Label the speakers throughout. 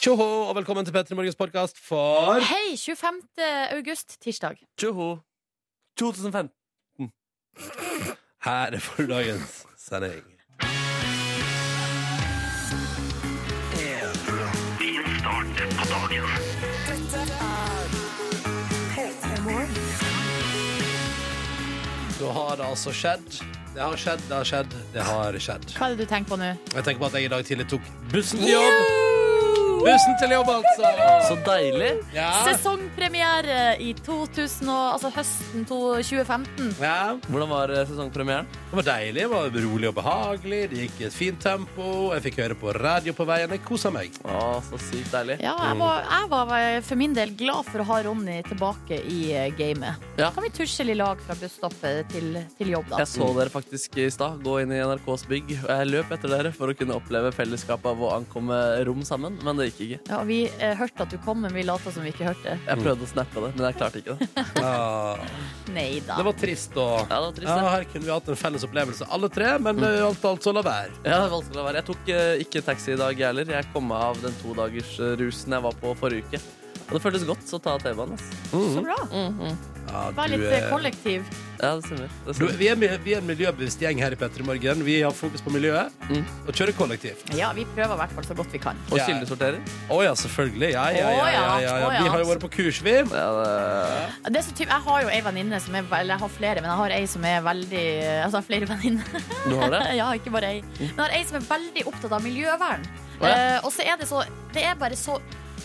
Speaker 1: Tjoho, og velkommen til P3 Morgens podkast for
Speaker 2: Hei, 25. august, tirsdag.
Speaker 1: Tjoho 2015. Her er for dagens sending. Da har det altså skjedd. Det har skjedd, det har skjedd, det har skjedd.
Speaker 2: Hva er det du tenker på nå?
Speaker 1: Jeg tenker på at jeg i dag tidlig tok bussen til jobb. Bussen til jobb, altså.
Speaker 3: Så deilig.
Speaker 1: Ja.
Speaker 2: Sesongpremiere i 2000 og, altså høsten to, 2015.
Speaker 1: ja.
Speaker 3: Hvordan var eh, sesongpremieren?
Speaker 1: Det var deilig, det var rolig og behagelig, det gikk i et fint tempo, jeg fikk høre på radio på veien, jeg kosa meg.
Speaker 3: Å, så sykt deilig.
Speaker 2: Ja, jeg var, jeg var eh, for min del glad for å ha Ronny tilbake i eh, gamet.
Speaker 3: Ja.
Speaker 2: Kan vi tusle i lag fra busstoppet til, til jobb, da?
Speaker 3: Jeg så dere faktisk i stad gå inn i NRKs bygg, og jeg løp etter dere for å kunne oppleve fellesskapet av å ankomme rom sammen, men det gikk ikke.
Speaker 2: Ja, vi eh, hørte at du kom, men vi lata som vi ikke hørte.
Speaker 3: Jeg prøvde å snappe det, men jeg klarte ikke det.
Speaker 1: Mm. Ja,
Speaker 2: Nei da.
Speaker 1: det var trist og
Speaker 3: Ja, det var
Speaker 1: ja,
Speaker 3: trist, det.
Speaker 1: Her kunne vi hatt en felles opplevelse, alle tre, men eh, alt alt så la være.
Speaker 3: Ja, det er vanskelig å være. Jeg tok eh, ikke taxi i dag, jeg heller. Jeg kom meg av den todagersrusen jeg var på forrige uke. Og det føltes godt å ta T-banen. ass.
Speaker 1: Mm.
Speaker 2: Så bra.
Speaker 1: Ja,
Speaker 2: Vær
Speaker 1: du,
Speaker 2: litt
Speaker 1: eh,
Speaker 2: eh, kollektiv.
Speaker 3: Ja, det stemmer. Det
Speaker 1: du,
Speaker 3: stemmer.
Speaker 1: vi, er, mi- vi er en miljøbevisst gjeng her i Petter Morgen. Vi har fokus på miljøet
Speaker 3: Mm.
Speaker 1: og kjører kollektivt.
Speaker 2: Ja, vi prøver i hvert fall så godt vi kan.
Speaker 3: Og
Speaker 1: Ja.
Speaker 3: kildesortering.
Speaker 1: Å ja, selvfølgelig. Ja, ja, ja, ja,
Speaker 2: Å ja,
Speaker 1: ja, ja.
Speaker 2: å ja.
Speaker 1: Vi har jo vært på kurs, vi.
Speaker 3: Ja, det...
Speaker 2: Det er så typ, jeg har jo ei venninne som er vel- Eller jeg har flere, men jeg har ei som er veldig Altså, jeg har flere venninner.
Speaker 3: Du har det? Mm.
Speaker 2: Ja, ikke bare ei. Men jeg har ei som er veldig opptatt av miljøvern.
Speaker 3: Å, ja.
Speaker 2: Eh, og så er det så Det er bare så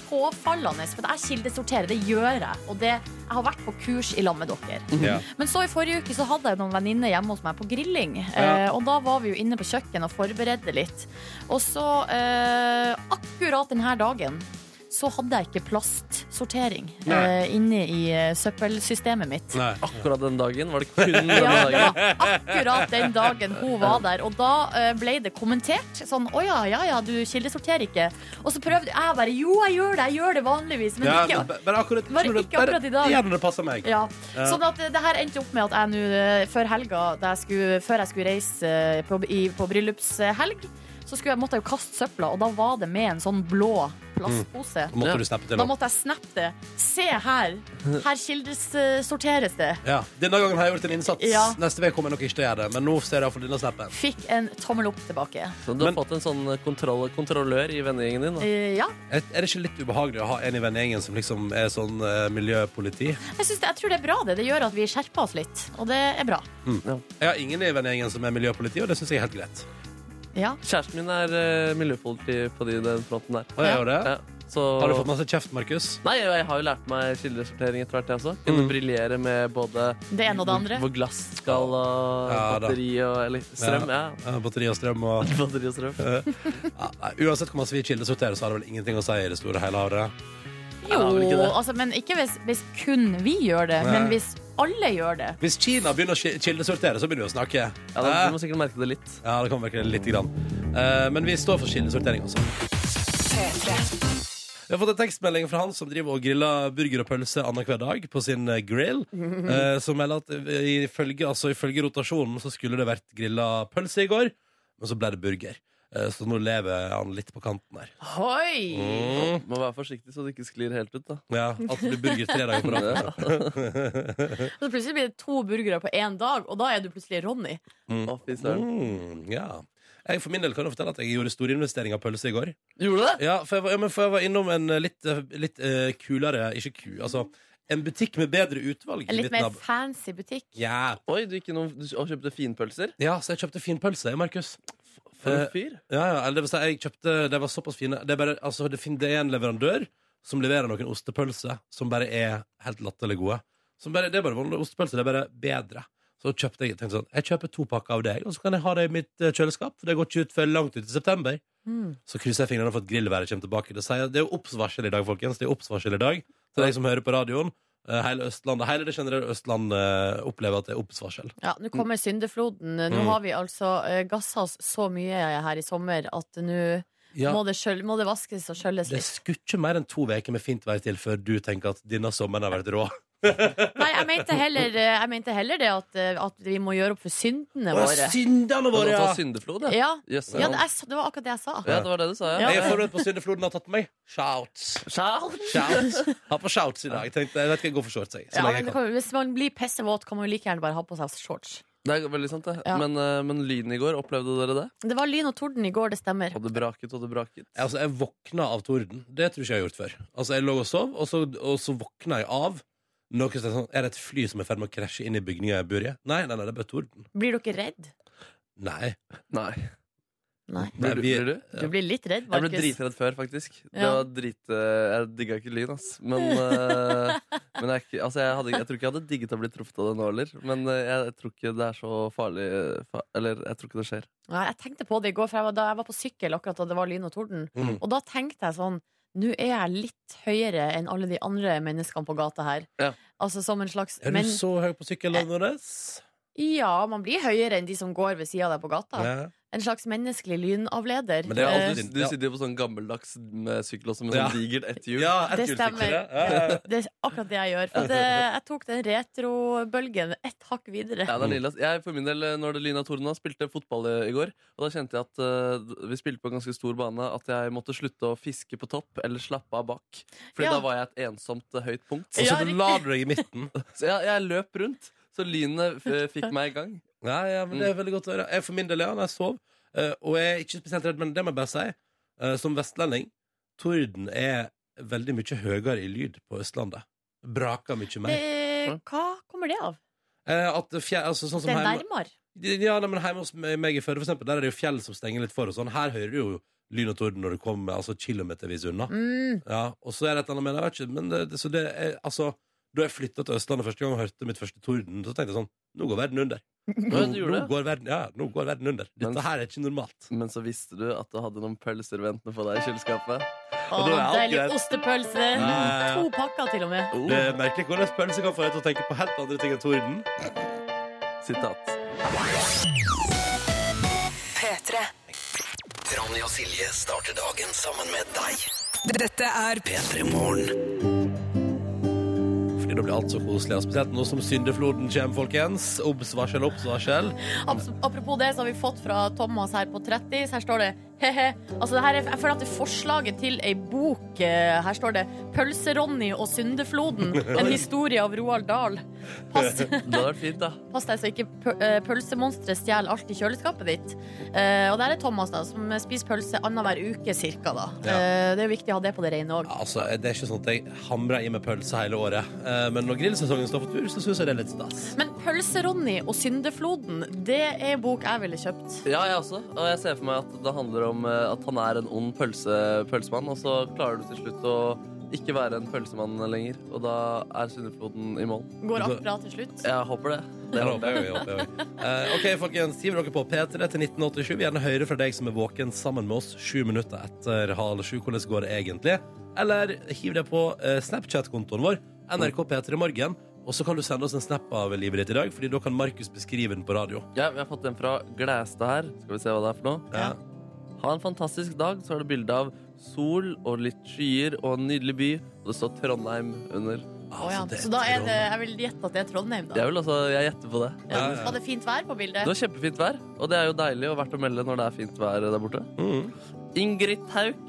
Speaker 2: påfallende. For jeg kildesorterer, det gjør jeg. Og det, jeg har vært på kurs i lag med dere.
Speaker 1: Ja.
Speaker 2: Men så i forrige uke så hadde jeg noen venninner hjemme hos meg på grilling. Eh, og da var vi jo inne på kjøkkenet og forberedte litt. Og så, eh, akkurat denne dagen, så hadde jeg ikke plastsortering eh, inne i eh, søppelsystemet mitt.
Speaker 1: Nei.
Speaker 3: Akkurat den dagen var det kun den
Speaker 2: Ja,
Speaker 3: dagen.
Speaker 2: det var akkurat den dagen hun var der. Og da eh, ble det kommentert sånn Å ja, ja, ja, du kildesorterer ikke. Og så prøvde jeg bare Jo, jeg gjør det, jeg gjør det vanligvis, men
Speaker 1: Ja,
Speaker 2: ikke
Speaker 1: men bare akkurat,
Speaker 2: Bare
Speaker 1: når det-
Speaker 2: ikke akkurat i dag.
Speaker 1: Bare, gjør når det passer meg.
Speaker 2: ja. Sånn at eh, det her endte opp med at jeg nå eh, før helga, da jeg skulle, før jeg skulle reise eh, på, i, på bryllupshelg, så skulle jeg, måtte jeg jo kaste søpla, og da var det med en sånn blå plastpose.
Speaker 1: Måtte
Speaker 3: Ja.
Speaker 1: du snappe til
Speaker 2: Da
Speaker 1: nå?
Speaker 2: måtte jeg snappe det. Se her! Her kildesorteres det.
Speaker 1: Ja. Denne gangen har jeg gjort en innsats.
Speaker 2: Ja.
Speaker 1: Neste uke kommer jeg nok ikke til å gjøre det, men nå ser jeg iallfall denne snappen.
Speaker 2: Fikk en tommel opp tilbake.
Speaker 3: Så du har
Speaker 1: Men-
Speaker 3: fått en sånn kontroll, kontrollør i vennegjengen din. Da.
Speaker 2: Eh, ja.
Speaker 1: Er er det ikke litt ubehagelig å ha en i vennegjengen som liksom er sånn eh, miljøpoliti?
Speaker 2: Jeg, synes det, jeg tror det er bra, det. Det gjør at vi skjerper oss litt, og det er bra.
Speaker 1: Mm. Jeg har ingen i vennegjengen som er miljøpoliti, og det syns jeg er helt greit.
Speaker 2: Ja.
Speaker 3: Kjæresten min er eh, miljøpoliti på de, den fronten der.
Speaker 1: Og jeg gjør det.
Speaker 3: Ja, så...
Speaker 1: Har du fått masse kjeft, Markus? Mm.
Speaker 3: Nei, og jeg har jo lært meg kildesortering etter hvert, jeg også. Kunne briljere med både
Speaker 2: Det ene og det andre.
Speaker 3: hvor glass skal og
Speaker 1: Ja, da.
Speaker 3: batteri og eller, strøm. Ja.
Speaker 1: Eh, Batteri og strøm og Eh,
Speaker 3: Batteri og strøm.
Speaker 1: ja, nei, Uansett hvor masse vi kildesorterer, så har det vel ingenting å si i det store hele året.
Speaker 2: Jo,
Speaker 3: Ja, vel ikke det.
Speaker 2: altså, men ikke hvis, hvis kun vi gjør det, men
Speaker 1: Nei.
Speaker 2: hvis alle gjør det.
Speaker 1: Hvis Kina begynner å ki- kildesortere, så begynner vi å snakke.
Speaker 3: Ja, da,
Speaker 1: Eh?
Speaker 3: du må sikkert merke det litt.
Speaker 1: Ja, det kan virke litt. Grann. Eh, men vi står for kildesortering, altså. Vi har fått en tekstmelding fra han som driver og griller burger og pølse annenhver dag på sin eh, grill. eh, som melder at eh, ifølge, altså, ifølge rotasjonen så skulle det vært grilla pølse i går, men så ble det burger. Eh, så nå lever han litt på kanten her.
Speaker 2: Hoi!
Speaker 1: Mm.
Speaker 3: Må være forsiktig så det ikke sklir helt ut, da.
Speaker 1: Ja, At det blir burger tre dager på rad.
Speaker 3: Ja.
Speaker 2: Så plutselig blir det to burgere på én dag, og da er du plutselig Ronny.
Speaker 3: Å, fy søren.
Speaker 1: Mm, ja. Jeg for min del kan jo fortelle at jeg gjorde storinvestering av pølse i går.
Speaker 3: Gjorde du det?
Speaker 1: Ja, for jeg var, ja, men for jeg var innom en eh, litt, eh, litt eh, kulere Ikke ku, altså En butikk med bedre utvalg i
Speaker 2: En litt
Speaker 1: midten
Speaker 2: mer
Speaker 1: av-
Speaker 2: fancy butikk.
Speaker 1: ja.
Speaker 3: Oi, du gikk innom du, og kjøpte finpølser?
Speaker 1: ja, så jeg kjøpte fin pølse, Markus
Speaker 3: For
Speaker 1: Eh,
Speaker 3: en fyr.
Speaker 1: ja, ja, eller det vil si, jeg kjøpte Det var såpass fine Det er, bare, altså, det fin, det er en leverandør som leverer noen ostepølser Som bare er helt latterlig gode Som bare, Det er bare vanlige ostepølser, det er bare bedre Så kjøpte jeg, tenkte sånn Jeg kjøper to pakker av deg, og så kan jeg ha det i mitt eh, kjøleskap For det går ikke ut før langt ut i september
Speaker 2: Mm.
Speaker 1: Så krysser jeg fingrene for at grillværet kommer tilbake. Det, sier, det er jo oppsvarsel i dag, folkens. Det er oppsvarsel i dag Til deg som hører på radioen. eh, Hele Østlandet, hele det generelle Østlandet eh, opplever at det er oppsvarsel.
Speaker 2: Ja, Nå kommer syndefloden. Nå
Speaker 1: Mm.
Speaker 2: har vi altså eh, gassa oss så mye her i sommer at nå
Speaker 1: Ja,
Speaker 2: må, det skjøl- må det vaskes og skjølles
Speaker 1: det
Speaker 2: litt.
Speaker 1: skulle ikke mer enn to uker med fint vær til før du tenker at denne sommeren har vært rå.
Speaker 2: Nei, jeg mente heller, eh, jeg mente heller det at, eh, at vi må gjøre opp for syndene
Speaker 1: Å,
Speaker 2: våre.
Speaker 1: Syndene
Speaker 3: Kan
Speaker 1: våre,
Speaker 3: du ta
Speaker 1: ja!
Speaker 3: syndeflod, ja?
Speaker 2: Ja,
Speaker 3: Jøss,
Speaker 2: ja
Speaker 3: ja.
Speaker 2: det, jeg, sa- det var akkurat det jeg sa.
Speaker 3: ja, det var det du sa, ja.
Speaker 2: Ja.
Speaker 1: Jeg er forberedt på syndefloden har tatt på meg. Shouts. Shouts. Har på shouts i dag. Jeg tenkte, jeg vet ikke, jeg går for shorts, jeg. Så
Speaker 2: Ja,
Speaker 1: lenge
Speaker 2: men
Speaker 1: jeg
Speaker 2: det
Speaker 1: kan.
Speaker 2: kan, hvis man blir pissevåt, kan man jo like gjerne bare ha på seg shorts.
Speaker 3: Det er veldig sant, det.
Speaker 2: Ja.
Speaker 3: Men, eh, men lyden i går, opplevde dere det?
Speaker 2: Det var lyn og torden i går, det stemmer.
Speaker 3: Og det braket og det braket.
Speaker 1: Jeg, altså, jeg våkna av torden. Det tror jeg ikke jeg har gjort før. Altså, Jeg lå og sov, og så, og så våkna jeg av noe som er sånn Er det et fly som er i ferd med å krasje inn i bygninga jeg bor i? Nei, nei, nei, det er bare torden.
Speaker 2: Blir dere redd?
Speaker 1: Nei.
Speaker 3: Nei.
Speaker 2: Nei.
Speaker 1: Nei,
Speaker 3: Blir du?
Speaker 1: vi-
Speaker 3: Blir du?
Speaker 2: Du blir litt redd,
Speaker 3: Jeg ble
Speaker 2: Markus.
Speaker 3: dritredd før, faktisk. Det
Speaker 2: Ja.
Speaker 3: var drit, eh, jeg digga ikke lyn, ass. Men, eh, men jeg, er ikke- altså jeg, hadde, jeg tror ikke jeg hadde digget å bli truffet av det nå heller. Men eh, jeg tror ikke det er så farlig eh, fa Eller jeg tror ikke det skjer.
Speaker 2: Nei, jeg tenkte på det i går, for jeg var, da jeg var på sykkel akkurat da det var lyn og torden.
Speaker 1: Mm.
Speaker 2: Og da tenkte jeg sånn Nå er jeg litt høyere enn alle de andre menneskene på gata her.
Speaker 3: Ja.
Speaker 2: Altså som en slags
Speaker 1: Er du
Speaker 2: Men
Speaker 1: så høy på sykkelen
Speaker 3: Eh,
Speaker 1: vår?
Speaker 2: ja, man blir høyere enn de som går ved sida av deg på gata.
Speaker 1: Ja.
Speaker 2: En slags menneskelig lynavleder.
Speaker 1: Men det er
Speaker 2: Eh,
Speaker 1: aldri
Speaker 3: Du, du sitter jo på sånn gammeldags med sykkel også, med
Speaker 1: Ja.
Speaker 3: sånn digert etterhjul.
Speaker 1: Ja, et
Speaker 2: Det
Speaker 1: gullsykkel,
Speaker 2: stemmer.
Speaker 1: ja. Ja, ja.
Speaker 2: Det er akkurat det jeg gjør. For det, jeg tok den retrobølgen ett hakk videre.
Speaker 3: Ja, det er nydelig, ass. Jeg for min del, eh, når det lyna torden, spilte fotball i, i går. Og da kjente jeg at eh, vi spilte på en ganske stor bane, at jeg måtte slutte å fiske på topp eller slappe av bak. Fordi
Speaker 2: Ja.
Speaker 3: da var jeg et ensomt eh, høyt punkt.
Speaker 1: Og
Speaker 2: Ja,
Speaker 1: så
Speaker 2: riktig.
Speaker 1: la du deg i midten.
Speaker 3: Så jeg, jeg løp rundt. Så lynet eh, fikk meg i gang. Mm.
Speaker 1: Ja, ja, men det er veldig godt å høre. Jeg for min del, ja, når jeg sov, eh, og jeg er ikke spesielt redd, men det må jeg bare si, eh, som vestlending, torden er veldig mye høyere i lyd på Østlandet. Braker mye mer.
Speaker 2: Eh, hva kommer det av?
Speaker 1: Eh, at fjell, altså, sånn som
Speaker 2: Det er
Speaker 1: hjemme,
Speaker 2: nærmere.
Speaker 1: ja, nei, men hjemme hos meg i Førde, for eksempel, der er det jo fjell som stenger litt for og sånn. Her hører du jo lyn og torden når du kommer altså, kilometervis unna.
Speaker 2: Mm.
Speaker 1: Ja, og så er det et eller annet med det, jeg vet ikke, men det, det, så det er, altså, da jeg flyttet til Østlandet første gang og hørte mitt første torden, så tenkte jeg sånn, nå går verden under. Nå,
Speaker 3: Ja, du gjorde
Speaker 1: nå,
Speaker 3: det.
Speaker 1: går verden, ja, nå går verden under. Dette
Speaker 3: Men-
Speaker 1: her er ikke normalt.
Speaker 3: Men så visste du at du hadde noen pølser ventende for deg i kjøleskapet.
Speaker 2: Å,
Speaker 1: da er alt
Speaker 2: deilig
Speaker 1: greit.
Speaker 2: ostepølse.
Speaker 1: ja, ja.
Speaker 2: To pakker til og med.
Speaker 3: Oh,
Speaker 1: Det er merkelig hvordan pølse kan få deg til å tenke på helt andre ting enn torden.
Speaker 3: sitat.
Speaker 4: Ronny og Silje starter dagen sammen med deg.
Speaker 5: Dette er
Speaker 4: P3 Morgen.
Speaker 1: Fordi da blir alt så koselig, og spesielt nå som syndefloden kommer, folkens. Obsvarsel, obsvarsel.
Speaker 2: Abs- Apropos det, så har vi fått fra Thomas her på 30. Så her står det he-he. Altså, det her er, jeg føler at det er forslaget til ei bok. eh, Her står det 'Pølseronny og syndefloden'. En historie av Roald Dahl. Pass,
Speaker 3: Det hadde vært fint, da.
Speaker 2: pass deg så ikke pø- eh, pølsemonstre stjeler alt i kjøleskapet ditt. Eh, og der er Thomas, da, som spiser pølse annenhver uke cirka, da.
Speaker 1: Ja.
Speaker 2: Eh, det er jo viktig å ha det på det rene òg.
Speaker 1: Ja, Altså, det er ikke sånn at jeg hamrer i meg pølse hele året. Eh, Men når grillsesongen står for tur, så synes jeg det er litt stas.
Speaker 2: Men 'Pølseronny og syndefloden', det er en bok jeg ville kjøpt.
Speaker 3: Ja, jeg også. Og jeg ser for meg at det handler om eh, at han er en ond pølse, pølsemann, og så klarer du til slutt å ikke være en pølsemann lenger. Og da er Sunnefloden i mål.
Speaker 2: Går akkurat til slutt.
Speaker 3: Jeg håper det.
Speaker 1: Det
Speaker 3: Altså, det håper.
Speaker 1: håper jeg, jeg håper jeg. Eh, ok, folkens, hiv dere på P3 til 1987. Vi vil Gjerne høre fra deg som er våken sammen med oss sju minutter etter halv sju. Hvordan går det egentlig? Eller hiv det på eh, Snapchat-kontoen vår, NRK P3 Morgen. Og så kan du sende oss en snap av livet ditt i dag, Fordi da kan Markus beskrive den på radio.
Speaker 3: jeg. Ja, vi har fått en fra Glæstad her. Skal vi se hva det er for noe?
Speaker 1: Ja.
Speaker 3: Ha en fantastisk dag. Så er det bilde av sol og litt skyer og en nydelig by. Og det står Trondheim under.
Speaker 2: Å ja.
Speaker 1: Altså,
Speaker 2: Så da er
Speaker 1: drøm.
Speaker 2: det Jeg vil gjette at det er Trondheim, da.
Speaker 3: Jeg vil altså, jeg gjetter på det.
Speaker 1: Ja, ja, ja.
Speaker 2: Var det fint vær på bildet?
Speaker 3: Det var kjempefint vær, og det er jo deilig og verdt å melde når det er fint vær der borte.
Speaker 1: Mm.
Speaker 3: Ingrid Hauk,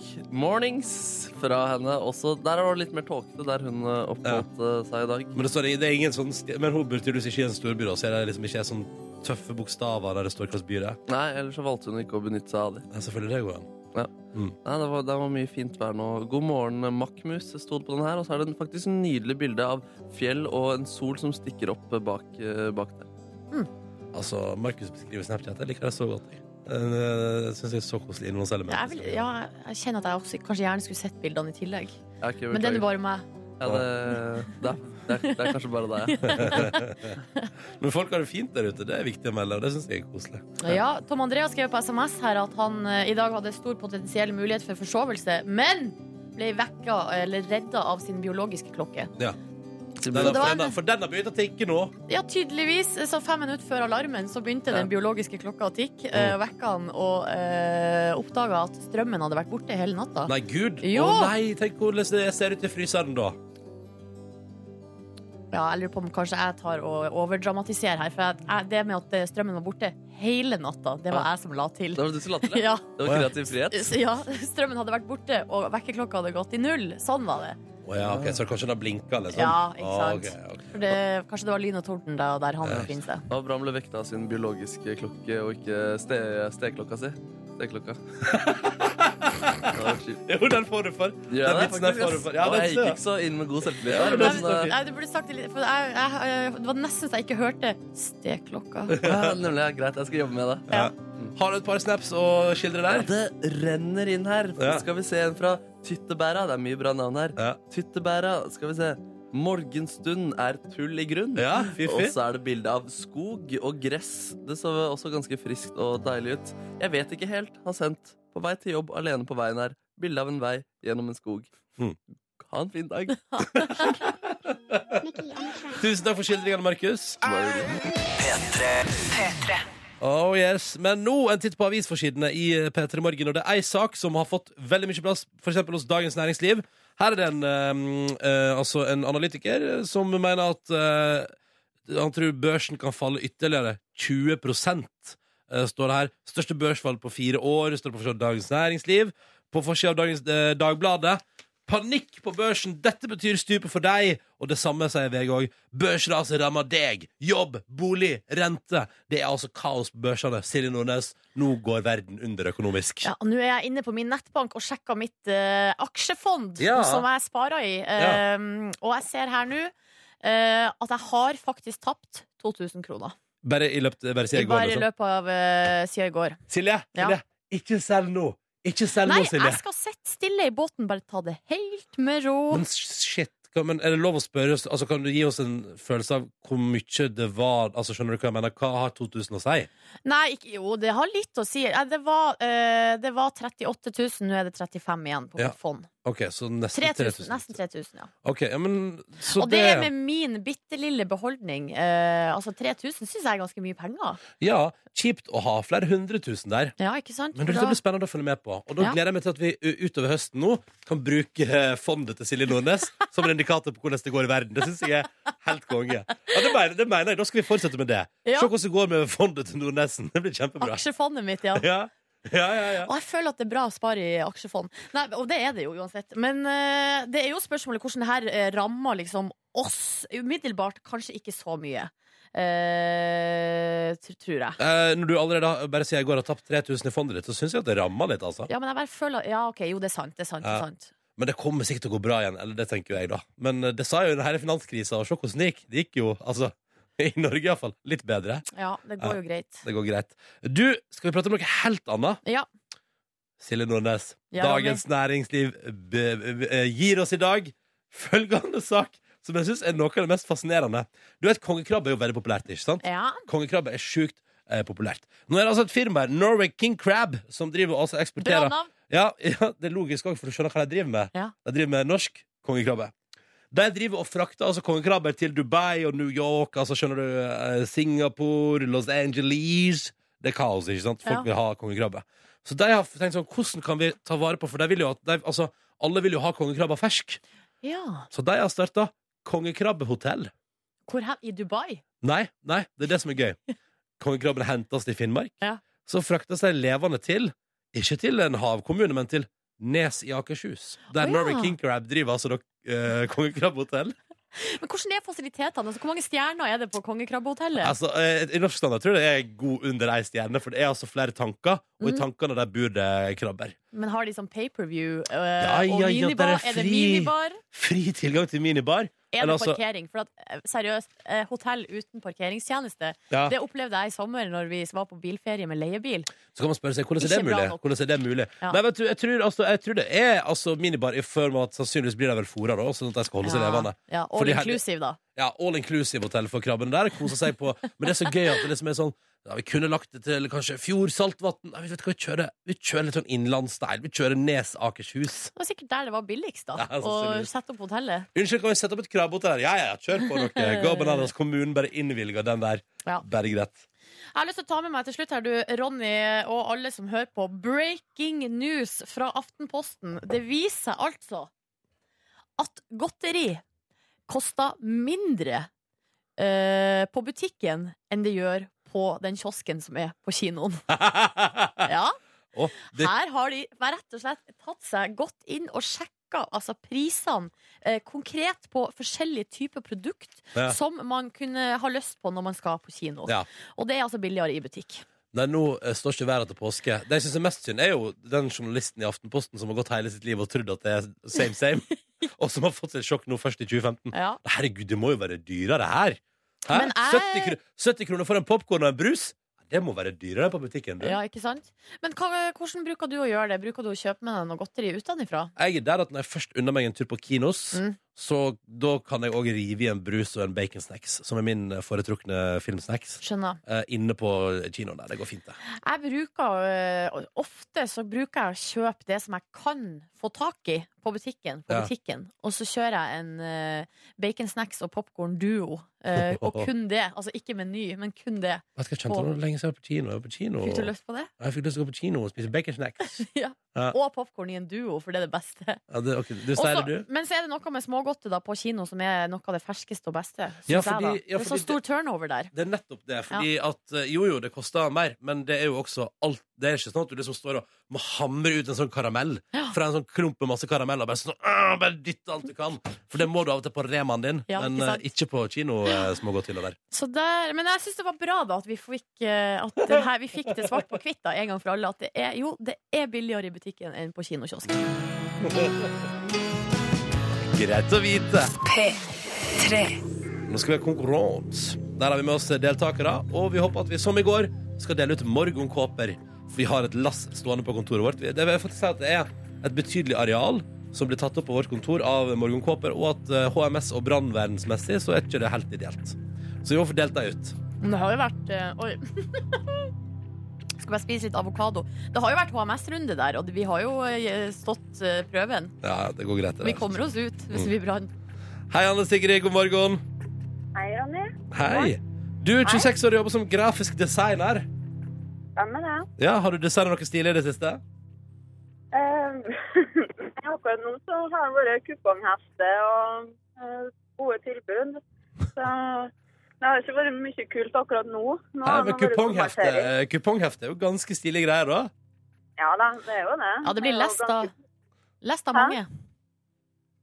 Speaker 3: 'Mornings' fra henne også. Der var det litt mer tåkete der hun eh, oppholdt eh, seg i dag.
Speaker 1: Men, det står, det er ingen sånn, sti- men hun bor tydeligvis ikke i en storby, da, så er det liksom ikke sånn tøffe bokstaver der det står hvilken by det er.
Speaker 3: Nei, ellers så valgte hun ikke å benytte seg av det.
Speaker 1: Ja, Selvfølgelig det går an. Mm.
Speaker 3: Nei, det var, det var mye fint vær nå. 'God morgen, makkmus' sto det på den her. Og så er det en- faktisk en nydelig bilde av fjell og en sol som stikker opp eh, bak, eh, bak der.
Speaker 1: Altså, Markus beskriver Snapchat. Jeg liker det så godt. Jeg. Det syns jeg er så koselig innholdselement.
Speaker 2: Jeg, vil, ja, jeg kjenner at jeg også kanskje gjerne skulle sett bildene i tillegg.
Speaker 3: Jeg har ikke
Speaker 2: Men den er bare
Speaker 3: beklaget.
Speaker 2: meg.
Speaker 3: ja, det, det, er- det, er- det er kanskje bare deg. ja.
Speaker 1: Men folk har det fint der ute. Det er viktig å melde, og det syns jeg er koselig.
Speaker 2: Ja, Tom Andreas skrev på SMS her at han eh, i dag hadde stor potensiell mulighet for forsovelse, men ble vekka eller redda av sin biologiske klokke.
Speaker 1: Den
Speaker 2: det
Speaker 1: har, for
Speaker 2: var
Speaker 1: den
Speaker 2: en-
Speaker 1: har- for den har begynt å tikke nå.
Speaker 2: Ja, tydeligvis. eh, Så fem minutter før alarmen så begynte den biologiske klokka å tikke. eh, og Vekka han og eh, oppdaga at strømmen hadde vært borte hele natta.
Speaker 1: Nei, gud!
Speaker 2: Jo.
Speaker 1: Å nei, tenk hvordan det ser ut i fryseren da.
Speaker 2: Ja, jeg lurer på om kanskje jeg tar og overdramatiserer her. For jeg, jeg, det med at eh, strømmen var borte hele natta, det var
Speaker 3: Ah.
Speaker 2: jeg som la til.
Speaker 3: Det var du som la til det?
Speaker 2: Ja.
Speaker 3: Det var kreativ frihet?
Speaker 2: Så ja, strømmen hadde vært borte, og vekkerklokka hadde gått i null. Sånn var det.
Speaker 1: Å ja, ok, Så kanskje den har blinka, liksom?
Speaker 2: Ja, ikke sant.
Speaker 1: Ok, ok.
Speaker 2: For det kanskje det var lyn og torden da, der han befinner seg.
Speaker 3: Og Abraham ble vekta av sin biologiske klokke og ikke ste steklokka si. Steklokka. Det var kjipt.
Speaker 1: Jo, den får du for.
Speaker 3: Ja,
Speaker 1: den
Speaker 3: det er
Speaker 1: vitsen der
Speaker 3: faktisk,
Speaker 1: får du
Speaker 3: ass.
Speaker 1: for. Ja,
Speaker 3: Og
Speaker 1: den
Speaker 3: jeg
Speaker 1: ser
Speaker 3: gikk
Speaker 1: jeg.
Speaker 3: ikke så inn med god selvtillit.
Speaker 1: Sånn, Ja,
Speaker 3: der,
Speaker 1: men
Speaker 2: Nei,
Speaker 1: det
Speaker 3: men,
Speaker 1: er
Speaker 3: eh,
Speaker 2: nei, du burde sagt det litt, for jeg, jeg, jeg, det var nesten så jeg ikke hørte steklokka.
Speaker 3: ja, nemlig, ja, greit, jeg skal jobbe med det.
Speaker 1: Ja. Har du et par snaps å skildre
Speaker 3: Ja,
Speaker 1: der?
Speaker 3: det renner inn her.
Speaker 1: Ja.
Speaker 3: Skal vi se en fra Tyttebæra. Det er mye bra navn her.
Speaker 1: Ja.
Speaker 3: Tyttebæra, skal vi se. Morgenstund er tull i grunn.
Speaker 1: ja
Speaker 3: Og
Speaker 1: Fifi?
Speaker 3: så er det bilde av skog og gress. Det så også ganske friskt og deilig ut. Jeg vet ikke helt. Har sendt på vei til jobb alene på veien her. Bilde av en vei gjennom en skog.
Speaker 1: Hmm.
Speaker 3: Ha en fin dag.
Speaker 1: Tusen takk for skildringene, Markus. Oh yes, Men nå en titt på avisforsidene i eh, P3 Morgen. Og det er ei sak som har fått veldig mye plass, f.eks. hos Dagens Næringsliv. Her er det en, eh, eh, altså en analytiker som mener at eh, han tror børsen kan falle ytterligere 20 eh, står det her. Største børsfall på fire år, står det på forsiden av Dagens Næringsliv. På forsida av Dagens, eh, Dagbladet. Panikk på børsen, dette betyr stupet for deg. Og det samme sier VG òg. Børsraset altså rammer deg. Jobb, bolig, rente. Det er altså kaos på børsene. Silje Nordnes, nå går verden under økonomisk.
Speaker 2: Ja, Nå er jeg inne på min nettbank og sjekker mitt eh, aksjefond,
Speaker 1: Ja.
Speaker 2: som jeg sparer i.
Speaker 1: Ja.
Speaker 2: Um, og jeg ser her nå eh, at jeg har faktisk tapt 2000 kroner.
Speaker 1: Bare i løpet bare siden i går.
Speaker 2: Bare i
Speaker 1: Liksom.
Speaker 2: løpet av eh, siden i går.
Speaker 1: Silje,
Speaker 2: Ja.
Speaker 1: Silje, ikke selg nå. Ikke selg
Speaker 2: Nei,
Speaker 1: nå, Silje.
Speaker 2: jeg skal sitte stille i båten, bare ta det helt med ro.
Speaker 1: Men shit, kan, men er det lov å spørre oss, altså Kan du gi oss en følelse av hvor mye det var? Altså Skjønner du hva jeg mener? Hva har 2000 å si?
Speaker 2: Nei, ikke, jo, det har litt å si. Eh, Det var, eh, det var 38 000, nå er det 35 igjen på
Speaker 1: Ja.
Speaker 2: mitt fond.
Speaker 1: OK, så nesten
Speaker 2: 3000,
Speaker 1: 3000.
Speaker 2: nesten 3000, ja.
Speaker 1: Ok, ja, men så
Speaker 2: Og det er med min bitte lille beholdning. Eh, altså 3000 syns jeg er ganske mye penger.
Speaker 1: Ja, kjipt å ha flere hundre tusen der.
Speaker 2: Ja, ikke sant?
Speaker 1: Men det
Speaker 2: For da-
Speaker 1: blir spennende å følge med på. Og da
Speaker 2: Ja.
Speaker 1: gleder jeg meg til at vi u- utover høsten nå kan bruke eh, fondet til Silje Nordnes som en indikator på hvordan det går i verden. Det syns jeg er helt konge. Ja, det mener, det mener jeg. Da skal vi fortsette med det.
Speaker 2: Ja.
Speaker 1: Se hvordan det går med fondet til Nordnesen. Det blir kjempebra.
Speaker 2: Aksjefondet mitt, ja.
Speaker 1: Ja, ja, ja. ja.
Speaker 2: Og jeg føler at det er bra å spare i aksjefond. Nei, og det er det jo uansett. Men eh, det er jo spørsmålet hvordan det her eh, rammer liksom oss umiddelbart. Kanskje ikke så mye, eh, tr- tror jeg.
Speaker 1: Eh, når du allerede har- bare sier jeg går og har tapt 3000 i fondet ditt, så syns jeg at det rammer litt, altså.
Speaker 2: Ja, men jeg bare føler Ja, OK, jo, det er sant. Det er sant. Det
Speaker 1: Ja.
Speaker 2: er sant.
Speaker 1: Men det kommer sikkert til å gå bra igjen. Eller det tenker jo jeg, da. Men eh, det sa jo under hele finanskrisa, og se hvordan det gikk. Det gikk jo, altså I Norge iallfall, litt bedre.
Speaker 2: Ja, det går jo greit.
Speaker 1: Det går greit. Du, skal vi prate om noe helt annet?
Speaker 2: Ja.
Speaker 1: Silje Nordnes,
Speaker 2: Ja,
Speaker 1: Dagens Næringsliv b b b gir oss i dag følgende sak, som jeg syns er noe av det mest fascinerende. Du vet, kongekrabbe er jo veldig populært, ikke sant?
Speaker 2: Ja.
Speaker 1: Kongekrabbe er sjukt eh, populært. Nå er det altså et firma her, Norway King Crab, som driver og altså
Speaker 2: Bra
Speaker 1: eksporterer
Speaker 2: navn.
Speaker 1: ja, ja, det er logisk òg, for du skjønner hva de driver med.
Speaker 2: Ja.
Speaker 1: De driver med norsk kongekrabbe. De driver og frakter altså kongekrabber til Dubai og New York, altså skjønner du, eh, Singapore, Los Angeles Det er kaos, ikke sant? Folk
Speaker 2: Ja.
Speaker 1: vil ha kongekrabbe. Så de har tenkt sånn, hvordan kan vi ta vare på For de vil jo at de, altså, alle vil jo ha kongekrabber fersk.
Speaker 2: Ja.
Speaker 1: Så de har starta kongekrabbehotell.
Speaker 2: Hvor hen? I Dubai?
Speaker 1: Nei, nei, det er det som er gøy. Kongekrabben hentes til Finnmark.
Speaker 2: Ja.
Speaker 1: Så fraktes de levende til, ikke til en havkommune, men til Nes i Akershus. Der
Speaker 2: Å, ja.
Speaker 1: Norway King Crab driver altså dok- eh, kongekrabbehotell.
Speaker 2: Men hvordan er fasilitetene? Altså, hvor mange stjerner er det på Kongekrabbehotellet?
Speaker 1: Altså, eh, I norsk standard tror jeg det er god under ei stjerne, for det er altså flere tanker, og i
Speaker 2: Mm.
Speaker 1: tankene der bor det krabber.
Speaker 2: Men har de sånn pay-per-view eh,
Speaker 1: Ja, ja,
Speaker 2: og
Speaker 1: ja,
Speaker 2: minibar?
Speaker 1: der er
Speaker 2: er, det
Speaker 1: fri.
Speaker 2: minibar?
Speaker 1: Fri tilgang til minibar.
Speaker 2: Er
Speaker 1: Eller
Speaker 2: det
Speaker 1: altså-
Speaker 2: parkering? For at, eh, seriøst, eh, hotell uten parkeringstjeneste,
Speaker 1: Ja.
Speaker 2: det opplevde jeg i sommer når vi var på bilferie med leiebil.
Speaker 1: Så kan man spørre seg hvordan er det
Speaker 2: Ikke bra
Speaker 1: mulig?
Speaker 2: nok.
Speaker 1: Hvordan er det mulig?
Speaker 2: Ja.
Speaker 1: Nei, vet du, jeg tror, altså, jeg tror det er altså, minibar i form av at sannsynligvis blir de vel fôra, da, sånn at de skal holde seg levende.
Speaker 2: ja,
Speaker 1: For
Speaker 2: all
Speaker 1: de her-
Speaker 2: inclusive, da.
Speaker 1: Ja, all inclusive hotell for krabbene der. Koser seg på. Men det er så gøy at det liksom er sånn ja, Vi kunne lagt det til kanskje Fjord, Saltvatn Nei, vi vet hva, vi kjører, vi kjører litt sånn innlandsstyle. Vi kjører Nes, Akershus.
Speaker 2: Det var sikkert der det var billigst, da.
Speaker 1: Ja,
Speaker 2: å
Speaker 1: sannsynligvis.
Speaker 2: sette opp hotellet.
Speaker 1: Unnskyld, kan vi sette opp et krabbehotell her? Ja, ja, ja, kjør på dere. Gå bananas. Kommunen bare innvilger den der.
Speaker 2: Ja.
Speaker 1: Bare greit.
Speaker 2: Jeg har lyst til å ta med meg til slutt her, du, Ronny, og alle som hører på. Breaking news fra Aftenposten. Det viser seg altså at godteri koster mindre eh, på butikken enn det gjør på den kiosken som er på kinoen. Ja,
Speaker 1: Å, det,
Speaker 2: her har de rett og slett tatt seg godt inn og sjekka altså, prisene eh, konkret på forskjellige typer produkt
Speaker 1: Ja.
Speaker 2: som man kunne ha lyst på når man skal på kino.
Speaker 1: Ja.
Speaker 2: Og det er altså billigere i butikk.
Speaker 1: nei, nå eh, står ikke været til påske. Det jeg syns er mest synd, er jo den journalisten i Aftenposten som har gått hele sitt liv og trodd at det er same, same, og som har fått seg et sjokk nå først i 2015.
Speaker 2: Ja.
Speaker 1: Herregud, det må jo være dyrere her! Hæ?
Speaker 2: Men jeg-
Speaker 1: 70, kroner, 70 kroner for en popkorn og en brus? Det må være dyrere på butikken. Du.
Speaker 2: Ja, ikke sant? Men hva, hvordan bruker du å gjøre det? Bruker du å kjøpe med deg noe godteri utenfra?
Speaker 1: Jeg er der at når jeg først unner meg en tur på kinos,
Speaker 2: Mm.
Speaker 1: så da kan jeg òg rive i en brus og en baconsnacks, som er min eh, foretrukne filmsnacks,
Speaker 2: Skjønner.
Speaker 1: eh, inne på kinoen der. Det går fint, det.
Speaker 2: Jeg bruker øh, Ofte så bruker jeg å kjøpe det som jeg kan få tak i på butikken, på
Speaker 1: Ja.
Speaker 2: butikken. og så kjører jeg en øh, baconsnacks og popkorn-duo. øh, og kun det. Altså ikke meny, men kun det.
Speaker 1: Vet ikke, jeg kjente
Speaker 2: Og-
Speaker 1: det lenge siden jeg var på kino. Jeg, var på kino.
Speaker 2: Fikk du lyst på det?
Speaker 1: Ja, jeg fikk lyst til å gå på kino og spise baconsnacks.
Speaker 2: Ja.
Speaker 1: Ja.
Speaker 2: Og popkorn i en duo, for det er det beste.
Speaker 1: Ja, det- ok, du sier
Speaker 2: Også-
Speaker 1: det, du?
Speaker 2: Men så er det noe med smågodtet da på kino som er noe av det ferskeste og beste. synes
Speaker 1: Ja,
Speaker 2: jeg, da.
Speaker 1: fordi- ja,
Speaker 2: det er
Speaker 1: fordi
Speaker 2: så stor turnover der.
Speaker 1: Det er nettopp det. Fordi at eh, jo, jo, det koster mer, men det er jo også alt Det er ikke sånn at du liksom står og må hamre ut en sånn karamell
Speaker 2: Ja.
Speaker 1: fra en sånn klump med masse karameller. Bare sånn, «Åh, bare dytte alt du kan. For det må du av og til på remaen din,
Speaker 2: Ja,
Speaker 1: men
Speaker 2: ikke
Speaker 1: eh,
Speaker 2: sant?
Speaker 1: ikke på eh, kino-smågodthylla der.
Speaker 2: Så der, men jeg syns det var bra da at vi fikk, eh, at den her, vi fikk det svart på hvitt da, en gang for alle. At det er, jo, det er billigere i butikken enn på kinokiosken.
Speaker 1: Greit å vite. Nå skal vi ha konkurranse. Der har vi med oss deltakere, og vi håper at vi, som i går, skal dele ut morgenkåper. Vi har et lass stående på kontoret vårt. Det vil jeg faktisk si at det er et betydelig areal som blir tatt opp på vårt kontor av morgenkåper, og at eh, HMS og brannvernmessig så er ikke det helt ideelt. Så vi må få delt deg ut.
Speaker 2: Men det har jo vært eh, Oi. Skal bare spise litt avokado. Det har jo vært HMS-runde der, og vi har jo eh, stått eh, prøven.
Speaker 1: Ja, det går greit. det
Speaker 2: Vi
Speaker 1: der.
Speaker 2: kommer oss ut hvis vi brann.
Speaker 1: Hei, Anne Sigrid. God morgen.
Speaker 5: Hei, Ronny.
Speaker 1: Hei. Du er 26 år og jobber som grafisk designer.
Speaker 5: Stemmer det.
Speaker 1: Ja, Har du designet noe stilig i det siste?
Speaker 5: Eh, akkurat nå så har det vært kuponghefte og eh, gode tilbud. Så det har ikke vært mye kult akkurat nå. nå
Speaker 1: Her
Speaker 5: har
Speaker 1: med
Speaker 5: det vært
Speaker 1: kuponghefte.
Speaker 5: konvertering.
Speaker 1: Eh, Kuponghefte er jo ganske stilige greier, da.
Speaker 5: Ja da, det er jo det.
Speaker 2: Ja, det
Speaker 5: er
Speaker 2: blir
Speaker 5: jo
Speaker 2: lest av,
Speaker 5: ganske-
Speaker 2: lest av
Speaker 5: Hæ?
Speaker 2: mange.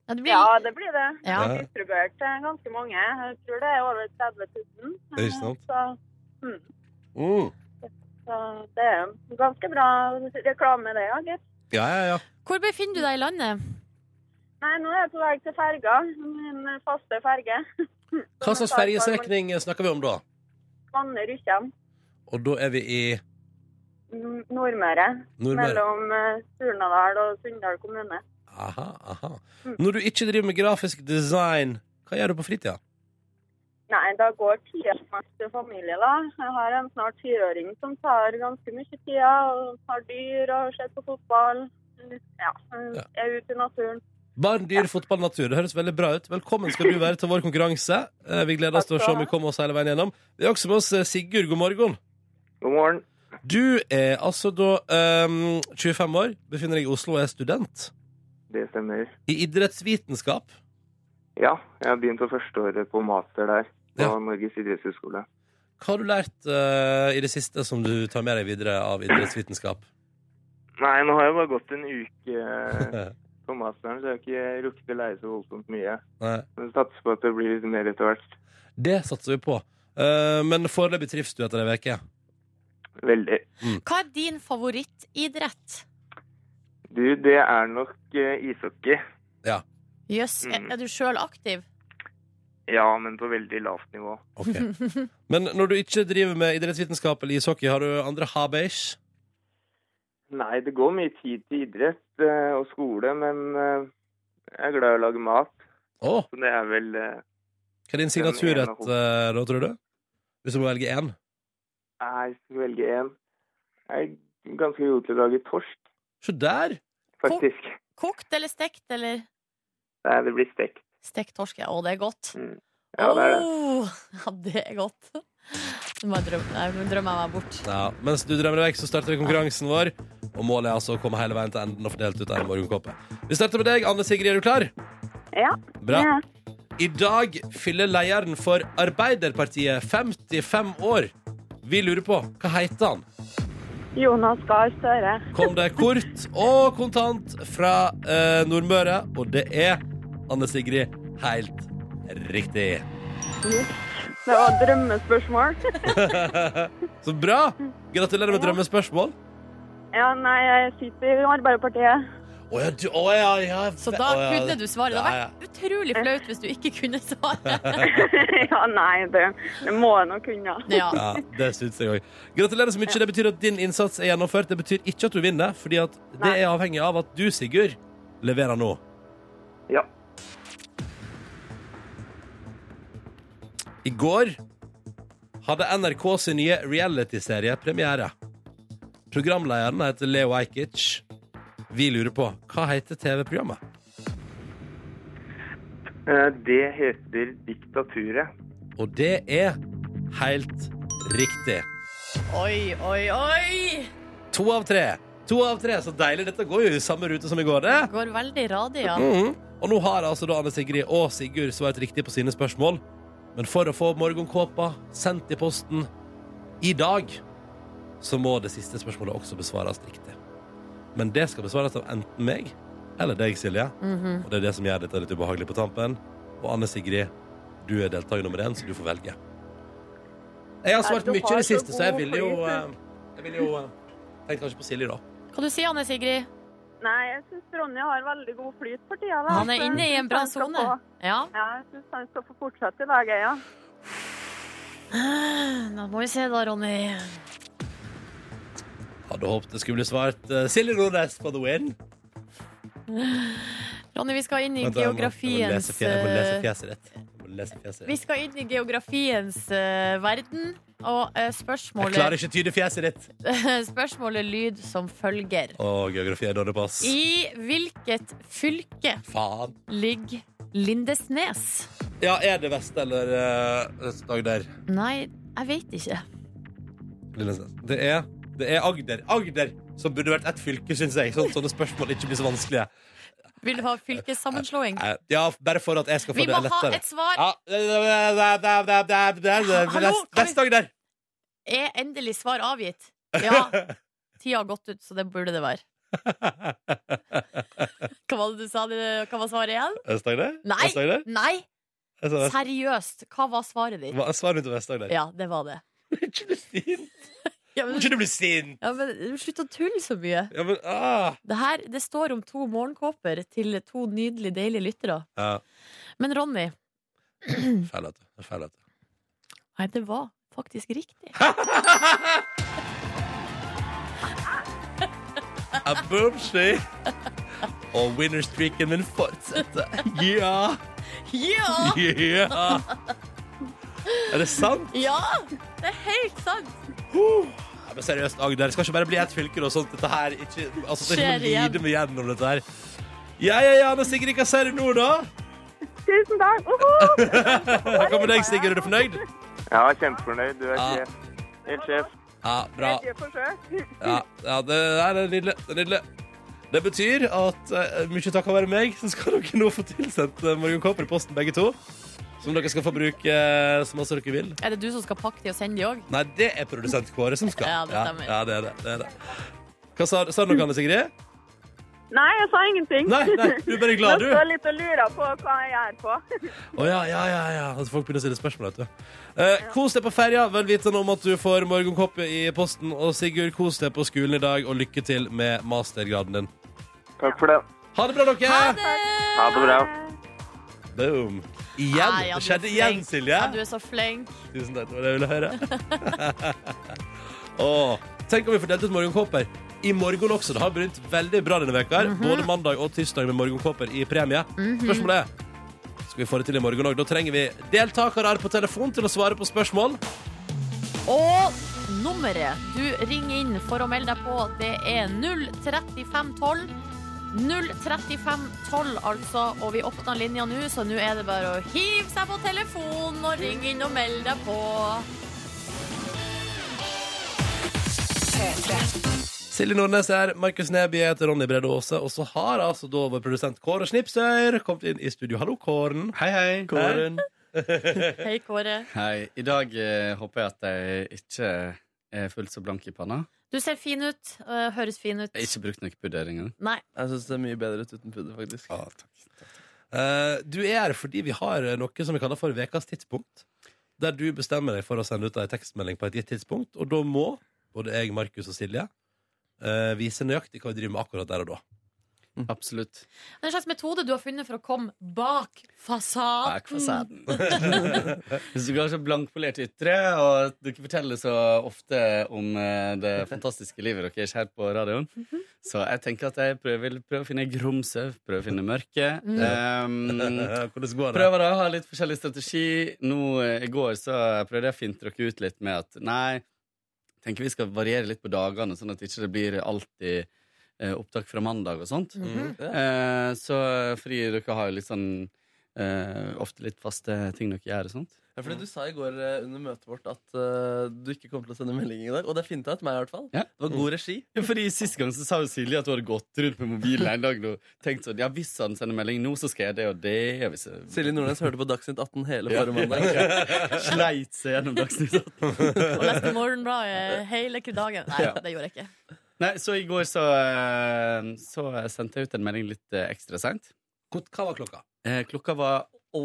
Speaker 2: Ja, det blir,
Speaker 5: Ja, det blir det.
Speaker 2: Ja.
Speaker 5: Det er distribuert til ganske mange. Jeg tror det er over 30 000.
Speaker 1: Det er ikke sant.
Speaker 5: Så, mm, så det er jo ganske bra reklame, det, ja, gitt.
Speaker 1: Ja, ja, ja.
Speaker 2: Hvor befinner du deg i landet?
Speaker 5: Nei, nå er jeg på vei til ferga. Min faste ferge.
Speaker 1: Hva slags fergestrekning snakker vi om da?
Speaker 5: Vanne-Rykkjem.
Speaker 1: Og da er vi i
Speaker 5: Nordmøre.
Speaker 1: Nordmøre.
Speaker 5: Mellom eh, Surnadal og Sunndal kommune.
Speaker 1: Aha, aha. Når du ikke driver med grafisk design, hva gjør du på fritida?
Speaker 5: Nei, da går tida mest til familie, da. Jeg har en snart fireåring som tar ganske mye tid. og Har dyr og ser på fotball. Ja, eh, er ute i naturen.
Speaker 1: Barn, dyr, fotball, natur. Det høres veldig bra ut. Velkommen skal du være til vår konkurranse. Eh, Vi gleder oss til å se om vi kommer oss hele veien gjennom. Vi har også med oss eh, Sigurd. God morgen.
Speaker 6: God morgen.
Speaker 1: Du er altså da ehm, 25 år, befinner deg i Oslo og er student.
Speaker 6: Det stemmer.
Speaker 1: I idrettsvitenskap.
Speaker 6: Ja, jeg har begynt på førsteåret på master der. På
Speaker 1: Ja.
Speaker 6: Norges idrettshøgskole.
Speaker 1: Hva har du lært eh, i det siste som du tar med deg videre av idrettsvitenskap?
Speaker 6: Nei, nå har jeg bare gått en uke eh, på masteren, så jeg har ikke rukket å lære så voldsomt mye.
Speaker 1: Nei.
Speaker 6: Men satser på at det blir litt mer etter hvert.
Speaker 1: Det satser vi på. Eh, men foreløpig trives du etter ei uke.
Speaker 6: Veldig.
Speaker 2: Hva er din favorittidrett?
Speaker 6: Du, det er nok eh, ishockey.
Speaker 2: Jøss, er-
Speaker 6: Mm.
Speaker 2: er du sjøl aktiv?
Speaker 6: Ja, men på veldig lavt nivå.
Speaker 1: Ok. Men når du ikke driver med idrettsvitenskap eller ishockey, har du andre habeis?
Speaker 6: Nei, det går mye tid til idrett eh, og skole, men eh, jeg er glad i å lage mat.
Speaker 1: Å,
Speaker 6: Så det er vel eh,
Speaker 1: hva er din signaturrett
Speaker 6: Den
Speaker 1: eh, da, tror du? Hvis du må velge én?
Speaker 6: Nei, jeg skal velge én. Jeg er ganske god til å lage torsk,
Speaker 1: Se der!
Speaker 6: faktisk.
Speaker 2: Kokt eller stekt eller
Speaker 6: Nei, det blir stekt.
Speaker 2: Stekt torsk, ja. Å, det er godt.
Speaker 6: Ja, det er det.
Speaker 2: Åh, ja, det er godt. Nå bare drøm, nei, nå drømmer jeg meg bort.
Speaker 1: Ja, mens du drømmer deg vekk, så starter vi konkurransen vår. Og målet er altså å komme hele veien til enden og få delt ut en morgenkåpe. Vi starter med deg, Anne Sigrid. Er du klar?
Speaker 5: Ja.
Speaker 1: Bra.
Speaker 5: Ja.
Speaker 1: I dag fyller lederen for Arbeiderpartiet 55 år. Vi lurer på hva heter han?
Speaker 5: Jonas Gahr Støre.
Speaker 1: Kom det kort og kontant fra eh, Nordmøre, og det er Anne Sigrid helt riktig.
Speaker 5: Det var et drømmespørsmål.
Speaker 1: Så bra! Gratulerer med drømmespørsmål.
Speaker 5: Ja, nei, jeg sitter i Arbeiderpartiet.
Speaker 1: Å ja, du, å ja, ja.
Speaker 2: Så da
Speaker 1: å ja.
Speaker 2: kunne du svare. Det hadde
Speaker 1: Ja,
Speaker 2: vært utrolig flaut hvis du ikke kunne svare.
Speaker 5: ja, nei, det, det må jeg nok kunne.
Speaker 2: Ja.
Speaker 1: Ja, det syns jeg òg. Gratulerer så mye. Det betyr at din innsats er gjennomført. Det betyr ikke at du vinner, fordi at det
Speaker 5: Nei.
Speaker 1: er avhengig av at du, Sigurd, leverer nå.
Speaker 6: Ja.
Speaker 1: I går hadde NRK sin nye realityserie premiere. Programlederen heter Leo Ajkic. Vi lurer på hva heter TV-programmet?
Speaker 6: Eh, Det heter diktaturet.
Speaker 1: Og det er helt riktig.
Speaker 2: Oi, oi, oi!
Speaker 1: To av tre. To av tre, Så deilig. Dette går jo i samme rute som i går. det.
Speaker 2: Går veldig radig, ja.
Speaker 1: Mhm. Og nå har altså da Anne Sigrid og Sigurd svart riktig på sine spørsmål. Men for å få morgenkåpa sendt i posten i dag, så må det siste spørsmålet også besvares riktig. Men det skal besvares av enten meg eller deg, Silje.
Speaker 2: Mhm.
Speaker 1: Og det er det som gjør dette litt ubehagelig på tampen. Og Anne Sigrid, du er deltaker nummer én, så du får velge. Jeg har svart
Speaker 5: Ja, du
Speaker 1: mye i
Speaker 5: har
Speaker 1: det
Speaker 5: så
Speaker 1: siste, så jeg
Speaker 5: god
Speaker 1: ville jo
Speaker 5: flyt.
Speaker 1: eh, Jeg ville jo eh, Tenk kanskje på Silje, da.
Speaker 2: Hva du sier Anne Sigrid?
Speaker 5: Nei, jeg syns Ronny har veldig god flyt for tida. da.
Speaker 2: Han
Speaker 5: Så
Speaker 2: er
Speaker 5: jeg
Speaker 2: inne i en
Speaker 5: synes
Speaker 2: bra
Speaker 5: han skal
Speaker 2: sone.
Speaker 5: få-
Speaker 2: Ja.
Speaker 5: Ja, jeg syns han skal få fortsette i dag, jeg, ja.
Speaker 2: Da må vi se da, Ronny.
Speaker 1: Hadde håpet det skulle bli svart eh, Silje Nordnes for the win.
Speaker 2: Ronny, vi skal inn i
Speaker 1: Vent, jeg må- Jeg må
Speaker 2: geografiens
Speaker 1: lese fje- jeg må lese
Speaker 2: eh,
Speaker 1: fjeset ditt. Jeg må lese fjeset
Speaker 2: Vi
Speaker 1: ditt.
Speaker 2: skal inn i geografiens eh, verden, og eh,
Speaker 1: Jeg klarer
Speaker 2: spørsmålet,
Speaker 1: ikke å tyde fjeset ditt.
Speaker 2: spørsmålet lyd som følger.
Speaker 1: Å, geografi er dårlig pass.
Speaker 2: I hvilket fylke
Speaker 1: Faen.
Speaker 2: ligger Lindesnes?
Speaker 1: Ja, er det vest eller uh, Agder?
Speaker 2: Nei, jeg vet ikke.
Speaker 1: Lillesnes. Det er, det er Agder. Agder som burde vært ett fylke, syns jeg. Sånn, sånne spørsmål ikke blir så vanskelige.
Speaker 2: Vil du ha fylkessammenslåing?
Speaker 1: Eh, Ja, bare for at jeg skal få
Speaker 2: Vi
Speaker 1: det
Speaker 2: må ha
Speaker 1: lettere.
Speaker 2: et svar.
Speaker 1: Ja.
Speaker 2: Hallo,
Speaker 1: Vest-
Speaker 2: kan vi-
Speaker 1: Vest-Agder.
Speaker 2: Er endelig svar avgitt? Ja. Tida har gått ut, så det burde det være. Hva var det du sa? det- Hva var svaret igjen?
Speaker 1: Vest-Agder?
Speaker 2: Nei.
Speaker 1: Vest-Agder?
Speaker 2: Nei,
Speaker 1: Jeg sa vest-
Speaker 2: seriøst. Hva var svaret ditt?
Speaker 1: Hva- Svar mitt til Vest-Agder.
Speaker 2: Ja, det var det.
Speaker 1: Ikke bli sint!
Speaker 2: Ja, men,
Speaker 1: Ikke du bli sint!
Speaker 2: ja, men slutt å tulle så mye.
Speaker 1: Ja, men ah.
Speaker 2: Det her, det står om to morgenkåper til to nydelig, deilige lyttere.
Speaker 1: ja.
Speaker 2: Men Ronny,
Speaker 1: Feil, vet du. Det er Feil, vet du.
Speaker 2: nei, det var faktisk riktig.
Speaker 1: A boomsy. Og winnerstreaken min fortsetter. Ja!
Speaker 2: Ja!
Speaker 1: Ja! Er det sant?
Speaker 2: Ja! Det er helt sant!
Speaker 1: Ja, men seriøst, Agder. Det skal ikke bare bli ett fylke og sånt. Dette her ikke, altså, det
Speaker 2: Skjer
Speaker 1: er ikke noe
Speaker 2: igjen.
Speaker 1: lide med gjennom dette her. Ja, ja, ja, men Sigrid, hva sier du nå, da?
Speaker 5: Tusen takk! Uhu!
Speaker 1: Hva med deg, Sigrid? Er du fornøyd?
Speaker 6: Ja, kjempefornøyd. Du er
Speaker 1: Ja.
Speaker 6: sjef. Helt sjef.
Speaker 1: Ja, bra.
Speaker 5: Tredje forsøk.
Speaker 1: Ja, ja det, nei, det er nydelig. Det er nydelig. Det betyr at eh, mye takk være meg, så skal dere nå få tilsendt eh, morgenkåper i posten, begge to. Som dere skal få bruke eh, så masse dere vil.
Speaker 2: Er det du som skal pakke de og sende de òg?
Speaker 1: Nei, det er produsent Kåre som skal.
Speaker 2: Ja, det stemmer.
Speaker 1: Ja, ja, det er det. det, er det. Hva sa, sa du noe, Anne Sigrid?
Speaker 5: Nei, jeg sa ingenting.
Speaker 1: Nei, nei, du er bare glad, du.
Speaker 5: Jeg står litt og lurer på hva jeg gjør på.
Speaker 1: Å ja, ja, ja, ja. Altså, folk begynner å stille spørsmål, vet du. Eh, kos deg på ferja, vel vitende om at du får morgenkåpe i posten. Og Sigurd, kos deg på skolen i dag, og lykke til med mastergraden din.
Speaker 6: Takk for det.
Speaker 1: Ha det bra, dere!
Speaker 2: Ha det!
Speaker 6: Ha det bra.
Speaker 1: Boom. Igjen.
Speaker 2: Nei, ja, du
Speaker 1: det
Speaker 2: er
Speaker 1: skjedde igjen,
Speaker 2: flink.
Speaker 1: Silje.
Speaker 2: Ja, du er så flink.
Speaker 1: Tusen takk, det var det jeg ville høre. Åh, tenk om vi får delt ut morgenkåper i morgen også. Det har begynt veldig bra denne veka. her. Både mandag og tirsdag med morgenkåper i premie. Spørsmålet er skal vi få det til i morgen òg. Da trenger vi deltakere her på telefon til å svare på spørsmål.
Speaker 2: Og nummeret du ringer inn for å melde deg på, det er 03512. 03512, altså. Og vi åpner linja nå, så nå er det bare å hive seg på telefonen og ringe inn og melde deg på.
Speaker 1: Silje Nordnes er Markus Neby jeg heter Ronny Brede Aase, og så har altså da vår produsent Kåre Snipsøyr kommet inn i studio. Hallo, Kåren.
Speaker 7: Hei, hei.
Speaker 1: Kåren.
Speaker 2: Hei, Kåre.
Speaker 7: Hei. I dag eh, håper jeg at jeg ikke er fullt så blank i panna.
Speaker 2: Du ser fin ut. øh, Høres fin ut.
Speaker 7: Jeg har ikke brukt noe pudder engang.
Speaker 2: Nei.
Speaker 3: Jeg syns det er mye bedre ut uten pudder, faktisk.
Speaker 7: Ah, takk.
Speaker 1: Eh, du er her fordi vi har eh, noe som vi kaller for Vekas tidspunkt. Der du bestemmer deg for å sende ut ei tekstmelding på et gitt tidspunkt. Og da må både jeg, Markus og Silje eh, vise nøyaktig hva vi driver med akkurat der og da.
Speaker 3: Mm.
Speaker 7: Absolutt.
Speaker 2: Det er en slags metode du har funnet for å komme bak fasaden.
Speaker 7: Bak fasaden. Hvis dere har så blankpolert ytre, og dere forteller så ofte om eh, det fantastiske livet deres her på radioen, så jeg tenker at jeg prøver, vil prøve å finne grumse, prøve å finne mørke. Um,
Speaker 1: Eh, Hvordan går det?
Speaker 7: prøver da å ha litt forskjellig strategi. Nå eh, I går så prøvde jeg å finte dere ut litt med at nei, tenker vi skal variere litt på dagene, sånn at ikke det blir alltid eh, opptak fra mandag og sånt.
Speaker 2: Mhm.
Speaker 7: Eh, så fordi dere har jo litt sånn eh, ofte litt faste ting dere gjør og sånt.
Speaker 3: Ja, fordi Du sa i går eh, under møtet vårt at eh, du ikke kom til å sende melding i dag. Og det er fint av meg, i hvert fall.
Speaker 7: Ja.
Speaker 3: Det var god regi.
Speaker 7: Ja, fordi Sist gang så sa jo Silje at hun hadde gått rundt med mobilen en dag og tenkt sånn Ja, hvis han sender melding nå, så skal jeg det og det. og Hvis jeg
Speaker 3: Silje Nordnes hørte på Dagsnytt 18 hele forrige mandag.
Speaker 7: sleit seg gjennom Dagsnytt 18.
Speaker 2: Og leste Morgenbladet hele dagen. Nei,
Speaker 7: Ja.
Speaker 2: det gjorde jeg ikke.
Speaker 7: Nei, så i går så, eh, så sendte jeg ut en melding litt eh, ekstra seint.
Speaker 1: Hvor- Hva var klokka?
Speaker 7: Eh, klokka var å,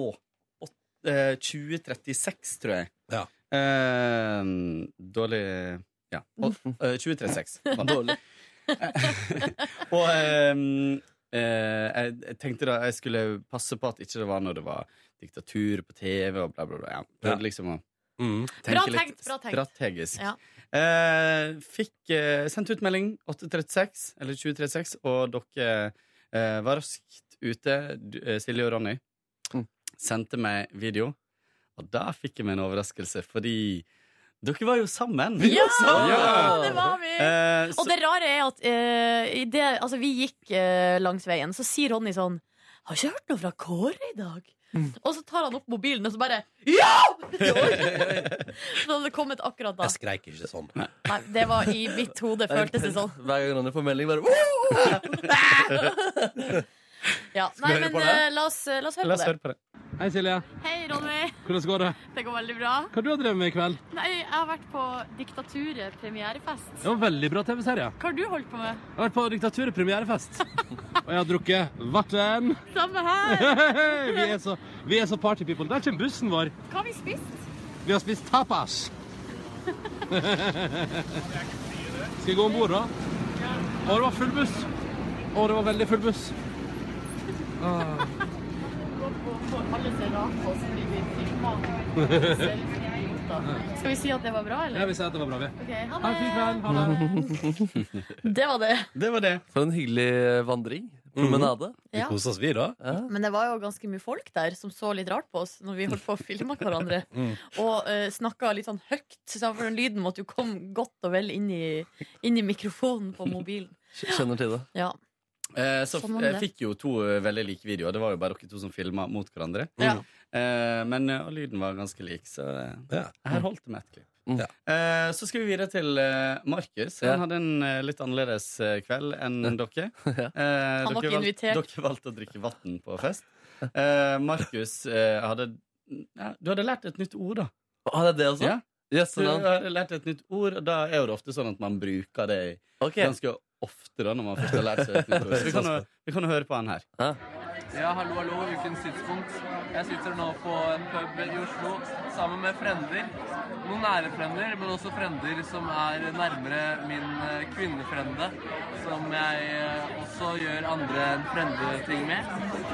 Speaker 7: åt- eh, 20.36, tror jeg.
Speaker 1: Ja.
Speaker 7: Eh, dårlig Ja. Og, eh, 20.36. var det.
Speaker 3: Dårlig.
Speaker 7: Og ehm, eh, jeg, jeg tenkte da jeg skulle passe på at ikke det var når det var diktatur på TV og bla, bla, bla. Jeg prøvde
Speaker 1: Ja.
Speaker 7: liksom å
Speaker 1: Mm.
Speaker 7: tenke
Speaker 2: Bra tenkt,
Speaker 7: litt
Speaker 2: bra tenkt.
Speaker 7: strategisk.
Speaker 2: Ja.
Speaker 7: Eh, fikk eh, sendt ut melding 836, eller 2036, og dere eh, var raskt ute, du, eh, Silje og Ronny.
Speaker 3: Mm.
Speaker 7: Sendte meg video, og da fikk jeg meg en overraskelse, fordi dere var jo sammen!
Speaker 2: Ja,
Speaker 7: sånn! Ja!
Speaker 2: det var vi!
Speaker 7: Eh,
Speaker 2: Og
Speaker 7: så,
Speaker 2: det rare er at eh, i det, altså, vi gikk eh, langs veien, så sier Ronny sånn Har ikke hørt noe fra Kåre i dag.
Speaker 7: Mm.
Speaker 2: Og så tar han opp mobilen, og så bare Ja! Jo! så det hadde kommet akkurat da.
Speaker 1: Jeg skreik ikke sånn.
Speaker 2: Nei, det var i mitt hode, føltes det sånn.
Speaker 3: Hver gang Ronny får melding, bare «Woo!»
Speaker 2: Ja. Nei, men eh, la oss, la oss høre
Speaker 7: la oss
Speaker 2: på det.
Speaker 7: høre på det.
Speaker 8: Hei Silje,
Speaker 2: Hei, Ronny.
Speaker 8: hvordan går det?
Speaker 2: Det går veldig bra.
Speaker 8: Hva har du har drevet med i kveld?
Speaker 2: Nei, jeg har vært på Diktaturet premierefest.
Speaker 8: Det var en veldig bra TV-serie.
Speaker 2: Hva har du holdt på med?
Speaker 8: Jeg har vært på diktaturet premierefest. Og jeg har drukket vatten.
Speaker 2: Samme her.
Speaker 8: Vi er så, vi er så party people. Der kommer bussen vår.
Speaker 2: Hva har vi spist?
Speaker 8: Vi har spist tapas. Skal vi gå ombord da? Å, det var full buss. Å, det var veldig full buss.
Speaker 2: Skal vi si at det var bra, eller?
Speaker 8: Jeg vil si at det var bra, vi.
Speaker 2: Ok, ha
Speaker 8: Ha en fin kveld. Ha det.
Speaker 2: Det var det.
Speaker 7: Det var det.
Speaker 3: For en hyggelig vandring. Promenade.
Speaker 1: Vi
Speaker 2: Mhm. Ja.
Speaker 1: koser oss, vi, da.
Speaker 2: Men det var jo ganske mye folk der som så litt rart på oss når vi holdt på å filme hverandre.
Speaker 7: Mm.
Speaker 2: Og uh, snakka litt sånn høyt, så for den lyden måtte jo komme godt og vel inn i, inn i mikrofonen på mobilen.
Speaker 3: Kj- Kjenner til det.
Speaker 2: Ja.
Speaker 7: Eh, så
Speaker 2: Sånn var
Speaker 7: f- jeg
Speaker 2: det.
Speaker 7: fikk jo to eh, veldig like videoer. Det var jo bare dere to som filma mot hverandre.
Speaker 2: ja.
Speaker 7: Eh, men eh, og lyden var ganske lik, så eh,
Speaker 1: Ja.
Speaker 7: her holdt det med ett klipp.
Speaker 3: Mm.
Speaker 7: Eh, så skal vi videre til eh, Markus. Han
Speaker 3: Ja.
Speaker 7: hadde en eh, litt annerledes eh, kveld enn dere.
Speaker 3: Ja.
Speaker 7: Eh,
Speaker 2: Han var
Speaker 7: dere
Speaker 2: ikke invitert.
Speaker 7: Dere valgte å drikke vann på fest. Eh, Markus eh, hadde ja, Du hadde lært et nytt ord, da.
Speaker 3: Ah, det er det også?
Speaker 7: Ja.
Speaker 3: Yes,
Speaker 7: Du
Speaker 3: sånn.
Speaker 7: hadde lært et nytt ord, og da er jo det ofte sånn at man bruker det i
Speaker 3: Ok.
Speaker 7: ganske ofte da, når man først har lært seg et nytt ord. Så vi kan, jo- vi kan jo høre på han her.
Speaker 8: Ja, hallo, hallo, ukens tidspunkt. Jeg sitter nå på en pub i Oslo sammen med frender. Noen nære frender, men også frender som er nærmere min eh, kvinnefrende. Som jeg eh, også gjør andre enn frendeting med.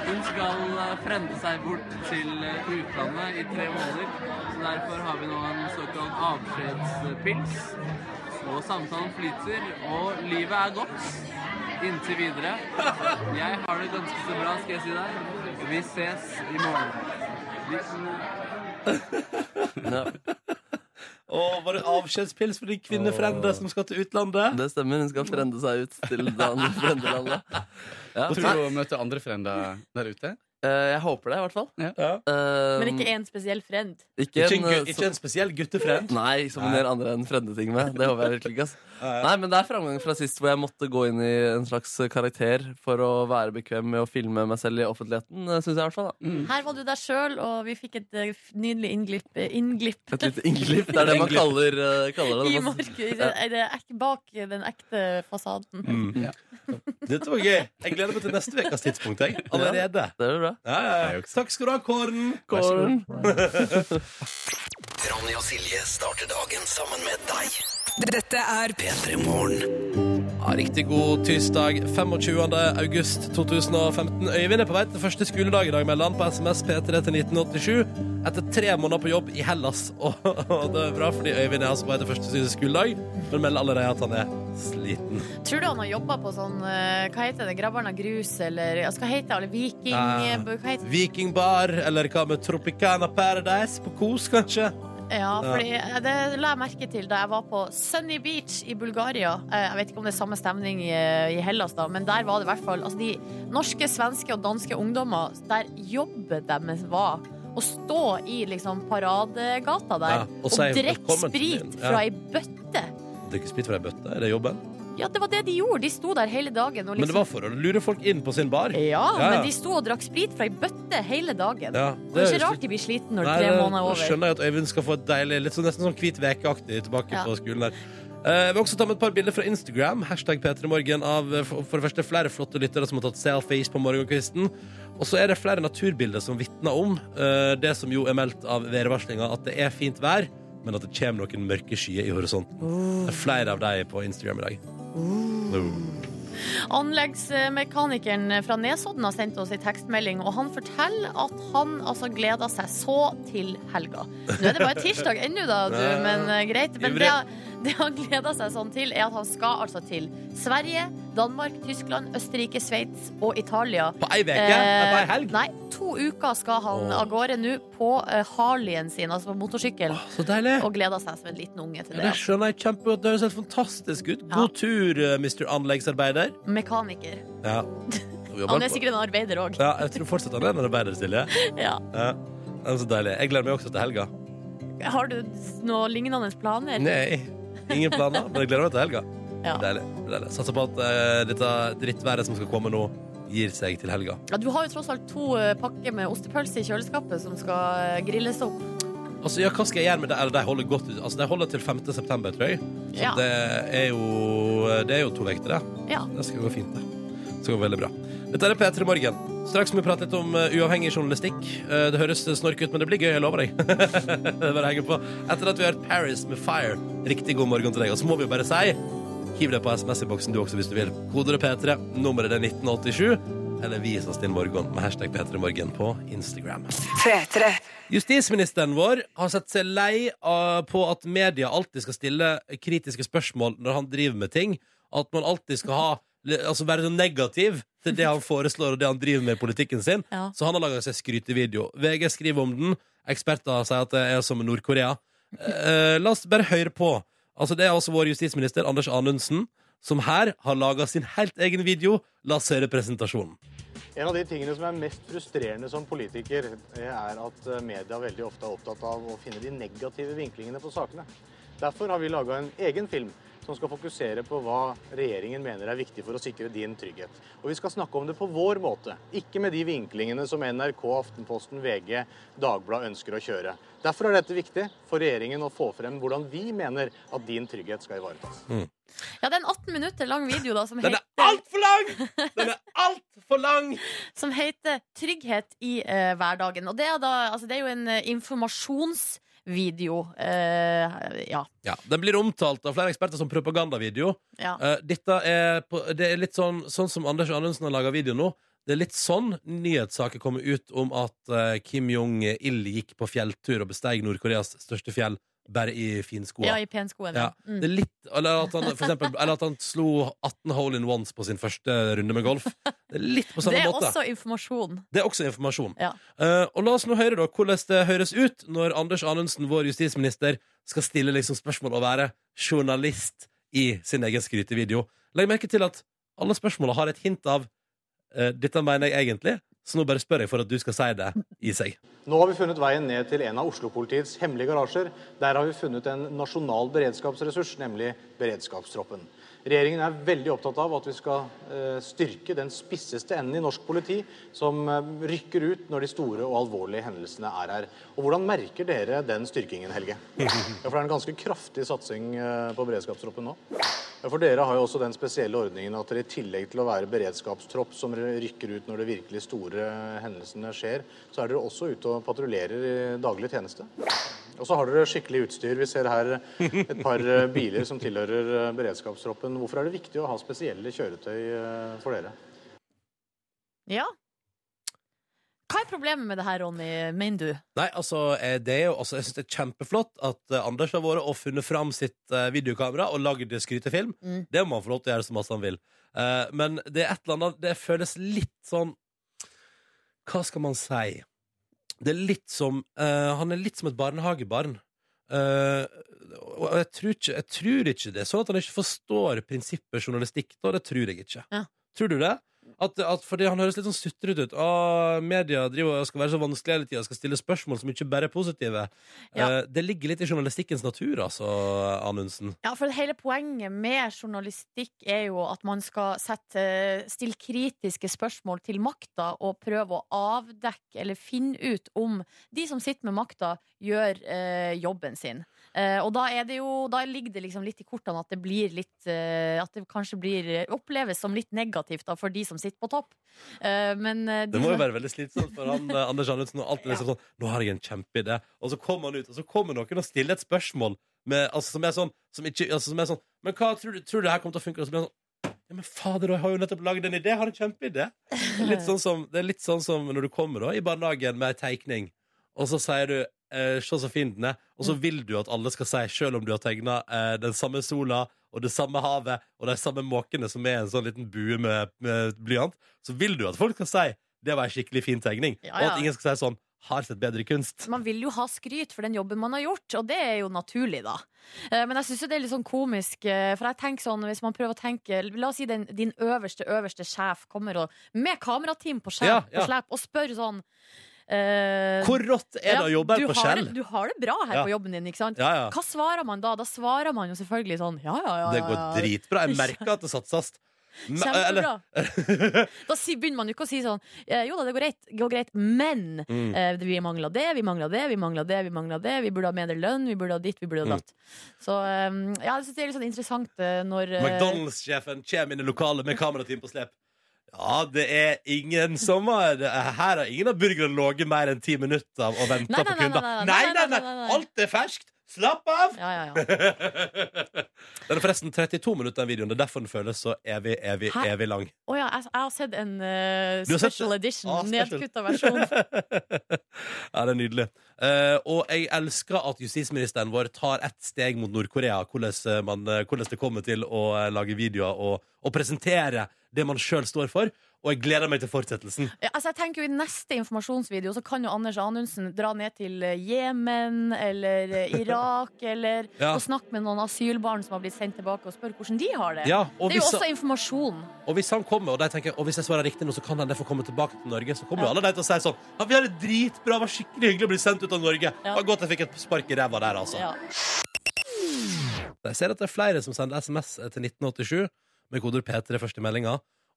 Speaker 8: Hun skal eh, frende seg bort til eh, utlandet i tre måneder. Så derfor har vi nå en såkalt avskjedspils. Og samtalen flyter, og livet er godt inntil videre. Jeg har det ganske så bra, skal jeg si deg. Vi ses i morgen.
Speaker 1: Og var det avskjedspils for de kvinnefrender som skal til utlandet?
Speaker 3: Det stemmer. Hun skal frende seg ut til det andre frendelandet. Ja.
Speaker 7: Tror du å møte andre frender der ute?
Speaker 3: Eh, jeg håper det, i hvert fall.
Speaker 7: Ja.
Speaker 1: Ja.
Speaker 3: Eh,
Speaker 8: Um,
Speaker 2: Men ikke en spesiell friend.
Speaker 3: ikke
Speaker 1: Ikke en,
Speaker 3: en, eh,
Speaker 1: gu- ikke en spesiell guttefriend.
Speaker 3: Nei, som hun
Speaker 1: Nei.
Speaker 3: gjør andre enn frendeting med. Det håper jeg virkelig ikke. ass. Nei, men det er framgang fra sist hvor jeg måtte gå inn i en slags eh, karakter for å være bekvem med å filme meg selv i offentligheten, syns jeg i hvert fall. da
Speaker 1: Mm.
Speaker 2: Her var du deg sjøl, og vi fikk et eh, f- nydelig innglipp, eh, innglipp
Speaker 3: Et lite innglipp. Det er det man kaller, eh, kaller
Speaker 2: i
Speaker 3: det. Man-
Speaker 2: mørket. i det- i det ek- Bak den ekte fasaden.
Speaker 1: Dette var gøy. Jeg gleder meg til neste ukas tidspunkt. Jeg. Allerede.
Speaker 3: Det er bra.
Speaker 1: Ja, ja, ja. Takk skal du ha, Kåren.
Speaker 3: Kåren.
Speaker 4: Ronny og Silje starter dagen sammen med deg.
Speaker 9: Dette er
Speaker 4: P3 Morgen.
Speaker 1: Ja, riktig god tirsdag 25. august 2015. Øyvind er på vei til første skoledag i dag, melder han på SMS P3 til 1987. Etter tre måneder på jobb i Hellas. Og, og det er bra, fordi Øyvind er altså på vei til første skoledag, men melder allerede at han er sliten.
Speaker 2: Tror du han har jobba på sånn eh, Hva heter det? Grabberen av grus, eller altså, Hva heter det? Alle Viking
Speaker 1: Ja.
Speaker 2: eh, hva heter,
Speaker 1: Vikingbar, eller hva med Tropicana Paradise på Kos, kanskje?
Speaker 2: Ja, fordi eh, det la jeg merke til da jeg var på Sunny Beach i Bulgaria. Eh, Jeg vet ikke om det er samme stemning i, i Hellas, da, men der var det i hvert fall altså, De norske, svenske og danske ungdommer, der jobbet deres var å stå i liksom paradegata der
Speaker 1: Ja, og
Speaker 2: og,
Speaker 1: si
Speaker 2: drikke
Speaker 1: velkommen til
Speaker 2: sprit
Speaker 1: byen. Ja.
Speaker 2: fra ei bøtte.
Speaker 1: Drikke sprit fra ei bøtte, er det jobben?
Speaker 2: Ja, det var det de gjorde. De sto der hele dagen og
Speaker 1: Men det
Speaker 2: liksom
Speaker 1: var for å lure folk inn på sin bar.
Speaker 2: ja,
Speaker 1: ja.
Speaker 2: men de sto og drakk sprit fra ei bøtte hele dagen.
Speaker 1: Ja,
Speaker 2: Det er ikke rart de blir sliten når
Speaker 1: Nei,
Speaker 2: tre
Speaker 1: det-
Speaker 2: måneder er
Speaker 1: da
Speaker 2: over.
Speaker 1: skjønner jeg at Øyvind skal få et deilig, litt sånn, nesten sånn hvit vekeaktig tilbake
Speaker 2: Ja.
Speaker 1: på skolen der. Eh, Jeg vil også ta med et par bilder fra Instagram. Hashtag P3morgen av eh, for for det første flere flotte lyttere som har tatt selfies på morgenkvisten. Og så er det flere naturbilder som vitner om eh, det som jo er meldt av værvarslinga, at det er fint vær, men at det kommer noen mørke skyer i horisonten.
Speaker 2: Uh.
Speaker 1: Det er flere av de på Instagram i dag. Oh.
Speaker 2: Anleggsmekanikeren fra Nesodden har sendt oss en tekstmelding, og han forteller at han altså gleder seg så til helga. Nå er det bare tirsdag ennå, da, du,
Speaker 1: Ja.
Speaker 2: men eh, greit. Men
Speaker 1: Ivrig.
Speaker 2: det, det han gleder seg sånn til, er at han skal altså til Sverige, Danmark, Tyskland, Østerrike, Sveits og Italia.
Speaker 1: På ei uke?
Speaker 2: Eh,
Speaker 1: Nei, på ei helg?
Speaker 2: Nei, to uker skal han
Speaker 1: Åh.
Speaker 2: av gårde nå på eh, Harleyen sin, altså på motorsykkel,
Speaker 1: Så deilig.
Speaker 2: og gleder seg som en liten unge til
Speaker 1: Ja,
Speaker 2: det.
Speaker 1: det skjønner jeg kjempegodt. Det høres helt fantastisk ut. God tur, eh, Mr. Anleggsarbeider.
Speaker 2: altså. Mekaniker.
Speaker 1: Ja.
Speaker 2: Han er sikkert en arbeider òg.
Speaker 1: Ja, jeg tror fortsatt han er en arbeider, Silje.
Speaker 2: Ja.
Speaker 1: Ja. Det er så deilig. Jeg gleder meg også til helga.
Speaker 2: Har du noe lignende planer?
Speaker 1: Nei, ingen planer, men jeg gleder meg til helga.
Speaker 2: Ja.
Speaker 1: Deilig. deilig. Satser på at eh, dette drittværet som skal komme nå, gir seg til helga.
Speaker 2: Ja, du har jo tross alt to eh, pakker med ostepølse i kjøleskapet som skal eh, grilles opp.
Speaker 1: Altså, ja, hva skal jeg gjøre med det? Eller, de holder godt ut. Altså, de holder til 5. september, tror jeg. Så
Speaker 2: Ja.
Speaker 1: det, er jo, det er jo to uker til det.
Speaker 2: Ja.
Speaker 1: Det skal gå fint, det. Det skal gå veldig bra. Dette er P3 Morgen. Straks må vi prate litt om eh, uavhengig journalistikk. Eh, det høres snork ut, men det blir gøy, jeg lover deg. det er bare å henge på. Etter at vi har hørt Paris med Fire, riktig god morgen til deg. Og så må vi jo bare si hiv deg på SMS-boksen du også hvis du vil. Kodet er P3, nummeret er 1987. Eller vis oss din morgen med hashtag P3morgen på Instagram.
Speaker 9: P3.
Speaker 1: Justisministeren vår har sett seg lei av- på at media alltid skal stille kritiske spørsmål når han driver med ting. At man alltid skal ha, altså være så negativ til det han foreslår og det han driver med i politikken sin.
Speaker 2: Ja.
Speaker 1: Så han har laga seg skrytevideo. VG skriver om den. Eksperter sier at det er som Nord-Korea. Eh, la oss bare høre på. Altså, det er altså vår justisminister Anders Anundsen som her har laga sin helt egen video. La oss høre presentasjonen.
Speaker 10: En av de tingene som er mest frustrerende som politiker, eh, er at eh, media veldig ofte er opptatt av å finne de negative vinklingene på sakene. Derfor har vi laga en egen film som skal fokusere på hva regjeringen mener er viktig for å sikre din trygghet. Og vi skal snakke om det på vår måte, ikke med de vinklingene som NRK, Aftenposten, VG, Dagbladet ønsker å kjøre. Derfor er dette viktig for regjeringen å få frem hvordan vi mener at din trygghet skal ivaretas.
Speaker 2: ja, det er en 18 minutter lang video da, som,
Speaker 1: Den er
Speaker 2: heter,
Speaker 1: altfor lang! Den er altfor lang!
Speaker 2: som heter 'Trygghet i eh, hverdagen'. Og det er, da, altså, det er jo en eh, informasjonsvideo. eh, ja.
Speaker 1: Ja, Den blir omtalt av flere eksperter som propagandavideo.
Speaker 2: ja.
Speaker 1: Eh, dette er, på, det er litt sånn, sånn som Anders Anundsen har laga video nå. Det er litt sånn nyhetssaker kommer ut om at eh, Kim Jong-il gikk på fjelltur og besteig Nord-Koreas største fjell bare i finskoa.
Speaker 2: ja, i penskoen.
Speaker 1: Ja,
Speaker 2: Ja. Mm.
Speaker 1: det er litt, eller, at han, for eksempel, eller at han slo 18 hole in ones på sin første runde med golf. Det er litt på
Speaker 2: Det
Speaker 1: samme
Speaker 2: er
Speaker 1: måte.
Speaker 2: også informasjon.
Speaker 1: Det er også informasjon.
Speaker 2: Ja.
Speaker 1: Eh, og la oss nå høre da hvordan det høres ut når Anders Anundsen, vår justisminister, skal stille liksom spørsmål og være journalist i sin egen skrytevideo. Legg merke til at alle spørsmåla har et hint av eh, 'dette mener jeg egentlig', så nå bare spør jeg for at du skal si det i seg.
Speaker 10: Nå har vi funnet veien ned til en av Oslo-politiets hemmelige garasjer. Der har vi funnet en nasjonal beredskapsressurs, nemlig beredskapstroppen. Regjeringen er veldig opptatt av at vi skal eh, styrke den spisseste enden i norsk politi, som eh, rykker ut når de store og alvorlige hendelsene er her. Og hvordan merker dere den styrkingen, Helge? Ja, for det er en ganske kraftig satsing eh, på beredskapstroppen nå. Ja, For dere har jo også den spesielle ordningen at dere i tillegg til å være beredskapstropp som rykker ut når de virkelig store eh, hendelsene skjer, så er dere også ute og patruljerer i daglig tjeneste. Og så har dere skikkelig utstyr. Vi ser her et par eh, biler som tilhører eh, beredskapstroppen. Hvorfor er det viktig å ha spesielle kjøretøy eh, for dere?
Speaker 2: Ja. Hva er problemet med det her, Ronny, mener du?
Speaker 1: Nei, altså, eh, det er jo, altså, jeg synes det er kjempeflott at eh, Anders har vært og funnet fram sitt eh, videokamera og lagd skrytefilm.
Speaker 2: Mm.
Speaker 1: Det må han få lov til å gjøre så masse han vil. Eh, men det er et eller annet, det føles litt sånn Hva skal man si? Det er litt som eh, Han er litt som et barnehagebarn. Eh, og jeg tror, ikke, jeg tror ikke det. Sånn at han ikke forstår prinsippet journalistikk, da, det tror jeg ikke.
Speaker 2: Ja.
Speaker 1: Tror du det? At, at fordi han høres litt sånn sutrete ut. Å, media driver og skal være så vanskelig hele tida, skal stille spørsmål som ikke bare er positive.
Speaker 2: Ja.
Speaker 1: Eh, det ligger litt i journalistikkens natur, altså, Anundsen.
Speaker 2: Ja, for hele poenget med journalistikk er jo at man skal sette, stille kritiske spørsmål til makta og prøve å avdekke eller finne ut om de som sitter med makta, gjør eh, jobben sin. Eh, og da, er det jo, da ligger det liksom litt i kortene at det blir litt eh, At det kanskje blir, oppleves som litt negativt da, for de som sitter på topp. Eh, men eh, de
Speaker 1: Det må jo
Speaker 2: som-
Speaker 1: være veldig slitsomt for han, eh, Anders Anundsen. Og alt er liksom sånn 'Nå har jeg en kjempeidé.' Og så kommer han ut, og så kommer noen og stiller et spørsmål med, altså, som er sånn som ikke, altså, som er sånn 'Men hva tror du, tror du det her kommer til å funke?' Og så blir han sånn ja, men fader, jeg har jo nettopp lagd en idé! Jeg har en kjempeidé! Det er Litt sånn som, det er litt sånn som når du kommer da, i barnehagen med ei tegning, og så sier du eh, 'se så fin den er', og
Speaker 2: Mm.
Speaker 1: så vil du at alle skal si, sjøl om du har tegna eh, den samme sola og det samme havet og de samme måkene som er en sånn liten bue med, med blyant, så vil du at folk skal si 'det var ei skikkelig fin tegning',
Speaker 2: Ja,
Speaker 1: og
Speaker 2: ja.
Speaker 1: at ingen skal si sånn 'har sett bedre kunst'.
Speaker 2: man vil jo ha skryt for den jobben man har gjort, og det er jo naturlig, da. Eh, Men jeg syns jo det er litt sånn komisk, eh, for jeg tenker sånn, hvis man prøver å tenke La oss si den, din øverste, øverste sjef kommer og med kamerateam på skjerm
Speaker 1: Ja,
Speaker 2: på
Speaker 1: ja.
Speaker 2: slep og spør sånn eh,
Speaker 1: Hvor rått er det å jobbe
Speaker 2: du
Speaker 1: her på
Speaker 2: har
Speaker 1: Shell?
Speaker 2: det- Du har det bra her
Speaker 1: Ja.
Speaker 2: på jobben din, ikke sant?
Speaker 1: Ja, ja.
Speaker 2: Hva svarer man da? Da svarer man jo selvfølgelig sånn ja, ja, ja.
Speaker 1: Det
Speaker 2: ja,
Speaker 1: går
Speaker 2: ja.
Speaker 1: dritbra. Jeg merker at det satses. Men-
Speaker 2: Kjempebra.
Speaker 1: eller-
Speaker 2: Da si- begynner man jo ikke å si sånn eh, Jo da, det går greit, det går greit men
Speaker 1: Mm.
Speaker 2: eh, vi mangler det, vi mangler det, vi mangler det, vi mangler det. Vi burde ha bedre lønn, vi burde ha ditt, vi burde
Speaker 1: Mm.
Speaker 2: ha datt. Så eh, ja, jeg syns det er litt sånn interessant eh, når eh,
Speaker 1: McDonald's-sjefen kommer inn i lokalet med kamerateam på slep. Ja, det er ingen som har Her har ingen av burgerne ligget mer enn ti minutter og venta
Speaker 2: Nei,
Speaker 1: på
Speaker 2: nei, nei,
Speaker 1: kunder. Nei,
Speaker 2: nei, nei, nei,
Speaker 1: nei,
Speaker 2: nei,
Speaker 1: nei!
Speaker 2: nei, nei.
Speaker 1: Alt er ferskt! Slapp av!
Speaker 2: ja, ja, ja.
Speaker 1: Den er forresten 32 minutter, den videoen. Det er derfor den føles så evig, evig,
Speaker 2: Hæ?
Speaker 1: evig lang.
Speaker 2: Å ja, jeg, jeg har sett en eh,
Speaker 1: Du har sett
Speaker 2: special edition,
Speaker 1: Ah, special.
Speaker 2: nedkutta versjon.
Speaker 1: ja, det er nydelig. Eh, og jeg elsker at justisministeren vår tar ett steg mot Nord-Korea. Hvordan, eh, man, eh, hvordan det kommer til å eh, lage videoer og, og presentere det man sjøl står for. Og jeg gleder meg til fortsettelsen.
Speaker 2: Ja, altså jeg tenker jo I neste informasjonsvideo så kan jo Anders Anundsen dra ned til eh, Jemen eller eh, Irak eller,
Speaker 1: Ja.
Speaker 2: og snakke med noen asylbarn som har blitt sendt tilbake, og spørre hvordan de har det.
Speaker 1: Ja, og,
Speaker 2: det er jo
Speaker 1: hvis,
Speaker 2: også informasjon.
Speaker 1: og hvis han kommer, og, de tenker, og hvis jeg svarer riktig nå, så kan han derfor komme tilbake til Norge, så kommer jo alle de til å si sånn Ja, vi har det dritbra, det var skikkelig hyggelig å bli sendt ut av Norge. Det var godt jeg fikk et spark i ræva der, altså.
Speaker 2: Ja.
Speaker 1: Jeg ser at det er flere som sender SMS til 1987 med koder P3 først i meldinga.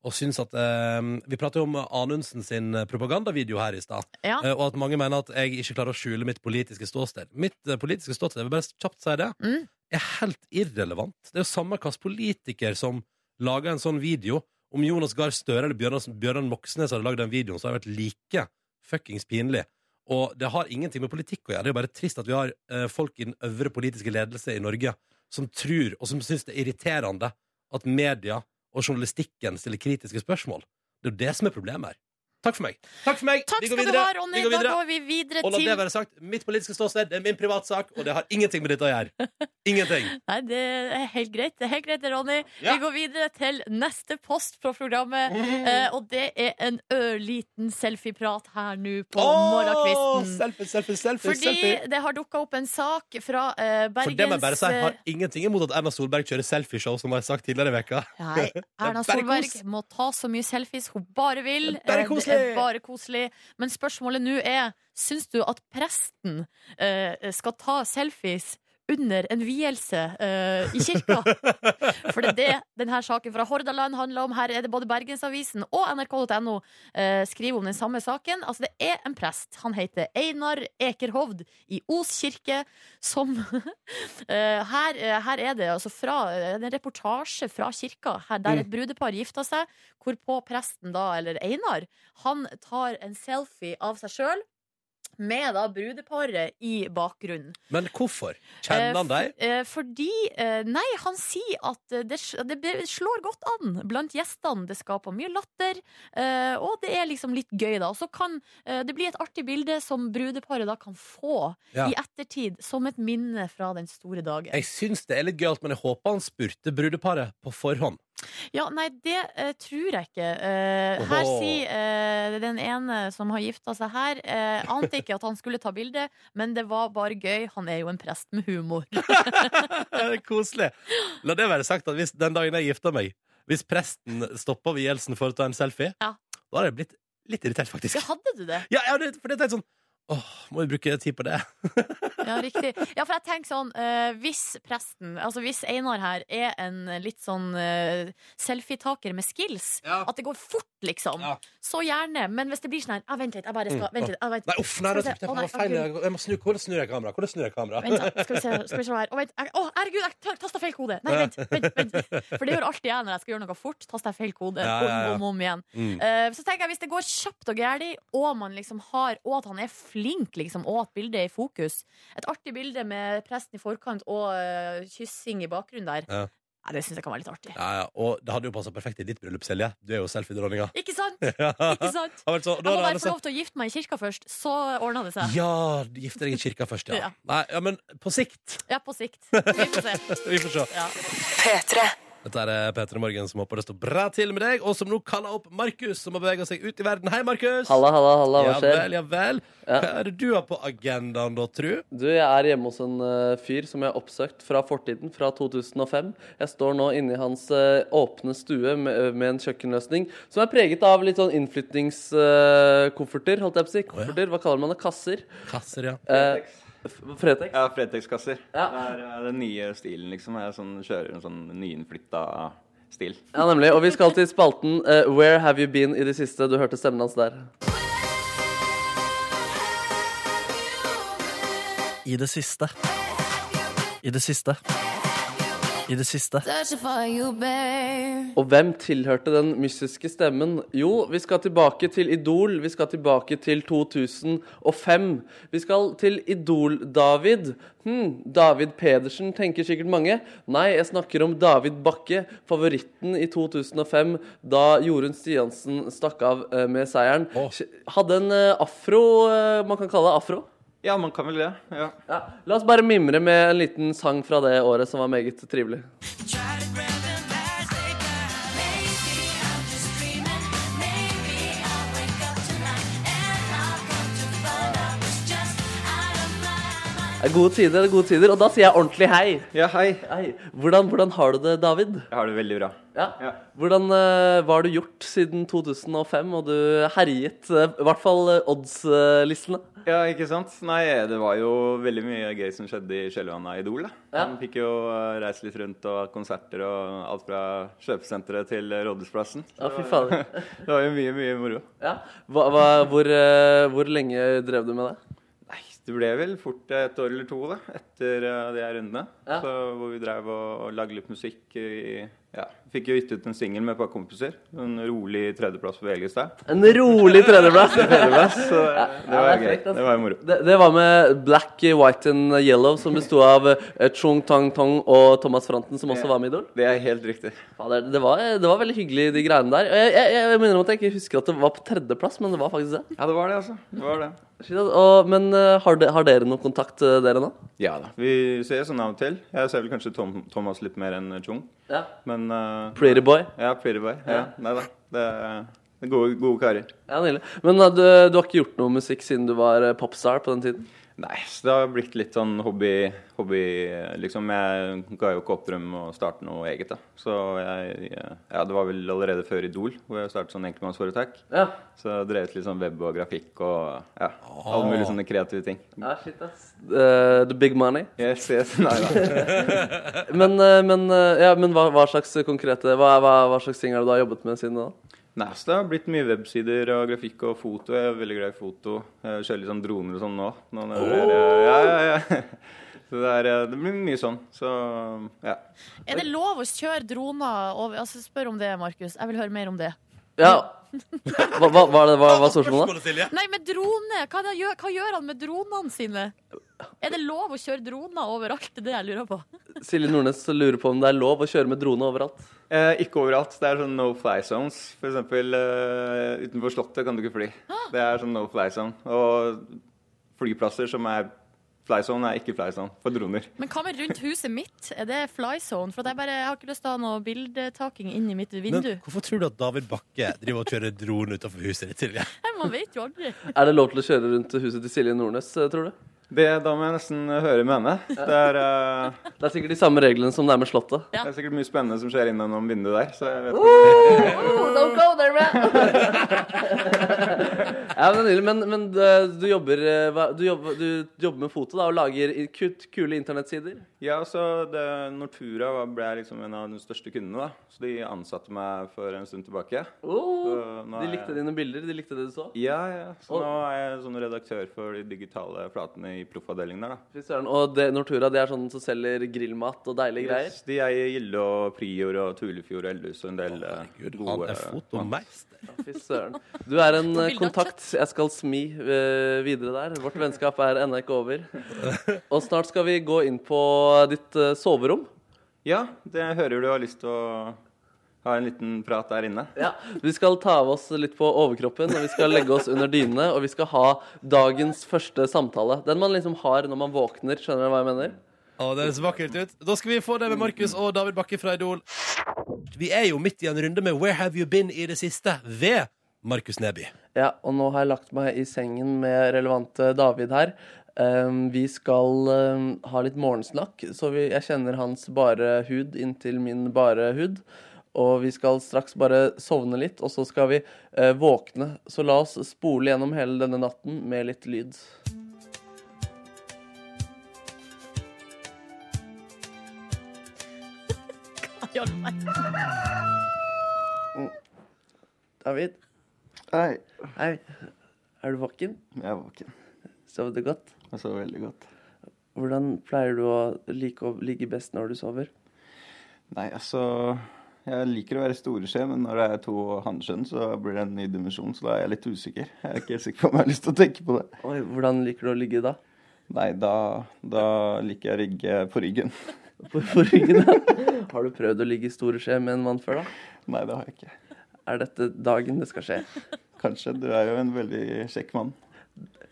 Speaker 1: Og syns at eh, Vi prater jo om Anundsen sin propagandavideo her i stad.
Speaker 2: Ja.
Speaker 1: Eh, og at mange mener at jeg ikke klarer å skjule mitt politiske ståsted. Mitt eh, politiske ståsted, jeg vil bare kjapt si det,
Speaker 2: Mm.
Speaker 1: er helt irrelevant. Det er jo samme hvilken politiker som lager en sånn video. Om Jonas Gahr Støre eller Bjørnar, Bjørnar Moxnes hadde lagd den videoen, så hadde det vært like fuckings pinlig. Og det har ingenting med politikk å gjøre. Det er jo bare trist at vi har eh, folk i den øvre politiske ledelse i Norge som tror, og som syns det er irriterende, at media og journalistikken stiller kritiske spørsmål. Det er jo det som er problemet her. Takk for meg. Takk for meg.
Speaker 2: Takk
Speaker 1: Vi
Speaker 2: skal
Speaker 1: går
Speaker 2: du
Speaker 1: videre.
Speaker 2: ha, Ronny.
Speaker 1: Vi går
Speaker 2: Da
Speaker 1: videre.
Speaker 2: går vi videre
Speaker 1: Og la
Speaker 2: til
Speaker 1: det være sagt, mitt politiske ståsted det er min privatsak, og det har ingenting med dette å gjøre. Ingenting.
Speaker 2: Nei, det er helt greit, det er helt greit, det, Ronny.
Speaker 1: Ja. Mm.
Speaker 2: Vi går videre til neste post på programmet, eh, og det er en ørliten selfieprat her nå på
Speaker 1: Åh,
Speaker 2: morgenkvisten.
Speaker 1: selfie, selfie, selfie,
Speaker 2: Fordi
Speaker 1: selfie.
Speaker 2: det har dukka opp en sak fra eh,
Speaker 1: For det må jeg bare
Speaker 2: Bergens eh,
Speaker 1: si, jeg har ingenting imot at Erna Solberg kjører selfieshow, som jeg har sagt tidligere i veka.
Speaker 2: Nei, Erna
Speaker 1: Det er bare
Speaker 2: Solberg
Speaker 1: kos.
Speaker 2: må ta så mye selfies hun bare vil.
Speaker 1: Det er bare
Speaker 2: Eh,
Speaker 1: koselig.
Speaker 2: er bare koselig. Men spørsmålet nå er Syns du at presten eh, skal ta selfies under en vielse eh, i kirka? For det er det denne saken fra Hordaland handler om. Her er det både Bergensavisen og nrk.no eh, skriver om den samme saken. Altså, det er en prest. Han heter Einar Ekerhovd i Os kirke, som eh, her, eh, her er det altså fra eh, en reportasje fra kirka, her, der et brudepar gifta seg, hvorpå presten da, eller Einar, han tar en selfie av seg sjøl. Med da brudeparet i bakgrunnen.
Speaker 1: Men hvorfor? Kjenner han
Speaker 2: Eh,
Speaker 1: deg?
Speaker 2: f- eh, fordi eh, Nei, han sier at eh, det, sj- det be- slår godt an blant gjestene. Det skaper mye latter, eh, og det er liksom litt gøy, da. Og så kan eh, det bli et artig bilde som brudeparet da kan få
Speaker 1: Ja.
Speaker 2: i ettertid, som et minne fra den store dagen.
Speaker 1: Jeg syns det er litt gøyalt, men jeg håper han spurte brudeparet på forhånd.
Speaker 2: Ja, nei, det eh, tror jeg ikke. Eh, her
Speaker 1: Åhå.
Speaker 2: sier eh, den ene som har gifta seg her, eh, ante ikke at han skulle ta bilde, men det var bare gøy. Han er jo en prest med humor.
Speaker 1: Det er Koselig. La det være sagt at hvis den dagen jeg gifter meg, hvis presten stopper vielsen for å ta en selfie,
Speaker 2: Ja.
Speaker 1: da hadde jeg blitt litt irritert, faktisk.
Speaker 2: Ja, hadde du det?
Speaker 1: Ja, ja det, for det er sånn Åh, må vi bruke tid på det?
Speaker 2: Ja, riktig. Ja, for jeg tenker sånn eh, Hvis presten, altså hvis Einar her er en litt sånn eh, selfietaker med skills,
Speaker 1: Ja.
Speaker 2: at det går fort, liksom,
Speaker 1: Ja.
Speaker 2: så gjerne. Men hvis det blir sånn her, ah, vent litt, jeg bare skal
Speaker 1: Mm.
Speaker 2: Vent litt. ah, vent.
Speaker 1: Nei, uff, nei, det
Speaker 2: Skal vi se.
Speaker 1: trykte jeg
Speaker 2: Å,
Speaker 1: på.
Speaker 2: nei,
Speaker 1: Det var feil.
Speaker 2: herregud.
Speaker 1: Jeg må snu. Hvor snur jeg kameraet? Hvor snur jeg kameraet?
Speaker 2: Vent, da. Skal vi se, skal vi se her. Å, vent. jeg- Å, herregud, jeg tar- tasta feil kode. Nei, vent, vent, vent. For det gjør alltid jeg når jeg skal gjøre noe fort. Taster jeg feil kode
Speaker 1: Ja, ja, ja.
Speaker 2: om og om igjen.
Speaker 1: Mm.
Speaker 2: Eh, så tenker jeg hvis det går kjapt og gærlig, og man liksom har Og at han er flink, liksom, og at bildet er i fokus. Et artig bilde med presten i forkant og eh, kyssing i bakgrunnen der.
Speaker 1: Ja.
Speaker 2: Nei, det syns jeg kan være litt artig.
Speaker 1: Ja, ja. Og det hadde jo passa perfekt i ditt bryllup, Selje. Du er jo selfiedronninga.
Speaker 2: Ikke sant?
Speaker 1: Ja.
Speaker 2: Ikke sant?
Speaker 1: Har vært sånn-
Speaker 2: Jeg
Speaker 1: da
Speaker 2: må
Speaker 1: hadde
Speaker 2: bare
Speaker 1: alle
Speaker 2: få
Speaker 1: sett-
Speaker 2: lov til å gifte meg i kirka først, så ordner det seg.
Speaker 1: Ja, gifte deg i kirka først, ja.
Speaker 2: Ja.
Speaker 1: Nei, ja. Men på sikt.
Speaker 2: Ja, på sikt. Vi får se.
Speaker 1: Vi får se.
Speaker 2: Ja.
Speaker 1: Dette er eh, Peter Morgen som håper det står bra til med deg, og som nå kaller opp Markus, som har bevega seg ut i verden. Hei, Markus!
Speaker 3: Halla, halla, halla, hva
Speaker 1: Ja
Speaker 3: skjer?
Speaker 1: vel, ja vel.
Speaker 3: Ja.
Speaker 1: Hva er det du har på agendaen da, tru?
Speaker 3: Du, jeg er hjemme hos en eh, fyr som jeg har oppsøkt fra fortiden, fra 2005. Jeg står nå inne i hans eh, åpne stue med, med en kjøkkenløsning som er preget av litt sånn innflytningskofferter, holdt jeg på å si. Kofferter, hva kaller man det? Kasser?
Speaker 1: Kasser, ja.
Speaker 3: Eh, f- Fretex?
Speaker 9: Ja, Fretex-kasser.
Speaker 3: Ja.
Speaker 9: Det er eh, den nye stilen, liksom. Jeg sånn, kjører en sånn nyinnflytta stil.
Speaker 3: Ja, nemlig. Og vi skal til spalten eh, Where have you been i det siste? Du hørte stemmen hans der.
Speaker 11: I det siste. I det siste. I det siste.
Speaker 3: Og hvem tilhørte den mystiske stemmen? Jo, vi skal tilbake til Idol. Vi skal tilbake til 2005. Vi skal til Idol-David. Hm, David Pedersen tenker sikkert mange. Nei, jeg snakker om David Bakke, favoritten i 2005, da Jorunn Stiansen stakk av eh, med seieren. Hadde en eh, afro, eh, man kan kalle det afro.
Speaker 9: Ja, man kan vel det. Ja.
Speaker 3: Ja, la oss bare mimre med en liten sang fra det året som var meget trivelig. Det er gode tider, det er gode tider. Og da sier jeg ordentlig hei.
Speaker 9: ja, hei.
Speaker 3: hei. Hvordan, hvordan har du det, David?
Speaker 9: Jeg har det veldig bra.
Speaker 3: Ja.
Speaker 9: Ja.
Speaker 3: Hvordan, eh, hva har du gjort siden 2005, og du herjet eh, i hvert fall eh, odds-listene?
Speaker 9: Ja, ikke sant? Nei, det var jo veldig mye gøy som skjedde i kjølvannet av Idol, da.
Speaker 3: Ja.
Speaker 9: Man fikk jo eh, reist litt rundt og hatt konserter og alt fra kjøpesenteret til eh, Rådhusplassen.
Speaker 3: Ja, fy fader.
Speaker 9: Det var jo mye, mye moro.
Speaker 3: Ja. Hva, hva, hvor, eh, hvor lenge drev du med det?
Speaker 9: Nei, det ble vel fort et år eller to da, etter eh, de her rundene.
Speaker 3: Ja.
Speaker 9: Så, hvor vi drev og, og lagde litt musikk. I, ja. Fikk jo gitt ut en singel med et par kompiser. En rolig tredjeplass på VG i stad.
Speaker 3: En rolig tredjeplass.
Speaker 9: Så det, det var
Speaker 3: ja, det
Speaker 9: gøy.
Speaker 3: er frekt, altså.
Speaker 9: Det var jo moro.
Speaker 3: Det, det var med Black, White and Yellow, som besto av eh, Chung Tang Tong og Thomas Franten, som også var med i Idol.
Speaker 9: Det er helt riktig.
Speaker 3: Fader, det, var, det var veldig hyggelig, de greiene der. Og Jeg, jeg, jeg minner om at jeg ikke husker at det var på tredjeplass, men det var faktisk det.
Speaker 9: Ja, det var det, altså. Det var det.
Speaker 3: Shit, ass. Og, men eh, har, de, har dere noen kontakt, eh, dere nå?
Speaker 9: Ja da. Vi ses sånn av og til. Jeg ser vel kanskje Tom, Thomas litt mer enn Chung.
Speaker 3: Ja.
Speaker 9: Men eh,
Speaker 3: Pretty boy.
Speaker 9: Ja, pretty boy. Ja. Nei da. Det er det er gode, gode karer.
Speaker 3: Ja, nydelig. Men eh, du, du har ikke gjort noe musikk siden du var eh, popstar på den tiden?
Speaker 9: Nei, så det har blitt litt sånn hobby, hobby liksom. Jeg ga jo ikke opp drømmen om å starte noe eget, da. Så jeg, jeg Ja, det var vel allerede før Idol, hvor jeg startet sånn enkeltmannsforetak.
Speaker 3: Ja.
Speaker 9: Så jeg drev litt sånn web og grafikk og ja, alle mulige sånne kreative ting.
Speaker 3: Ja, shit, ass. Eh, the big money?
Speaker 9: Yes, yes. Nei da.
Speaker 3: men eh, men, eh, ja, men hva, hva slags konkrete hva, hva, hva slags ting er det du har jobbet med siden da?
Speaker 9: Nei, så det har blitt mye websider og grafikk og foto. Jeg er veldig glad i foto. Jeg kjører litt sånn droner og sånn nå. nå når det er,
Speaker 12: Oh!
Speaker 9: ja, ja, ja. Så det, er, det blir mye sånn. Så ja.
Speaker 2: Er det lov å kjøre droner over altså, Spør om det, Markus. Jeg vil høre mer om det.
Speaker 3: Ja. Hva, hva, hva, er det- hva, hva er spørsmålet?
Speaker 2: Nei, med drone! Hva, er det han gjør, hva gjør han med dronene sine? Er det lov å kjøre droner overalt? Det er det jeg lurer på.
Speaker 3: Silje Nordnes lurer på om det er lov å kjøre med drone overalt.
Speaker 9: Eh, ikke overalt. Det er sånn no fly zones. For eksempel eh, utenfor Slottet kan du ikke fly. Det er sånn no fly zone. Og flyplasser som er fly zone, er ikke fly zone for droner.
Speaker 2: Men hva med rundt huset mitt? Er det fly zone? For at jeg, bare, jeg har ikke lyst til å ha noe bildetaking inn i mitt
Speaker 1: Men
Speaker 2: vindu.
Speaker 1: hvorfor tror du at David Bakke driver og kjører drone utenfor huset ditt? Silje?
Speaker 2: Nei, man vet jo aldri.
Speaker 3: Er det lov til å kjøre rundt huset til Silje Nordnes, eh, tror du?
Speaker 9: Det, da må jeg nesten høre med henne. Det er, eh,
Speaker 3: det er sikkert de samme reglene som det er med Slottet.
Speaker 9: Det er sikkert mye spennende som skjer innom vinduet der. Så jeg vet
Speaker 3: don't go there, Ja, men, nydelig. men, men eh, du, jobber, eh, hva- du, jobber, du jobber med foto da, og lager i- kut, kule internettsider?
Speaker 9: Ja, så det, Nortura var- ble liksom en av de største kundene. da Så de ansatte meg for en stund tilbake.
Speaker 3: Oh,
Speaker 9: Så nå
Speaker 3: de
Speaker 9: er
Speaker 3: likte
Speaker 9: jeg-
Speaker 3: dine bilder? De likte det du så?
Speaker 9: Ja, ja. Så
Speaker 3: Og-
Speaker 9: nå er jeg sånn redaktør for de digitale flatene i proffavdelingen der. da
Speaker 3: Fy søren. Og det, Nortura det er sånn som selger grillmat og deilige greier?
Speaker 9: Yes, de eier Gilde og Prior og Tulefjord og Ellus og en del eh, gode
Speaker 1: han er fotomeister.
Speaker 3: Fy søren. Du er en
Speaker 9: Ta bilde
Speaker 3: eh,
Speaker 9: av
Speaker 3: kontakt jeg skal smi eh, videre der. Vårt vennskap er ennå ikke over. Og snart skal vi gå inn på ditt eh, soverom.
Speaker 9: Ja, det hører du har lyst til å ha en liten prat der inne.
Speaker 3: Ja, Vi skal ta av oss litt på overkroppen, og vi skal legge oss under dynene. Og vi skal ha dagens første samtale. Den man liksom har når man våkner. Skjønner du hva jeg mener?
Speaker 1: Å, det høres vakkert ut. Da skal vi få det med Markus og David Bakke fra Idol. Vi er jo midt i en runde med Where Have You Been i det siste ved Markus Neby.
Speaker 3: Ja, og nå har jeg lagt meg i sengen med relevante David her. Um, vi skal um, ha litt morgensnakk, så vi, jeg kjenner hans bare hud inntil min bare hud. Og vi skal straks bare sovne litt, og så skal vi eh, våkne. Så la oss spole gjennom hele denne natten med litt lyd.
Speaker 2: Hjelp meg.
Speaker 3: David?
Speaker 9: Hei.
Speaker 3: Hei. Er du våken?
Speaker 9: Jeg er våken.
Speaker 3: Sov du godt?
Speaker 9: Jeg sover veldig godt.
Speaker 3: Hvordan pleier du å like å ligge best når du sover?
Speaker 9: Nei, altså Jeg liker å være storeskje, men når det er to hanskjønn, så blir det en ny dimensjon, så da er jeg litt usikker. Jeg er ikke helt sikker på om jeg har lyst til å tenke på det.
Speaker 3: Oi, Hvordan liker du å ligge da?
Speaker 9: Nei, da, da liker jeg å ligge på ryggen.
Speaker 3: På, på ryggen, ja. Har du prøvd å ligge i store skje med en mann før, da?
Speaker 9: Nei, det har jeg ikke.
Speaker 3: Er dette dagen det skal skje?
Speaker 9: Kanskje. Du er jo en veldig kjekk mann.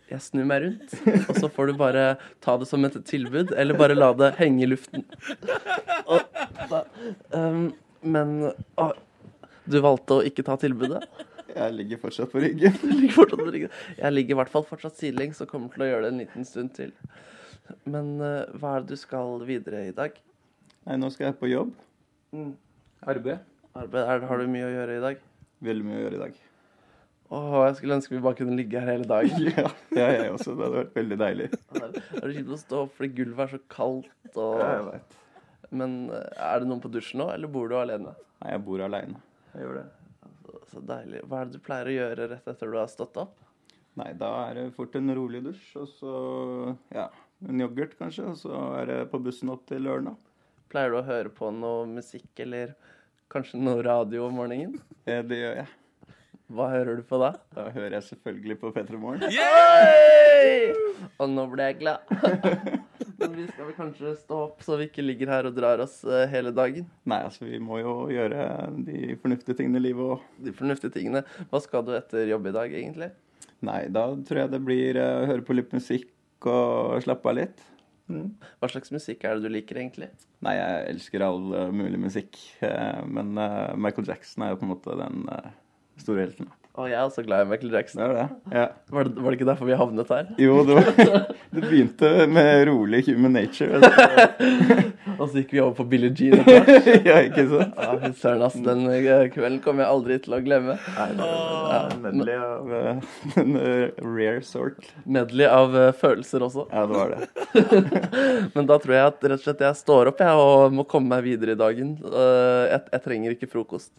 Speaker 3: Jeg snur meg rundt, og så får du bare ta det som et tilbud, eller bare la det henge i luften. Og, da, ehm, men å, du valgte å ikke ta tilbudet?
Speaker 9: Jeg ligger fortsatt på ryggen.
Speaker 3: Du ligger fortsatt på ryggen. Jeg ligger i hvert fall fortsatt sidelengs og kommer til å gjøre det en liten stund til. Men eh, hva er det du skal videre i dag? Mm.
Speaker 9: Nei, nå skal jeg på jobb. Arbeid.
Speaker 3: Arbeid, er, Har du mye å gjøre i dag?
Speaker 9: Veldig mye å gjøre i dag.
Speaker 3: Åh, jeg skulle ønske vi bare kunne ligge her hele dagen.
Speaker 9: Ja, det er jeg også. altså, Det hadde vært veldig deilig.
Speaker 3: Er det kjipt å stå opp fordi gulvet er så kaldt og
Speaker 9: Ja, jeg vet.
Speaker 3: Men eh, er det noen på dusjen nå, eller bor du alene?
Speaker 9: Nei, jeg bor aleine. Jeg gjør det.
Speaker 3: Så deilig. Hva er det du pleier å gjøre rett etter du har stått opp?
Speaker 9: Nei, da er det fort en rolig dusj, og så ja, en yoghurt kanskje, og så er det på bussen opp til Ørna.
Speaker 3: Pleier du å høre på noe musikk, eller kanskje noe radio om morgenen?
Speaker 9: Eh, Det gjør jeg.
Speaker 3: Hva hører du på da?
Speaker 9: Da hører jeg selvfølgelig på P3 Morgen.
Speaker 3: Yay! Og nå ble jeg glad. Men vi skal vel kanskje stå opp, så vi ikke ligger her og drar oss eh, hele dagen.
Speaker 9: Nei, altså vi må jo gjøre de fornuftige tingene i livet òg.
Speaker 3: De fornuftige tingene. Hva skal du etter jobb i dag, egentlig?
Speaker 9: Nei, da tror jeg det blir eh, høre på litt musikk og slappe av litt. Mm.
Speaker 3: Hva slags musikk er det du liker, egentlig?
Speaker 9: Nei, jeg elsker all eh, mulig musikk, eh, men eh, Michael Jackson er jo på en måte den eh, store helten. da.
Speaker 3: Å, jeg er også glad i Michael Jackson.
Speaker 9: Ja.
Speaker 3: Var, det, var det ikke derfor vi havnet her?
Speaker 9: Jo, det, var, det begynte med rolig human nature. altså. og så-
Speaker 3: Og så gikk vi over på Billie Jean. etter hvert.
Speaker 9: Ja, ikke sant?
Speaker 3: Ja, fy søren, ass. Den eh, kvelden kommer jeg aldri til å glemme.
Speaker 9: Ja, Medley av eh, en eh, rare sort.
Speaker 3: Medley av eh, følelser også.
Speaker 9: Ja, det var det.
Speaker 3: Men da tror jeg at rett og slett jeg står opp jeg, og må komme meg videre i dagen. Eh, Jeg, jeg trenger ikke frokost.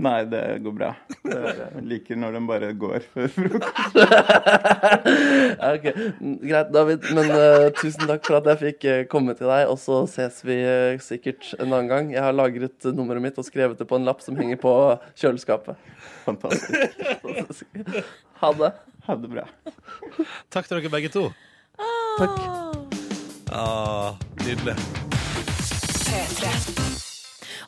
Speaker 9: Nei, det eh, går bra. Jeg liker når den bare går før frokost.
Speaker 3: Ja, ok. Mm, Greit, David. Men eh, tusen takk for at jeg fikk eh, komme til deg. Og så ses vi eh, sikkert en annen gang. Jeg har lagret eh, nummeret mitt og skrevet det på en lapp som henger på kjøleskapet. Fantastisk. ha det.
Speaker 9: Ha det bra.
Speaker 1: Takk til dere begge to.
Speaker 3: Takk.
Speaker 1: Ah, nydelig.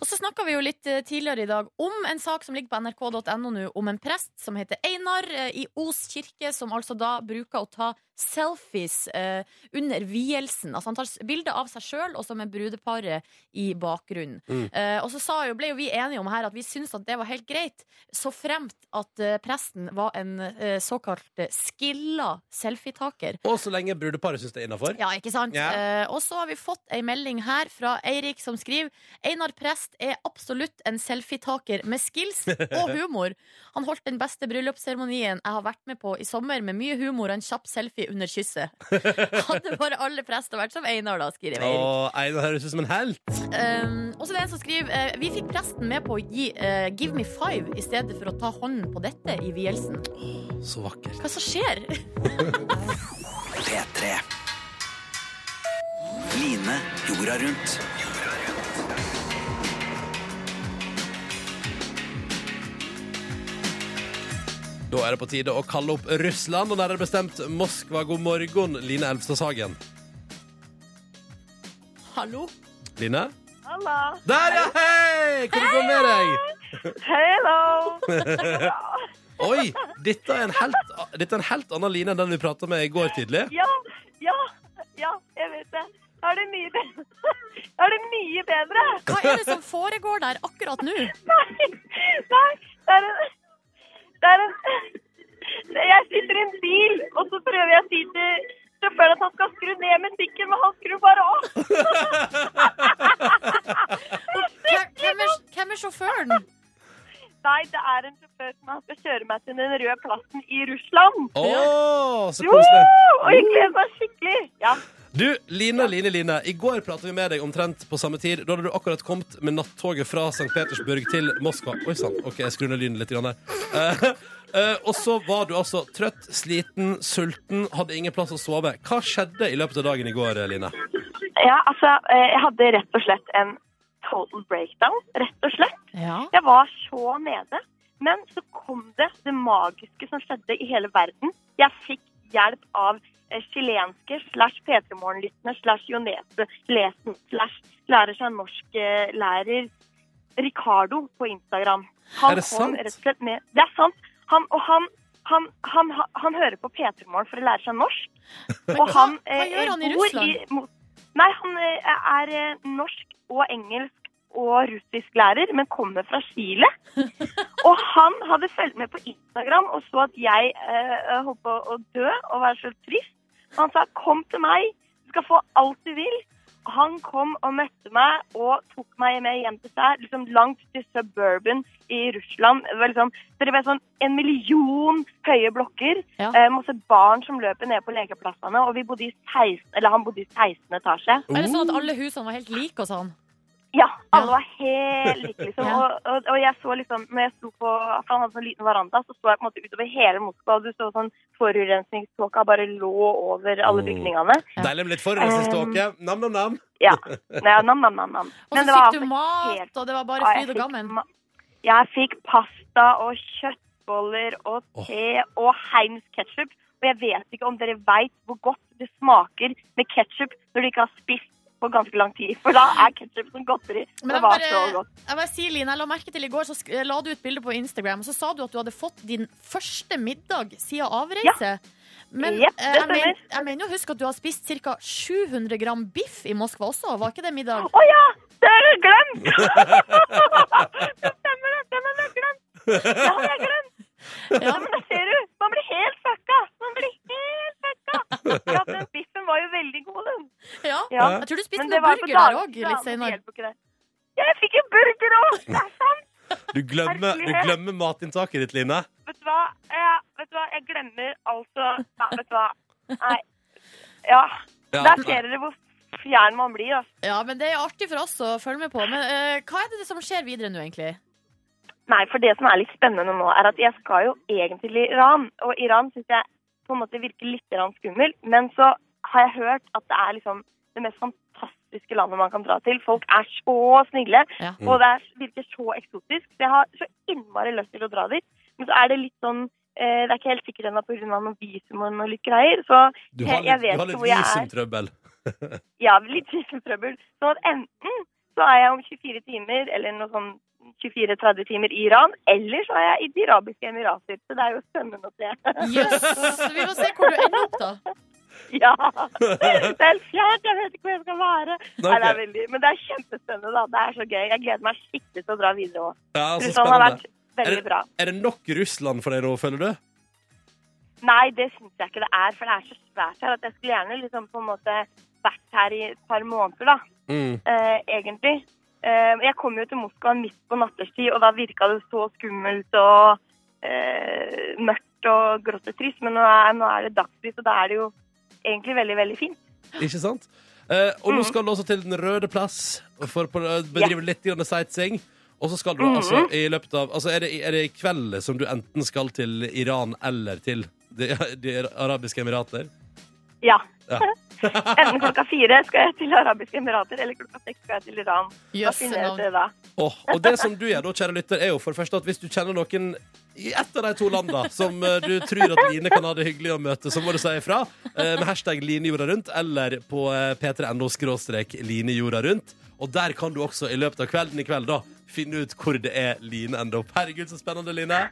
Speaker 2: Og så snakka vi jo litt eh, tidligere i dag om en sak som ligger på nrk.no nå, om en prest som heter Einar eh, i Os kirke, som altså da bruker å ta selfies eh, under vielsen. Altså han tar s- bilder av seg sjøl og så med brudeparet i bakgrunnen.
Speaker 12: Mm.
Speaker 2: Eh, og så sa jo, ble jo vi enige om her at vi syntes at det var helt greit, så fremt at eh, presten var en eh, såkalt eh, skilla selfietaker.
Speaker 1: Og så lenge brudeparet syns det er innafor.
Speaker 2: Ja, ikke sant?
Speaker 1: Ja.
Speaker 2: Eh, og så har vi fått ei melding her fra Eirik som skriver Einar Prest er absolutt en selfietaker med skills og humor. Han holdt den beste bryllupsseremonien jeg har vært med på i sommer, med mye humor og en kjapp selfie under kysset. Hadde bare alle prester vært som Einar, da, skriver Eirik.
Speaker 1: Og Einar høres ut som en helt.
Speaker 2: Um, og så er det en som skriver eh, Vi fikk presten med på å gi eh, Give me five i stedet for å ta hånden på dette i vielsen.
Speaker 1: Så vakker.
Speaker 2: Hva som skjer?
Speaker 4: P3. Line jorda rundt.
Speaker 1: Da er det på tide å kalle opp Russland, og nærmere bestemt Moskva. God morgen, Line Elvstad Sagen.
Speaker 2: Hallo?
Speaker 1: Line?
Speaker 12: Halla.
Speaker 1: Der, ja! Hei! Hvordan går det med deg?
Speaker 12: Hello!
Speaker 1: Oi! Dette er, en helt, dette er en helt annen Line enn den vi prata med i går tidlig.
Speaker 12: Ja, ja, ja, jeg vet det. Da er det mye bedre. Da er det mye bedre.
Speaker 2: Hva er det som foregår der akkurat nå?
Speaker 12: Nei, nei, det er en... Det er en... Jeg sitter i en bil, og så prøver jeg å si til sjåføren at han skal skru ned musikken, men han skrur bare opp.
Speaker 2: Hvem er, hvem er sjåføren?
Speaker 12: Nei, det er en sjåfør som han skal kjøre meg til den røde plassen i Russland.
Speaker 1: Å, så
Speaker 12: Jo,
Speaker 1: koselig.
Speaker 12: og jeg gleder meg skikkelig. Ja.
Speaker 1: Du, Line, Line, Line. I går prata vi med deg omtrent på samme tid. Da hadde du akkurat kommet med nattoget fra St. Petersburg til Moskva. Oi sann, OK, jeg skrur ned lyden litt grann der. Eh, eh, og så var du altså trøtt, sliten, sulten, hadde ingen plass å sove. Hva skjedde i løpet av dagen i går, Line?
Speaker 12: Ja, altså, eh, jeg hadde rett og slett en total breakdown, rett og slett. Jeg var så nede, men så kom det det magiske som skjedde i hele verden. Jeg fikk hjelp av eh, chilenske slash P3morgen-lyttende slash Jonese-lesen slash lærer seg norsk-lærer Ricardo på Instagram.
Speaker 13: Er det sant?
Speaker 12: Kom rett og slett med, det er sant. Han, og han, han, han, han, han hører på P3morgen for å lære seg norsk.
Speaker 2: Men
Speaker 12: Og
Speaker 2: hva-
Speaker 12: han,
Speaker 2: hva
Speaker 12: eh,
Speaker 2: gjør han i
Speaker 12: bor
Speaker 2: Russland?
Speaker 12: mo- nei, han eh, er eh, norsk og engelsk og russisk lærer, men kommer fra Chile. og han hadde fulgt med på Instagram og så at jeg eh, holdt på å dø og være så trist. Så han sa 'kom til meg, du skal få alt du vil'. Han kom og møtte meg og tok meg med hjem til seg, liksom langt til suburban i Russland. Det var liksom, dere vet sånn en million høye blokker, eh, masse barn som løper ned på lekeplassene, og vi bodde i 16, eller han bodde i 16 etasje.
Speaker 2: Er det sånn at alle husene var helt like hos han?
Speaker 12: Ja, alle var helt like, liksom.
Speaker 2: Ja.
Speaker 12: Og, og, og jeg så liksom, når jeg sto på, for han hadde sånn liten veranda, så så jeg på en måte utover hele Moskva, og du så sånn forurensningståka bare lå over alle bygningene. Ehm,
Speaker 1: Deilig med litt Mm. forurensningståke. Nam, nam, nam.
Speaker 12: Um, Ja. Nei, nam, nam, nam, nam.
Speaker 2: Og så
Speaker 12: det var
Speaker 2: fikk du
Speaker 12: altså
Speaker 2: mat,
Speaker 12: helt-
Speaker 2: og det var bare
Speaker 12: Ja, jeg
Speaker 2: fryd og
Speaker 12: fikk
Speaker 2: gammen.
Speaker 12: ma- Jeg fikk pasta og kjøttboller og te og Heims ketchup. Og jeg vet ikke om dere vet hvor godt det smaker med ketchup når du ikke har spist på ganske lang tid. For da er ketchup som godteri.
Speaker 2: Men
Speaker 12: det
Speaker 2: jeg
Speaker 12: var
Speaker 2: bare,
Speaker 12: så godt.
Speaker 2: jeg bare sier, Line, jeg la merke til i går, så sk- la du ut bilde på Instagram, og så sa du at du hadde fått din første middag siden avreise. Men
Speaker 12: Jepp, det
Speaker 2: eh, jeg,
Speaker 12: stemmer.
Speaker 2: men, jeg mener jo å huske at du har spist ca. 700 gram biff i Moskva også. Var ikke det middag?
Speaker 12: Å ja! Det har jeg glemt! det stemmer, det stemmer, det har jeg glemt. Det har jeg glemt. Ja, men da ser du! Man blir helt fucka! Man blir helt fucka! For at den biffen var jo veldig god, den.
Speaker 2: Ja, jeg tror du spiste
Speaker 12: Men
Speaker 2: noe
Speaker 12: det var på
Speaker 2: burger der
Speaker 12: dagen,
Speaker 2: òg, litt
Speaker 12: da, men det
Speaker 2: senere.
Speaker 12: hjelper ikke det. Ja, jeg fikk en burger òg! Det er sant!
Speaker 1: Du glemmer, du glemmer matinntaket ditt, Line.
Speaker 12: Vet du hva? Jeg, vet du hva? jeg glemmer altså Nei, vet du hva. Nei. Ja.
Speaker 1: Ja,
Speaker 12: Der
Speaker 1: nei.
Speaker 12: ser dere hvor fjern man blir, altså.
Speaker 2: Ja, men det er artig for oss å følge med på. Men eh, hva er det som skjer videre nå, egentlig?
Speaker 12: Nei, for det som er litt spennende nå, er at jeg skal jo egentlig til Iran. Og Iran syns jeg på en måte virker litt grann skummel. Men så har jeg hørt at det er liksom det mest fantastiske landet man kan dra til. Folk er så snille, og det er, virker så eksotisk. Så jeg har så innmari lyst til å dra dit. Men så er det litt sånn eh, Det er ikke helt sikkert ennå pga. noen visum og noe litt greier. Så
Speaker 1: Du har
Speaker 12: jeg, jeg
Speaker 1: litt, du
Speaker 12: vet
Speaker 1: har
Speaker 12: ikke
Speaker 1: litt
Speaker 12: hvor jeg er.
Speaker 1: visumtrøbbel.
Speaker 12: Ja, litt visumtrøbbel. Så at enten så er jeg om 24 timer, eller noe sånn 24-30 timer i Iran, eller så er jeg i De arabiske emirater. Så det er jo spennende å se.
Speaker 2: Jøss! vi må se hvor du ender opp, da.
Speaker 12: Ja. Det er fjernt, jeg vet ikke hvor jeg skal være.
Speaker 1: Nei,
Speaker 12: Nei, det er
Speaker 1: ok.
Speaker 12: veldig, men det er kjempespennende, da. Det er så gøy. Jeg gleder meg skikkelig til å dra videre òg.
Speaker 1: Ja, så
Speaker 12: Russland har vært
Speaker 1: spennende. Er
Speaker 12: veldig
Speaker 1: det,
Speaker 12: bra.
Speaker 1: er det nok Russland for deg nå, føler du?
Speaker 12: Nei, det syns jeg ikke det er, for det er så svært her at jeg skulle gjerne liksom på en måte vært her i et par måneder, da. eh, egentlig. Eh, jeg kom jo til Moskva midt på natterstid, og da virka det så skummelt og eh, mørkt og grått og trist. Men nå er, nå er det dagslys, og da er det jo egentlig veldig, veldig fint.
Speaker 1: Ikke sant? Eh, og nå
Speaker 12: Mhm.
Speaker 1: skal du også til Den røde plass for å bedrive litt grann sightseeing. Og så skal du
Speaker 12: Mhm.
Speaker 1: altså i løpet av Altså er det, er det i kveld som du enten skal til Iran eller til De, de arabiske emirater?
Speaker 12: Ja.
Speaker 1: Ja.
Speaker 12: Enten klokka fire skal jeg til Arabiske Emirater, eller klokka seks skal jeg til Iran. Da
Speaker 1: Jøsse
Speaker 12: finner jeg
Speaker 1: navn.
Speaker 12: ut det da.
Speaker 1: Åh, og det som du gjør da, kjære lytter, er jo for det første at hvis du kjenner noen i ett av de to landene som eh, du tror at Line kan ha det hyggelig å møte, så må du si ifra eh, med hashtag Line jorda rundt eller på eh, p3.no skråstrek Line jorda rundt. Og der kan du også i løpet av kvelden i kveld da finne ut hvor det er Line ender opp. Herregud, så spennende, Line.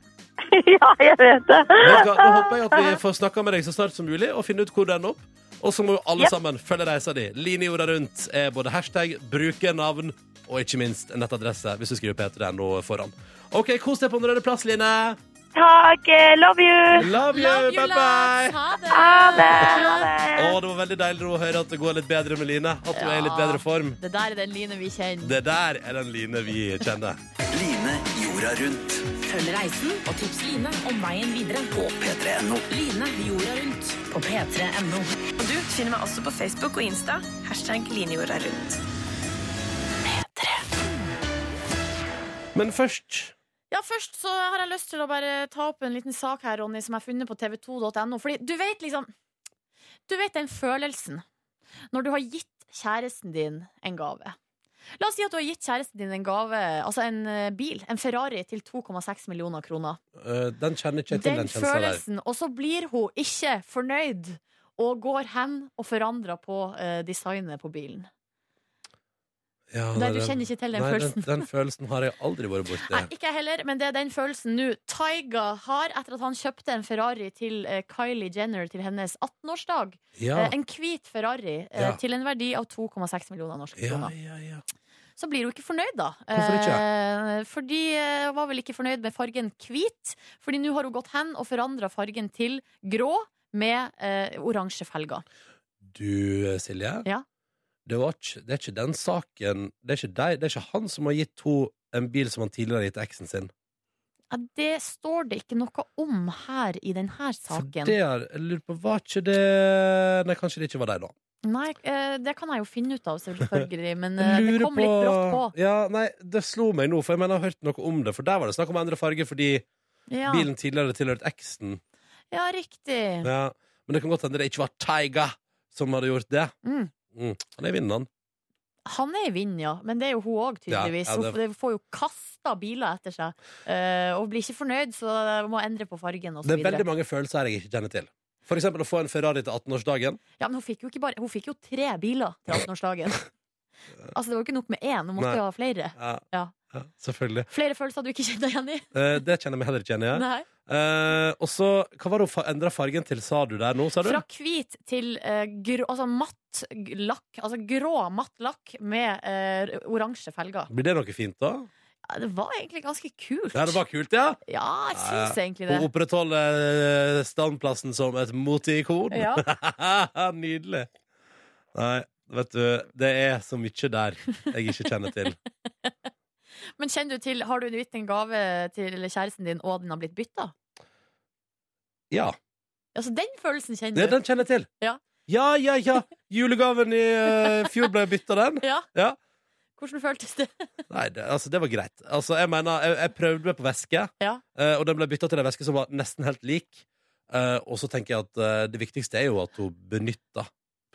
Speaker 12: ja, jeg vet det.
Speaker 1: Vet du hva, Nå håper jeg at vi får snakka med deg så snart som mulig og finne ut hvor du ender opp. Og så må jo alle
Speaker 12: Ja.
Speaker 1: sammen følge reisa di. Line jorda rundt er både hashtag, brukernavn og ikke minst en nettadresse hvis du skriver p3.no foran. OK, kos deg på Den røde plass, Line.
Speaker 12: Takk. eh, Love you.
Speaker 1: Love you. Love you, bye-bye. loves.
Speaker 2: Ha det.
Speaker 12: Ha det. Ha det.
Speaker 1: Å, det var veldig deilig å høre at det går litt bedre med Line. At hun er i litt
Speaker 2: Ja.
Speaker 1: bedre form.
Speaker 2: Det der er den Line vi kjenner.
Speaker 1: Det der er den Line vi kjenner.
Speaker 4: Line jorda rundt.
Speaker 13: Følg reisen og tips Line om veien videre på p3.no. Line jorda rundt på p3.no. Og du finner meg også på Facebook og Insta. Hashtag linejorda rundt.
Speaker 1: Men først
Speaker 2: Ja, først så har jeg lyst til å bare ta opp en liten sak her, Ronny, som jeg har funnet på tv2.no. Fordi du vet liksom Du vet den følelsen når du har gitt kjæresten din en gave. La oss si at du har gitt kjæresten din en gave, altså en eh, bil, en Ferrari, til 2,6 millioner kroner.
Speaker 1: øh, Den kjenner ikke jeg til,
Speaker 2: Den
Speaker 1: den, kjensla der.
Speaker 2: følelsen. Og så blir hun ikke fornøyd, og går hen og forandrer på eh, designet på bilen.
Speaker 1: Ja,
Speaker 2: Nei,
Speaker 1: nei,
Speaker 2: du
Speaker 1: den-
Speaker 2: kjenner ikke til den
Speaker 1: nei,
Speaker 2: følelsen.
Speaker 1: Den, den følelsen har jeg aldri vært borti.
Speaker 2: Nei, ikke jeg heller, men det er den følelsen nå Taiga har etter at han kjøpte en Ferrari til eh, Kylie Jenner til hennes 18-årsdag.
Speaker 1: Ja.
Speaker 2: Eh, En hvit Ferrari eh,
Speaker 1: Ja.
Speaker 2: til en verdi av 2,6 millioner norske
Speaker 1: Ja,
Speaker 2: kroner. Så blir hun ikke fornøyd, da.
Speaker 1: Hvorfor
Speaker 2: Eh, Fordi eh, hun var vel ikke fornøyd med fargen hvit, Fordi nå har hun gått hen og forandra fargen til grå med eh, oransje felger.
Speaker 1: Du, eh, Silje.
Speaker 2: Ja.
Speaker 1: Det, var ikke, det er ikke den saken det er ikke, deg, det er ikke han som har gitt henne en bil som han tidligere har gitt eksen sin.
Speaker 2: Ja, det står det ikke noe om her i denne saken.
Speaker 1: Det er, jeg lurer på, var ikke det Nei, kanskje det ikke var deg, da.
Speaker 2: Nei, eh, det kan jeg jo finne ut av, selvfølgelig. Men eh, det
Speaker 1: Lurer
Speaker 2: kom litt brått på.
Speaker 1: Ja, nei, det slo meg nå, for jeg mener jeg har hørt noe om det. For der var det snakk om å endre farge fordi
Speaker 2: Ja.
Speaker 1: bilen tidligere tilhørte eksen.
Speaker 2: Ja, riktig.
Speaker 1: Ja. Men det kan godt hende det ikke var Taiga som hadde gjort det.
Speaker 2: Mm.
Speaker 1: Mm. Han er vinneren.
Speaker 2: Han er i vinden, ja. Men det er jo hun òg, tydeligvis.
Speaker 1: Ja, ja, det-
Speaker 2: Hun f- får jo kasta biler etter seg. eh, og blir ikke fornøyd, så må endre på fargen og så
Speaker 1: Det er veldig
Speaker 2: videre.
Speaker 1: mange følelser jeg ikke kjenner til. For eksempel å få en Ferrari til 18-årsdagen.
Speaker 2: Ja, men hun fikk jo ikke bare Hun fikk jo tre biler til 18-årsdagen. altså, det var jo ikke nok med én, hun måtte
Speaker 1: Nei.
Speaker 2: jo ha flere.
Speaker 1: Ja,
Speaker 2: Ja.
Speaker 1: ja, selvfølgelig.
Speaker 2: Flere følelser du ikke kjenner deg igjen i.
Speaker 1: Eh, det kjenner jeg meg heller ikke igjen i.
Speaker 2: Nei.
Speaker 1: Eh, og så, hva var det hun fa- endra fargen til, sa du der nå, sa du?
Speaker 2: Fra hvit til eh, grå, altså matt g- lakk, altså grå matt lakk med eh, oransje felger.
Speaker 1: Blir det noe fint, da?
Speaker 2: Ja, Det var egentlig ganske kult.
Speaker 1: Ja, det var kult, ja?
Speaker 2: Ja, jeg syns
Speaker 1: Ja.
Speaker 2: egentlig det.
Speaker 1: Å opprettholde eh, standplassen som et moteikon.
Speaker 2: Ja.
Speaker 1: Nydelig. Nei, vet du, det er så mye der jeg ikke kjenner til.
Speaker 2: Men kjenner du til, har du gitt en gave til kjæresten din, og den har blitt bytta?
Speaker 1: Ja.
Speaker 2: Altså, den følelsen kjenner
Speaker 1: ja
Speaker 2: du?
Speaker 1: den kjenner jeg til.
Speaker 2: Ja.
Speaker 1: Ja, ja, ja. Julegaven i eh, fjor ble bytta, den.
Speaker 2: Ja.
Speaker 1: Ja.
Speaker 2: Hvordan føltes det?
Speaker 1: Nei, det, altså, det var greit. Altså, jeg mener, jeg, jeg prøvde meg på væske,
Speaker 2: Ja.
Speaker 1: eh, og den ble bytta til en væske som var nesten helt lik. Eh, og så tenker jeg at eh, det viktigste er jo at hun benytter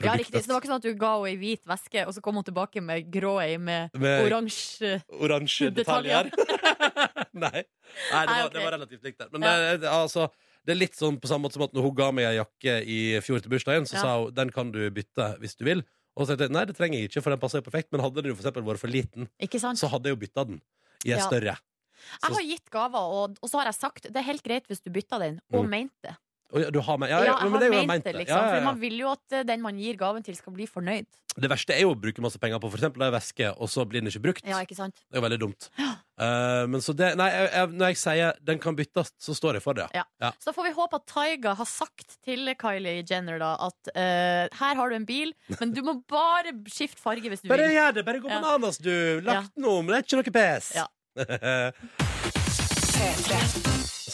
Speaker 2: Ja, riktig.
Speaker 1: produktet.
Speaker 2: Så det var ikke sånn at du ga henne ei hvit veske, og så kom hun tilbake med grå ei med,
Speaker 1: Med-
Speaker 2: oransje
Speaker 1: oransje detaljer. Nei. Nei, det
Speaker 2: Nei,
Speaker 1: var,
Speaker 2: ok.
Speaker 1: det var relativt likt der. Men
Speaker 2: Ja.
Speaker 1: det, det- altså, det er litt sånn på samme måte som at når hun ga meg ei jakke i fjor til bursdagen, så
Speaker 2: Ja.
Speaker 1: sa hun den kan du bytte hvis du vil. Og så tenkte jeg nei, det trenger jeg ikke, for den passer jo perfekt. Men hadde den jo for eksempel vært for liten,
Speaker 2: Ikke sant?
Speaker 1: så hadde jeg jo bytta den i en
Speaker 2: Ja.
Speaker 1: større. Så-
Speaker 2: Jeg har gitt gaver, og, og så har jeg sagt det er helt greit hvis du bytter den, og
Speaker 1: Mm.
Speaker 2: mente det.
Speaker 1: Å, ja, du har meg. Ja,
Speaker 2: Ja,
Speaker 1: ja,
Speaker 2: jeg
Speaker 1: men
Speaker 2: har
Speaker 1: det er jo jeg
Speaker 2: ment det, liksom.
Speaker 1: Ja, ja,
Speaker 2: For
Speaker 1: ja.
Speaker 2: man vil jo at eh, den man gir gaven til, skal bli fornøyd.
Speaker 1: Det verste er jo å bruke masse penger på for eksempel ei veske, og så blir den ikke brukt.
Speaker 2: Ja, ikke sant?
Speaker 1: Det er jo veldig dumt. Eh, men så det Nei, jeg, jeg, når jeg sier 'den kan byttes', så står jeg for det.
Speaker 2: Ja.
Speaker 1: Ja.
Speaker 2: Så da får vi håpe at Taiga har sagt til Kylie Jenner da at eh, her har du en bil, men du må bare skifte farge hvis du
Speaker 1: Bare
Speaker 2: vil.
Speaker 1: gjør det. Bare gå
Speaker 2: Ja.
Speaker 1: bananas, du. Lagt den om. Det er ikke noe pes.
Speaker 2: Ja.
Speaker 1: Å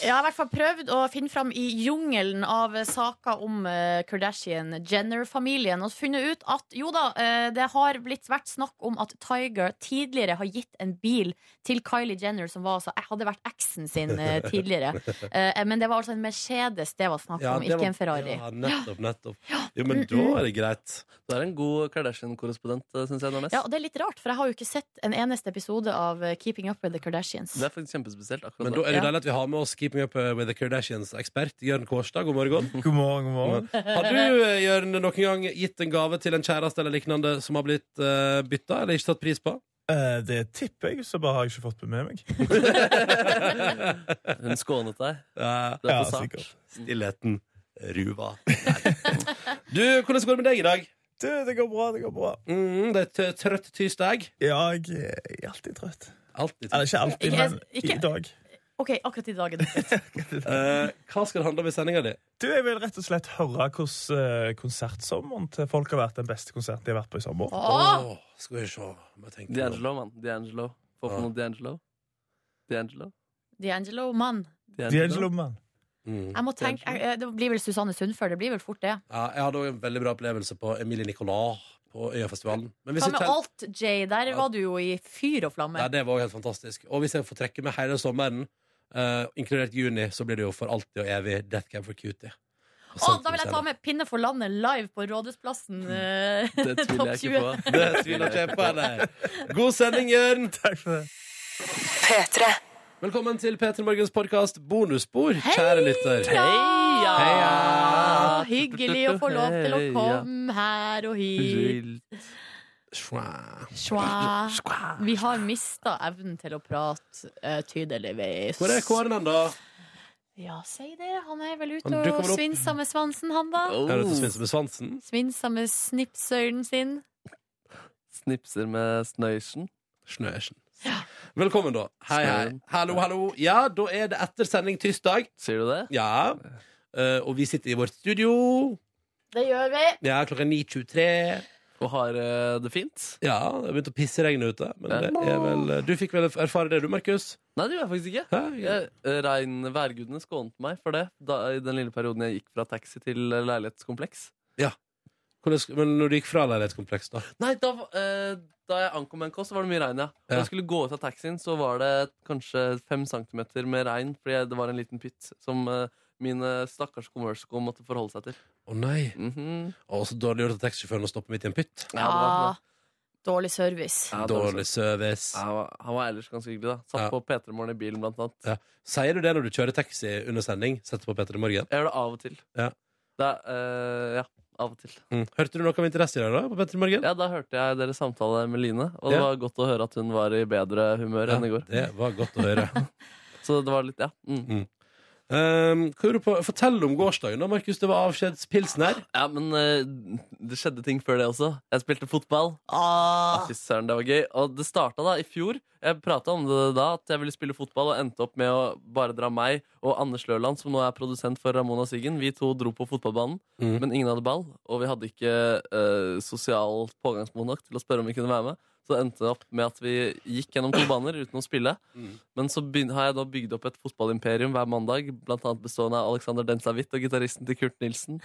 Speaker 2: Jeg har i hvert fall prøvd å finne fram i jungelen av eh, saker om eh, Kardashian-Jenner-familien og funnet ut at jo da, eh, det har blitt vært snakk om at Tiger tidligere har gitt en bil til Kylie Jenner, som var, altså, hadde vært eksen sin eh, tidligere. Eh, Men det var altså en Mercedes det var snakk
Speaker 1: Ja,
Speaker 2: om,
Speaker 1: det
Speaker 2: ikke
Speaker 1: var-
Speaker 2: en Ferrari.
Speaker 1: ja, nettopp, nettopp. Jo, men da er det greit.
Speaker 3: Du er en god Kardashian-korrespondent, syns jeg, Nordnes.
Speaker 2: Ja, og Det er litt rart, for jeg har jo ikke sett en eneste episode av eh, Keeping Up With The Kardashians.
Speaker 3: Det er faktisk kjempespesielt. akkurat
Speaker 1: Men da er det deilig at vi har med oss Keeping Up eh, With The Kardashians-ekspert Jørn Kårstad. God morgen.
Speaker 11: God morgen, god morgen.
Speaker 1: Har du eh, Jørn, noen gang gitt en gave til en kjæreste eller lignende som har blitt uh, bytta eller ikke tatt pris på?
Speaker 14: Eh, Det tipper jeg, så bare har jeg ikke fått det med meg.
Speaker 3: Hun skånet deg.
Speaker 1: Du
Speaker 3: er
Speaker 14: Ja,
Speaker 3: for sak.
Speaker 14: sikkert.
Speaker 1: Stillheten ruva. Du, hvordan går det med deg i dag?
Speaker 14: Du, det går bra, det går bra.
Speaker 1: Mm, det er t- trøtt tirsdag.
Speaker 14: Ja, jeg jeg er alltid trøtt.
Speaker 1: Alltid
Speaker 14: Eller ikke alltid,
Speaker 2: Ikke-
Speaker 14: men
Speaker 2: ikke-
Speaker 14: i dag.
Speaker 2: OK, akkurat i dag er det
Speaker 1: Eh, hva skal det handle om i sendinga di?
Speaker 14: Du, Jeg vil rett og slett høre hvordan eh, konsertsommeren til folk har vært den beste konserten de har vært på i sommer.
Speaker 1: Åh, skal vi se. Må jeg tenke nå.
Speaker 3: D'Angelo, mann. D'Angelo. Få på noe D'Angelo. D'Angelo.
Speaker 2: D'Angelo, mann.
Speaker 14: D'Angelo, mann.
Speaker 2: Jeg må tenke, jeg, eh, Det blir vel Susanne Sundfør. Det blir vel fort det.
Speaker 1: Mm. Ja, jeg hadde også en veldig bra opplevelse på Emilie Nicolas på Øyafestivalen. Men hvis
Speaker 2: Hva
Speaker 1: jeg
Speaker 2: med
Speaker 1: kjenner-
Speaker 2: alt, Jay? Der var du jo i fyr og flamme.
Speaker 1: Nei, det var jo helt fantastisk. Og hvis jeg får trekke med hele sommeren, eh, inkludert juni, så blir det jo for alltid og evig Death Cab for Cutie. Og
Speaker 2: Å,
Speaker 1: Sankt
Speaker 2: da vil jeg ta
Speaker 1: Lucia.
Speaker 2: med Pinne for landet live på Rådhusplassen. eh,
Speaker 1: Det tviler
Speaker 2: topp
Speaker 1: jeg ikke
Speaker 2: 20.
Speaker 1: på. Det tviler ikke jeg på, nei. God sending, Jørn!
Speaker 14: Takk for det.
Speaker 1: Velkommen til P3 Morgens podkast Bonusspor, kjære lytter.
Speaker 2: Ja!
Speaker 1: Heia!
Speaker 2: Hyggelig å få lov til å
Speaker 1: Heia.
Speaker 2: komme her og hit. Schwa. Vi har mista evnen til å prate, eh, tydeligvis.
Speaker 1: Hvor er Kåren hen, da?
Speaker 2: Ja, si det. Han er vel ute
Speaker 1: Han dukker
Speaker 2: og
Speaker 1: vel opp.
Speaker 2: svinser med svansen, han da.
Speaker 1: Er det til Svinse med svansen?
Speaker 2: Svinser med snipsøylen sin.
Speaker 3: Snipser med snøysen.
Speaker 1: Snøysen. Velkommen, da. Hei, hei. Hallo, hallo. Ja, da er det etter sending tirsdag.
Speaker 3: Sier du det?
Speaker 1: Ja. Eh, og vi sitter i vårt studio.
Speaker 2: Det gjør vi.
Speaker 1: Ja, klokka 9.23.
Speaker 3: Og har eh, det fint?
Speaker 1: Ja, det har begynt å pissregne ute. Men
Speaker 3: Ja.
Speaker 1: det er vel, eh, du fikk vel erfare det, du, Markus?
Speaker 3: Nei, det gjør jeg faktisk ikke. Jeg, eh, regn, værgudene skånte meg for det da, i den lille perioden jeg gikk fra taxi til eh, leilighetskompleks.
Speaker 1: Ja. Hvordan, men når du gikk fra leilighetskompleks, da?
Speaker 3: Nei, da, eh, da jeg ankom NK, så var det mye regn, ja. Og
Speaker 1: Ja.
Speaker 3: jeg skulle gå ut av taxien, så var det kanskje fem centimeter med regn, fordi jeg- det var en liten pytt som eh, mine stakkars Converse-sko måtte forholde seg til.
Speaker 1: Å nei.
Speaker 3: Mhm.
Speaker 1: Å, så dårlig gjort av taxisjåføren å stoppe midt i en pytt.
Speaker 2: Ja, dårlig service.
Speaker 1: dårlig service.
Speaker 3: Han var, han var ellers ganske hyggelig, da. Satt
Speaker 1: Ja.
Speaker 3: på P3 Morgen i bilen, blant annet.
Speaker 1: Ja. Sier du det når du kjører taxi under sending? Setter på Petter i morgen?
Speaker 3: Jeg gjør det av og til.
Speaker 1: Ja.
Speaker 3: Det er, eh, ja, av og til.
Speaker 1: Mm. Hørte du noe om interesse i dag, da? På Petter i morgen?
Speaker 3: Ja, da hørte jeg deres samtale med Line, og det
Speaker 1: Ja.
Speaker 3: var godt å høre at hun var i bedre humør enn i går.
Speaker 1: Det var godt å høre.
Speaker 3: Så det var litt, ja. Mm.
Speaker 1: Ehm, hva gjorde du på? Fortell om gårsdagen, da, Markus. Det var avskjedspilsen her.
Speaker 3: Ja, men eh, det skjedde ting før det også. Jeg spilte fotball. Ah. Fy søren, det var gøy. Og det starta da i fjor. Jeg prata om det da, at jeg ville spille fotball, og endte opp med å bare dra meg og Anders Løland, som nå er produsent for Ramona Siggen. Vi to dro på fotballbanen,
Speaker 15: Mm.
Speaker 3: men ingen hadde ball. Og vi hadde ikke eh, sosialt pågangsmot nok til å spørre om vi kunne være med. Så det endte opp med at vi gikk gjennom to baner uten å spille.
Speaker 1: Mm.
Speaker 3: Men så begyn- har jeg da bygd opp et fotballimperium hver mandag, blant annet bestående av Alexander Densavit og gitaristen til Kurt Nilsen.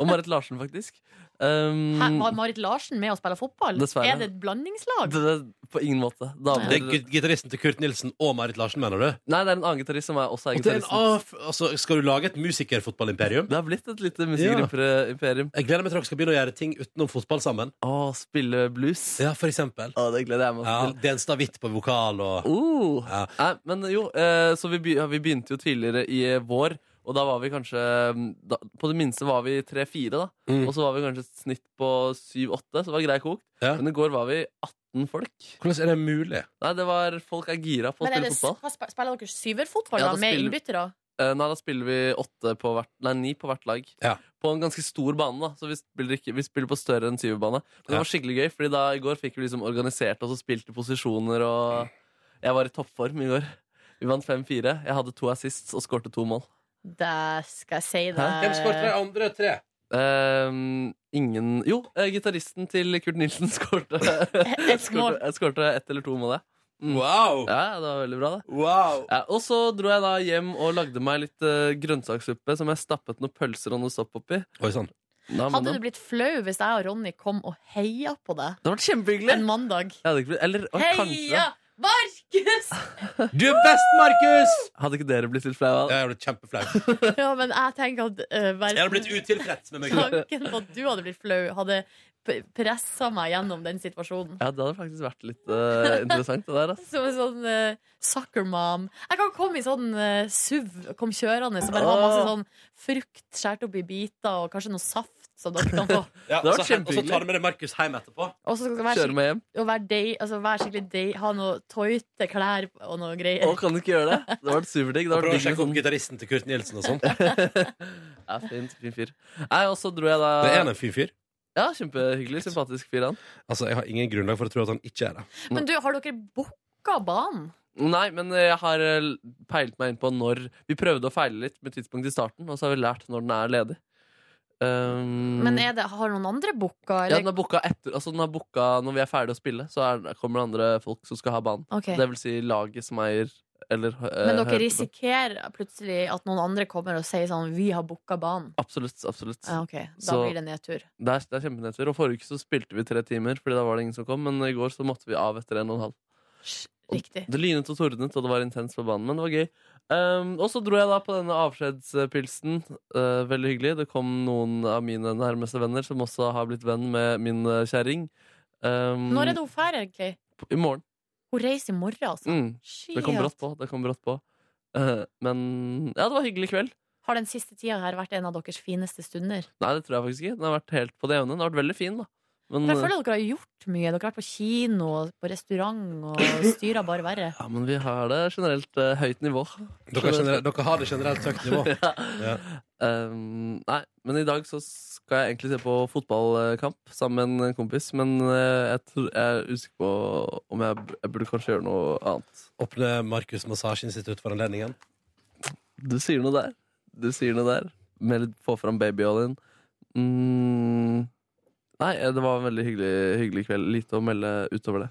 Speaker 3: Og Marit Larsen, faktisk. Um,
Speaker 2: Hæ, var Marit Larsen med og spille fotball?
Speaker 3: Dessverre.
Speaker 2: Er det et blandingslag?
Speaker 3: det, det, på ingen måte. Damer-
Speaker 1: Det er git- gitaristen til Kurt Nilsen og Marit Larsen, mener du?
Speaker 3: Nei, det er en annen gitarist som er også er
Speaker 1: Og det er en
Speaker 3: gitaristen.
Speaker 1: av, altså, skal du lage et musikerfotballimperium?
Speaker 3: Det har blitt et lite
Speaker 1: musikerimperium. Jeg gleder meg til dere skal begynne å gjøre ting utenom fotball sammen.
Speaker 3: Å, spille blues.
Speaker 1: Ja, for eksempel.
Speaker 3: det gleder jeg meg
Speaker 1: ja, til. Denstad Hvitt på vokal og
Speaker 3: Oh. Nei, men jo, eh, så vi, be- ja, vi begynte jo tidligere i eh, vår, og da var vi kanskje mm, da, På det minste var vi tre-fire, da.
Speaker 1: Mm.
Speaker 3: Og så var vi kanskje et snitt på syv-åtte, så det var grei kokt. Men i går var vi 18 folk.
Speaker 1: Hvordan er det mulig?
Speaker 3: Nei, det var Folk er gira på å
Speaker 2: Men er
Speaker 3: spille
Speaker 2: det,
Speaker 3: fotball.
Speaker 2: hva sp- spiller dere syverfotball
Speaker 3: Ja,
Speaker 2: da,
Speaker 3: da
Speaker 2: med
Speaker 3: spiller-
Speaker 2: innbyttere?
Speaker 3: Eh, Nei, da spiller vi åtte på hvert, nei, ni på hvert lag. På en ganske stor bane, da. Så vi spiller, ikke, vi spiller på større enn syvbane. Men det
Speaker 1: Ja.
Speaker 3: var skikkelig gøy, Fordi da i går fikk vi liksom organisert oss og spilte posisjoner, og jeg var i toppform i går. Vi vant 5-4. Jeg hadde to assists og skårte to mål.
Speaker 2: Det skal jeg si deg.
Speaker 3: Hæ? Hvem skårte de
Speaker 1: andre tre?
Speaker 3: Ehm, ingen Jo, eh, gitaristen til Kurt Nilsen skårte skårte- jeg skårte ett eller to mål, jeg. Mm.
Speaker 1: Wow!
Speaker 3: Ja, det var veldig bra, det.
Speaker 1: Wow!
Speaker 3: Ja, og så dro jeg da hjem og lagde meg litt eh, grønnsakssuppe som jeg stappet noen pølser og noe sopp oppi.
Speaker 1: Oi, sånn.
Speaker 2: Hadde du blitt flau hvis jeg og Ronny kom og heia på deg?
Speaker 3: Det hadde vært kjempehyggelig.
Speaker 2: En mandag.
Speaker 3: Jeg hadde ikke blitt Eller og kanskje
Speaker 2: Heia Markus!
Speaker 1: Du er best, Markus!
Speaker 3: Hadde ikke dere blitt litt flau?
Speaker 1: Jeg hadde blitt kjempeflau.
Speaker 2: ja, men jeg tenker at eh, verden-
Speaker 1: Jeg hadde blitt utilfreds med meg.
Speaker 2: Tanken på at du hadde blitt flau, hadde pressa meg gjennom den situasjonen.
Speaker 3: Ja, det hadde faktisk vært litt eh, interessant, det der. ass.
Speaker 2: Som en sånn eh, sucker mom. Jeg kan komme i sånn eh, SUV, kom kjørende, som bare har masse
Speaker 1: Ah.
Speaker 3: Åh.
Speaker 2: sånn frukt skåret opp i biter, og kanskje noe saft som dere kan få.
Speaker 1: Ja,
Speaker 3: Det
Speaker 1: så hen-
Speaker 3: hadde vært
Speaker 1: og så
Speaker 3: kjempehyggelig.
Speaker 1: tar du med deg Markus hjem etterpå.
Speaker 2: Og så skal det være
Speaker 3: Kjøre meg hjem.
Speaker 2: Og være dei, altså være skikkelig dei, ha noe tøyte klær og noe greier.
Speaker 3: Å, kan du ikke gjøre det? Det hadde vært superdigg. Det hadde
Speaker 1: Prøv å
Speaker 3: vært digg sånn.
Speaker 1: sjekke
Speaker 3: med
Speaker 1: opp gitaristen til Kurt Nilsen og sånn.
Speaker 3: sånn- Ja, fint, fin fyr. Nei, og så dro jeg da
Speaker 1: Det er en fin fyr.
Speaker 3: Ja, kjempehyggelig. Sympatisk fyr, han.
Speaker 1: Altså, Jeg har ingen grunnlag for å tro at han ikke er det.
Speaker 2: Men du, har dere booka banen?
Speaker 3: Nei, men jeg har eh, peilt meg inn på når Vi prøvde å feile litt med tidspunkt i starten, og så har vi lært når den er ledig. Um,
Speaker 2: Men er det, har noen andre booka?
Speaker 3: ja,
Speaker 2: Eller?
Speaker 3: den er booka etter Altså den er booka når vi er ferdige å spille, så er, kommer det andre folk som skal ha banen.
Speaker 2: Ok.
Speaker 3: Det vil si laget som eier eller eh,
Speaker 2: Men dere
Speaker 3: hører på.
Speaker 2: risikerer plutselig at noen andre kommer og sier sånn Vi har booka banen.
Speaker 3: Absolutt. absolutt
Speaker 2: Ja, ok. Da blir det nedtur.
Speaker 3: Det er, det er kjempenedtur. Og forrige uke så spilte vi tre timer, Fordi da var det ingen som kom. Men i går så måtte vi av etter en og en halv.
Speaker 2: Riktig.
Speaker 3: Det lynet og tordnet, og det var intenst på banen, men det var gøy. Um, og så dro jeg da på denne avskjedspilsen. Eh, veldig hyggelig. Det kom noen av mine nærmeste venner som også har blitt venn med min eh, kjerring. Um,
Speaker 2: Når er det hun drar, egentlig?
Speaker 3: p- I morgen.
Speaker 2: Hun reiser i morgen, altså.
Speaker 3: Mm. Det kom
Speaker 2: Shit.
Speaker 3: brått på. Det kom brått på. Eh, men ja, det var hyggelig kveld.
Speaker 2: Har den siste tida her vært en av deres fineste stunder?
Speaker 3: Nei, det tror jeg faktisk ikke. Den har vært helt på det jevne. Den har vært veldig fin, da. Men, eh,
Speaker 2: For jeg føler dere har gjort mye. Dere har vært på kino og på restaurant og styra bare verre.
Speaker 3: ja, men vi har det generelt eh, høyt nivå.
Speaker 1: Dere, har generelt- dere har det generelt høyt nivå.
Speaker 3: ja.
Speaker 1: Ja.
Speaker 3: Um, nei, men i dag så skal jeg egentlig se på fotballkamp sammen med en kompis, men eh, jeg, tror, jeg er usikker på om jeg, b- jeg burde kanskje gjøre noe annet.
Speaker 1: Åpne Markus Massasjeinstitutt for anledningen.
Speaker 3: Du sier noe der. Du sier noe der. Med litt få fram babyoljen. Mm, nei, eh, det var en veldig hyggelig, hyggelig kveld. Lite å melde utover det.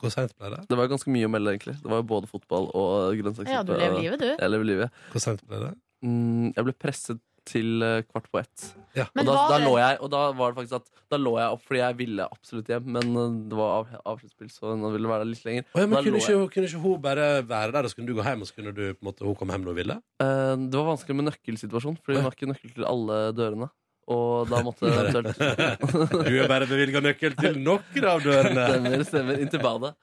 Speaker 1: Hvor Mm. sent ble det?
Speaker 3: Det var ganske mye å melde, egentlig. Det var jo både fotball og grønnsakssuppe.
Speaker 2: Ja, du lever livet, du.
Speaker 3: Jeg lever livet.
Speaker 1: Hvor sent ble det?
Speaker 3: Mm, jeg ble presset til eh, kvart på ett.
Speaker 2: Men
Speaker 3: Og, da,
Speaker 2: var
Speaker 3: da
Speaker 2: det-
Speaker 3: lå jeg, og da var det faktisk at Da lå jeg opp fordi jeg ville absolutt hjem, men eh, det var av, avsluttspill, så nå ville jeg være der litt lenger.
Speaker 1: Å ja, men
Speaker 3: Da lå
Speaker 1: kunne
Speaker 3: jeg-
Speaker 1: ikke, kunne ikke hun bare være der, og så kunne du gå hjem, og så kunne du, på en måte, hun komme hjem når hun ville?
Speaker 3: Eh, Det var vanskelig med nøkkelsituasjon, Fordi hun har ikke nøkkel til alle dørene. Og da måtte jeg eventuelt
Speaker 1: Du er bare bevilga nøkkel til noen av dørene.
Speaker 3: Stemmer, stemmer. Inntil badet.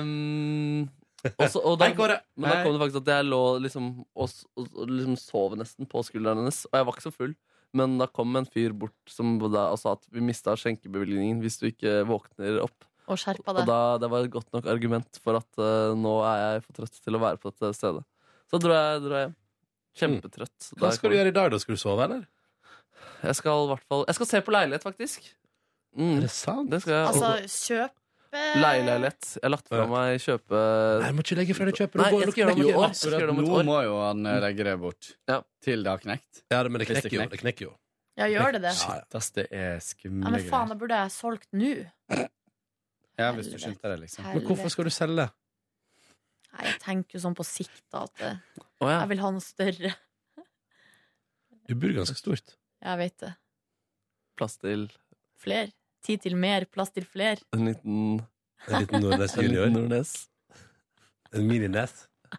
Speaker 3: Um, og så- og da,
Speaker 1: Hei, Kåre.
Speaker 3: Men da
Speaker 1: Hei.
Speaker 3: kom det faktisk at jeg lå liksom og, s- og, og liksom sov nesten på skulderen hennes. Og jeg var ikke så full, men da kom en fyr bort som da, og sa at vi mista skjenkebevilgningen hvis du ikke våkner opp.
Speaker 2: Og skjerpa deg.
Speaker 3: Og da, det var et godt nok argument for at eh, nå er jeg for trøtt til å være på dette stedet. Så dro jeg, dro jeg hjem. Kjempetrøtt.
Speaker 1: Mm. Hva skal du gjøre i dag, da? Skal du sove, eller?
Speaker 3: Jeg skal i hvert fall Jeg skal se på leilighet, faktisk. Mm.
Speaker 1: Er det sant?
Speaker 3: Det skal jeg.
Speaker 2: Altså, kjøpe
Speaker 3: Leieleilighet. Jeg har latt fra meg kjøpe
Speaker 1: Nei, du må ikke legge fra deg kjøpet.
Speaker 3: Nei, jeg skal gjøre det om et år. Jeg skal gjøre det om et
Speaker 7: Nå
Speaker 3: år.
Speaker 7: må jo han eh, legge det bort. Til det har knekt.
Speaker 1: Ja, men det
Speaker 7: Hvis
Speaker 1: knekker jo, det knekker jo.
Speaker 2: Ja, gjør det det?
Speaker 7: Shit, ass, det er
Speaker 2: Ja,
Speaker 7: skumle
Speaker 2: men faen,
Speaker 7: greier.
Speaker 2: da burde jeg solgt nå.
Speaker 7: Ja, hvis du skjønte det, liksom.
Speaker 1: Men hvorfor skal du selge?
Speaker 2: Nei, jeg tenker jo sånn på sikt, da, at eh,
Speaker 1: Å, ja.
Speaker 2: jeg vil ha noe større.
Speaker 1: Du bor ganske stort.
Speaker 2: Jeg vet det.
Speaker 3: Plass til
Speaker 2: Fler. Tid til mer, plass til fler.
Speaker 3: en liten
Speaker 1: En liten Nordnes
Speaker 3: En
Speaker 1: junior.
Speaker 3: liten Nordnes.
Speaker 1: En minines.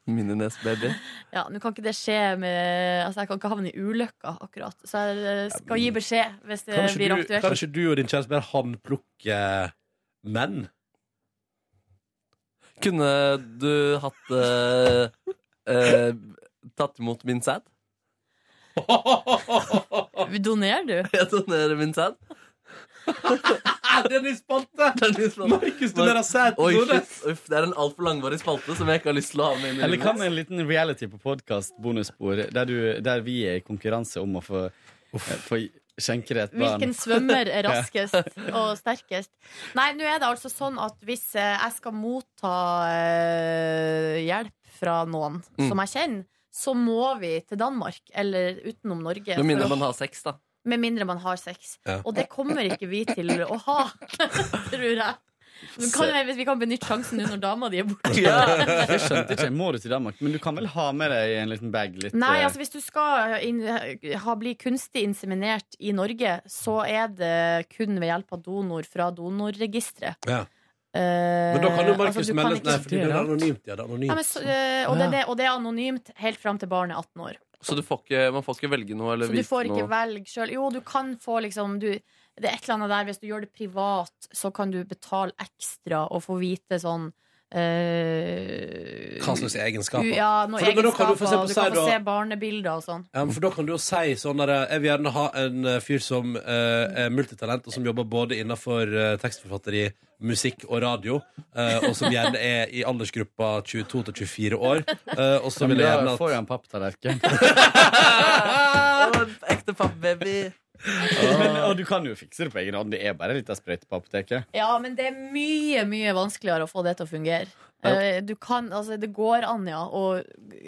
Speaker 3: Minines, baby.
Speaker 2: Ja, nå kan ikke det skje med Altså, jeg kan ikke havne i ulykker, akkurat. Så jeg eh, skal gi beskjed hvis det
Speaker 1: Kanskje
Speaker 2: blir
Speaker 1: du,
Speaker 2: aktuelt.
Speaker 1: kanskje du og din kjæreste bare håndplukke menn?
Speaker 3: Kunne du hatt eh, eh, Tatt imot min sæd?
Speaker 2: Donerer du?
Speaker 3: Jeg donerer min sæd.
Speaker 1: Den i spalte!
Speaker 3: Den i spalte. Markus
Speaker 7: donerer sæd til
Speaker 3: Oi,
Speaker 7: Nordnes.
Speaker 3: shit. Uff, det er en altfor langvarig spalte som jeg ikke har lyst til å ha med inn i
Speaker 7: Eller hva med
Speaker 3: livet.
Speaker 7: en liten reality på podkast, bonusspor, der, du- der vi er i konkurranse om å få, eh, få skjenke det et barn?
Speaker 2: Hvilken svømmer er raskest
Speaker 7: Ja.
Speaker 2: og sterkest? Nei, nå er det altså sånn at hvis eh, jeg skal motta eh, hjelp fra noen
Speaker 3: Mm.
Speaker 2: som jeg kjenner, så må vi til Danmark eller utenom Norge.
Speaker 3: Med mindre
Speaker 2: for å-
Speaker 3: man har sex, da.
Speaker 2: med mindre man har sex.
Speaker 3: Ja.
Speaker 2: Og det kommer ikke vi til å ha, tror jeg. Men kan,
Speaker 7: Se.
Speaker 2: vi- vi kan benytte sjansen nå når dama di er borte.
Speaker 7: Jeg skjønte ikke. Må du til Danmark? Men du kan vel ha med deg en liten bag litt
Speaker 2: Nei,
Speaker 7: eh,
Speaker 2: altså hvis du skal inn, eh, ha, bli kunstig inseminert i Norge, så er det kun ved hjelp av donor fra donorregisteret.
Speaker 1: Ja.
Speaker 2: Eh,
Speaker 1: Men da kan jo Markus
Speaker 2: altså, du kan
Speaker 1: melde
Speaker 2: ikke-
Speaker 1: Nei, for det er anonymt. Ja, det er
Speaker 2: Ja,
Speaker 1: anonymt.
Speaker 2: men, så, eh, og, det, er det, og det er anonymt helt fram til barnet er 18 år.
Speaker 3: Så du får ikke, man får ikke velge noe eller
Speaker 2: Så du
Speaker 3: vite
Speaker 2: får ikke
Speaker 3: noe?
Speaker 2: velge sjøl. Jo, du kan få liksom du, Det er et eller annet der hvis du gjør det privat, så kan du betale ekstra og få vite sånn eh,
Speaker 1: Hva slags egenskaper?
Speaker 2: Ja, noen
Speaker 1: For da- men da kan
Speaker 2: egenskaper.
Speaker 1: du for eksempel
Speaker 2: du
Speaker 1: si
Speaker 2: kan få
Speaker 1: da-
Speaker 2: se barnebilder og sånn.
Speaker 1: Ja, men for da kan du jo si sånn der Jeg vil gjerne ha en eh, fyr som eh, er multitalent, og som jobber både innenfor eh, tekstforfatteri, musikk og radio, eh, og som gjerne er i aldersgruppa 22 til 24 år. eh, og så
Speaker 7: men
Speaker 1: vil jeg
Speaker 7: da
Speaker 1: gjerne
Speaker 7: får
Speaker 1: at
Speaker 7: jeg en papptallerken.
Speaker 3: Ekte pappbaby.
Speaker 7: Men,
Speaker 3: Ah.
Speaker 7: og du kan jo fikse det på egen hånd. Det er bare litt av sprøyte på apoteket.
Speaker 2: Ja, men det er mye, mye vanskeligere å få det til å fungere. Eh, Du kan, altså Det går an, ja, å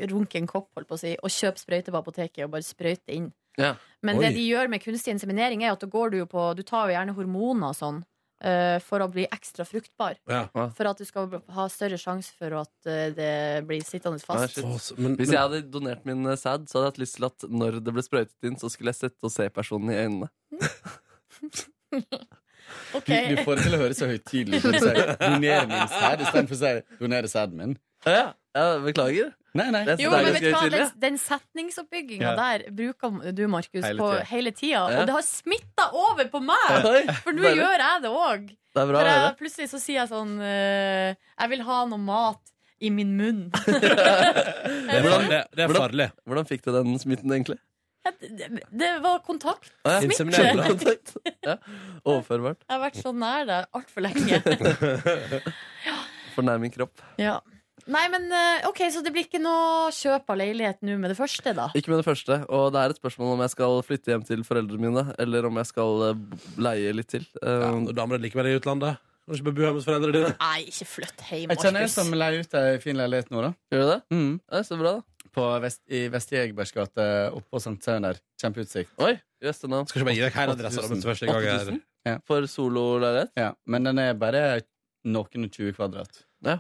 Speaker 2: runke en kopp, holdt på å si, og kjøpe sprøyte på apoteket og bare sprøyte inn. Men det de gjør med kunstig inseminering, er at da går du, jo på, du tar jo gjerne hormoner og sånn eh, for å bli ekstra fruktbar.
Speaker 3: Ja.
Speaker 2: For at du skal ha større sjanse for at eh, det blir sittende
Speaker 3: Nei,
Speaker 2: fast.
Speaker 3: shit. Hvis jeg hadde donert min eh, sæd, så hadde jeg hatt lyst til at når det ble sprøytet inn, så skulle jeg sette og se personen i øynene.
Speaker 2: Ok.
Speaker 7: Du, du får det til å høres så høytidelig ut. når du sier 'Doner min sæd' istedenfor å si 'donere sæden min'.
Speaker 3: Ja, beklager.
Speaker 7: Nei, nei.
Speaker 2: Jo, men vet du hva, den, den setningsoppbygginga
Speaker 7: Ja.
Speaker 2: der bruker du, Markus,
Speaker 3: Hele
Speaker 2: på
Speaker 3: tida.
Speaker 2: hele tida.
Speaker 3: Ja.
Speaker 2: Og det har smitta over på meg!
Speaker 3: Ja. Oi,
Speaker 2: For nå
Speaker 3: deilig.
Speaker 2: gjør jeg det òg.
Speaker 3: Det er bra å
Speaker 2: For jeg,
Speaker 3: høre.
Speaker 2: plutselig så sier jeg sånn eh, Jeg vil ha noe mat i min munn.
Speaker 1: Det er farlig. Det er farlig.
Speaker 3: Hvordan, hvordan fikk du den smitten, egentlig?
Speaker 2: det, det var kontakt.
Speaker 3: Å, ja.
Speaker 2: Smitte.
Speaker 3: Ja. Overførbart.
Speaker 2: Jeg har vært så nær deg altfor lenge.
Speaker 3: For nær min kropp.
Speaker 2: Ja. Nei, men eh, ok, Så det blir ikke noe kjøp av leilighet nå med det første, da?
Speaker 3: Ikke med det første. Og det er et spørsmål om jeg skal flytte hjem til foreldrene mine, eller om jeg skal eh, b- leie litt til. Eh, Ja,
Speaker 1: damer er likevel i utlandet. Kan du ikke bare bo hjemme hos foreldrene dine?
Speaker 2: Nei, ikke flytt hjem,
Speaker 7: Jeg kjenner en
Speaker 2: Markus.
Speaker 7: som leier ut ei fin leilighet nå, da.
Speaker 3: Gjør du det?
Speaker 7: Mm.
Speaker 3: Ja, så bra, da.
Speaker 7: På vest, I Vest-Jegerbergs gate oppe på Sankt Søren der. Kjempeutsikt.
Speaker 3: Oi, jøss, den
Speaker 1: Skal ikke bare gi deg hele adressa, da, mens du først er i gang her.
Speaker 7: Ja.
Speaker 3: For sololeilighet?
Speaker 7: Ja, men den er bare noen og 20 kvadrat.
Speaker 3: Ja.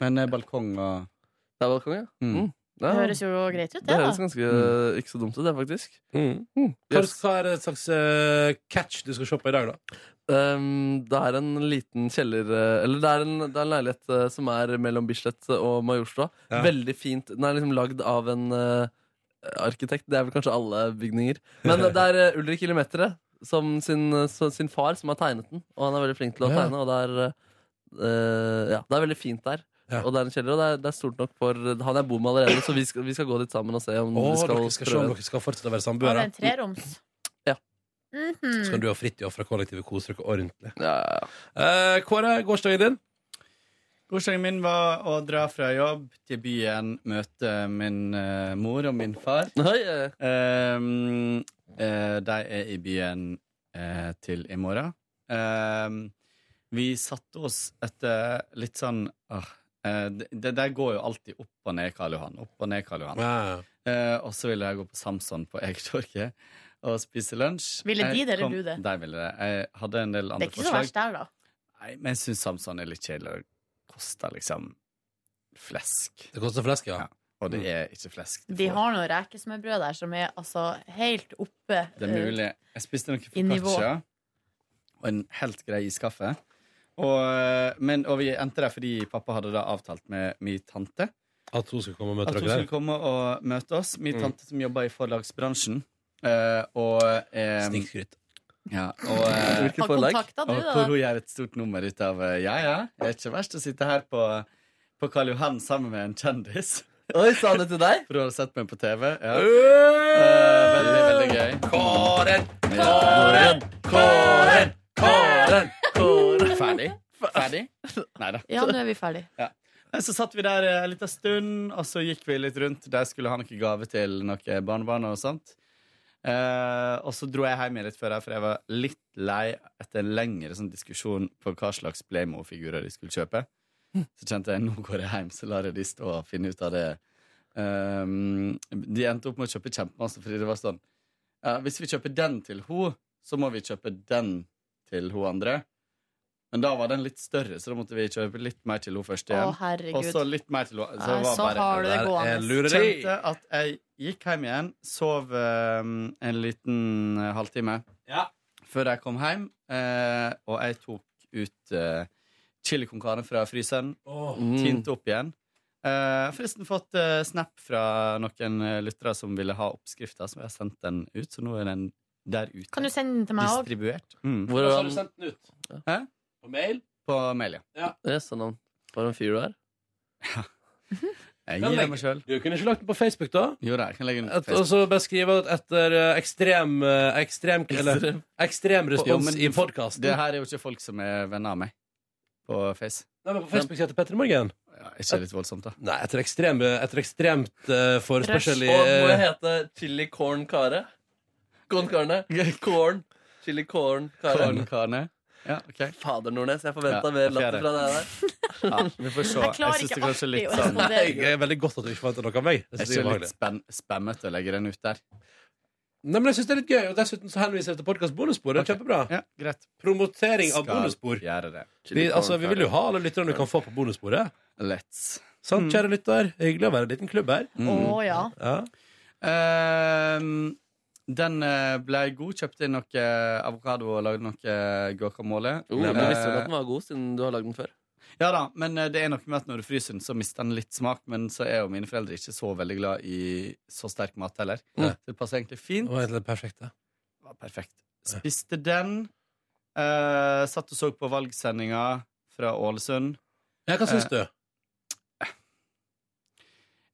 Speaker 7: Men eh, balkong og
Speaker 3: Det er balkong, ja. Mm.
Speaker 2: Det
Speaker 3: Ja.
Speaker 2: høres jo greit ut, det,
Speaker 3: Det høres
Speaker 2: da.
Speaker 3: ganske
Speaker 1: Mm.
Speaker 3: eh, ikke så dumt ut, det, faktisk.
Speaker 1: Hva, hva er det slags eh, catch du skal se på i dag, da?
Speaker 3: Um, det er en liten kjeller eh, Eller det er en, det er en leilighet eh, som er mellom Bislett og Majorstua.
Speaker 1: Ja.
Speaker 3: Veldig fint. Den er liksom lagd av en eh, arkitekt. Det er vel kanskje alle bygninger. Men eh, det er eh, Ulrik Illimetere som sin, eh, så- sin far som har tegnet den. Og han er veldig flink til å
Speaker 1: Ja.
Speaker 3: tegne, og det er, eh, ja, det er veldig fint der. Og det er en kjeller, og det er, det er stort nok for Han er bom allerede, så vi skal, vi skal gå dit sammen og se om
Speaker 1: Å,
Speaker 3: Mm, vi skal,
Speaker 1: dere skal se om dere skal fortsette å være
Speaker 2: Ja, det
Speaker 1: samboere.
Speaker 2: er en treroms.
Speaker 3: Ja.
Speaker 2: Mhm.
Speaker 1: Så kan du og Fridtjof fra kollektivet kose dere ordentlig.
Speaker 3: Ja,
Speaker 1: Kåre, gårsdagen din?
Speaker 7: Gårsdagen min var å dra fra jobb til byen, møte min eh, mor og min far. Um, eh, de er i byen eh, til i morgen. Um, vi satte oss etter litt sånn ah, eh, det, det der går jo alltid opp og ned Karl Johan. Opp og ned Karl Johan.
Speaker 1: Ja,
Speaker 7: Eh, og så ville jeg gå på Samson på Egertorget og spise lunsj.
Speaker 2: Ville de
Speaker 7: Jeg
Speaker 2: det, eller
Speaker 7: kom-
Speaker 2: du det?
Speaker 7: De ville det. Jeg hadde en del
Speaker 2: Det er
Speaker 7: andre
Speaker 2: ikke så verst
Speaker 7: forslag.
Speaker 2: der, da.
Speaker 7: Nei, men jeg syns Samson er litt kjedelig. Det koster liksom flesk.
Speaker 1: Det koster flesk, ja. Mm.
Speaker 7: Og det er ikke flesk.
Speaker 2: De har noe rekesmørbrød der som er altså helt oppe.
Speaker 7: Det er mulig. Jeg spiste noen
Speaker 2: Eh, I nivå.
Speaker 7: focaccia og en helt grei iskaffe. Og, eh, men, og vi endte der fordi pappa hadde da avtalt med min tante.
Speaker 1: At hun skulle komme og møte
Speaker 7: At hun
Speaker 1: dere der?
Speaker 7: skulle komme og møte oss. Min
Speaker 1: Mm.
Speaker 7: tante som jobber i forlagsbransjen. Eh, og eh,
Speaker 1: Snikskryt.
Speaker 7: Ja, og, eh,
Speaker 2: Hvilket Hva forlag? kontakta du,
Speaker 7: og
Speaker 2: da?
Speaker 7: hvor hun gjør et stort nummer ut av eh, Ja, ja, det er ikke verst å sitte her på, på Karl Johan sammen med en kjendis.
Speaker 3: Oi, sa han det til deg?
Speaker 7: For hun hadde sett meg på TV. Ja. Eh, veldig, veldig gøy. Kåren, Kåren, Kåren, Kåren, Kåren. Ferdig? Ferdig? Nei da.
Speaker 2: eh, Ja, nå er vi ferdig.
Speaker 7: Ja. Nei, Så satt vi der eh, en liten stund, og så gikk vi litt rundt. Der skulle ha noen gave til noen barnebarn og sånt. Eh, og så dro jeg hjem litt før her, for jeg var litt lei etter en lengre sånn, diskusjon på hva slags Playmo-figurer de skulle kjøpe. Så kjente jeg nå går jeg hjem, så lar jeg de stå og finne ut av det. Um, de endte opp med å kjøpe kjempemasse, fordi det var sånn ja, Hvis vi kjøper den til ho, så må vi kjøpe den til ho andre. Men da var den litt større, så da måtte vi kjøpe litt mer til ho først
Speaker 2: Å,
Speaker 7: igjen.
Speaker 2: herregud.
Speaker 7: og så litt mer til ho. Så,
Speaker 2: Nei,
Speaker 7: det var
Speaker 2: så
Speaker 7: bare,
Speaker 2: har du det
Speaker 7: der er
Speaker 2: gående.
Speaker 7: lureri.
Speaker 2: Kjente
Speaker 7: Kjente at jeg gikk hjem igjen, sov um, en liten eh, halvtime før jeg kom hjem, eh, og jeg tok ut eh, chili con carne fra fryseren,
Speaker 1: Åh.
Speaker 7: tinte opp igjen. Eh, forresten fått eh, snap fra noen eh, lyttere som ville ha oppskrifta, så jeg har sendt den ut, så nå er den der ute.
Speaker 2: Kan du sende den til meg òg?
Speaker 7: Distribuert. Mm.
Speaker 3: Hvor
Speaker 1: Hvordan har du sendt den ut?
Speaker 7: Hæ?
Speaker 1: På mail?
Speaker 7: På mail,
Speaker 1: ja.
Speaker 3: Ja, sånn han. For en fyr du er.
Speaker 7: Jeg
Speaker 1: Men
Speaker 7: gir
Speaker 1: legg-
Speaker 7: den meg sjøl.
Speaker 1: Du kunne ikke lagt den på Facebook, da?
Speaker 7: Jo da, jeg kan legge den ut på
Speaker 1: Et, og så beskrive at etter eh, ekstrem eh, Ekstrem, eller,
Speaker 7: Ekstrem.
Speaker 1: ekstrem
Speaker 7: Jo,
Speaker 1: respons
Speaker 7: men
Speaker 1: i podkasten.
Speaker 7: Det her er jo ikke folk som er venner av meg på Face.
Speaker 1: Nei, men på Facebook heter Petter Morgen.
Speaker 7: Ja, ikke litt voldsomt, da.
Speaker 1: Nei, etter, ekstrem, etter ekstremt uh, forespørsel i eh,
Speaker 3: Og må jeg hete Chili Corn Kare? Corn Karne? Corn. Chili Corn Kare.
Speaker 7: Corn Karne. Ja, ok.
Speaker 3: Fader, Nordnes, jeg forventa
Speaker 7: Ja,
Speaker 3: mer
Speaker 7: ok, det.
Speaker 3: latter fra deg der.
Speaker 7: Ja, vi får se.
Speaker 3: Jeg klarer
Speaker 7: synes det
Speaker 3: ikke
Speaker 7: kanskje er litt
Speaker 3: alltid å
Speaker 7: sånn-
Speaker 3: respondere.
Speaker 1: Det er veldig godt at du ikke forventer noe av meg.
Speaker 7: Det
Speaker 1: Det
Speaker 7: er
Speaker 1: synes jeg
Speaker 7: ikke
Speaker 1: var
Speaker 7: litt
Speaker 1: hyggelig.
Speaker 7: spam, spammete å legge den ut der.
Speaker 1: Nei, men jeg synes det er litt gøy, og dessuten så henviser jeg til podkast bonusspor. Det er kjempebra. Promotering av bonusspor.
Speaker 7: Gjøre det.
Speaker 1: Vi, altså, vi vil jo ha alle lytterne du kan få på bonussporet.
Speaker 7: Let's.
Speaker 1: Sant, kjære lytter? Hyggelig å være en liten klubb her.
Speaker 3: Mm.
Speaker 7: Mm.
Speaker 2: Å, ja.
Speaker 1: Ja.
Speaker 7: Ehm, den eh, ble god. Kjøpte inn noe eh, avokado og lagde noe eh, guacamole. Eh,
Speaker 3: Oh, men jeg visste vel at den var god, siden du har lagd den før.
Speaker 7: Ja da, men eh, det er noe med at når du fryser den, så mister den litt smak. Men så er jo mine foreldre ikke så veldig glad i så sterk mat heller.
Speaker 3: Mm.
Speaker 1: Nei.
Speaker 7: Så det passer egentlig fint.
Speaker 1: Det var egentlig perfekt, det.
Speaker 7: Det var perfekt. Spiste den. eh, satt og så på valgsendinga fra Ålesund. Eh,
Speaker 1: Ja, hva syns du?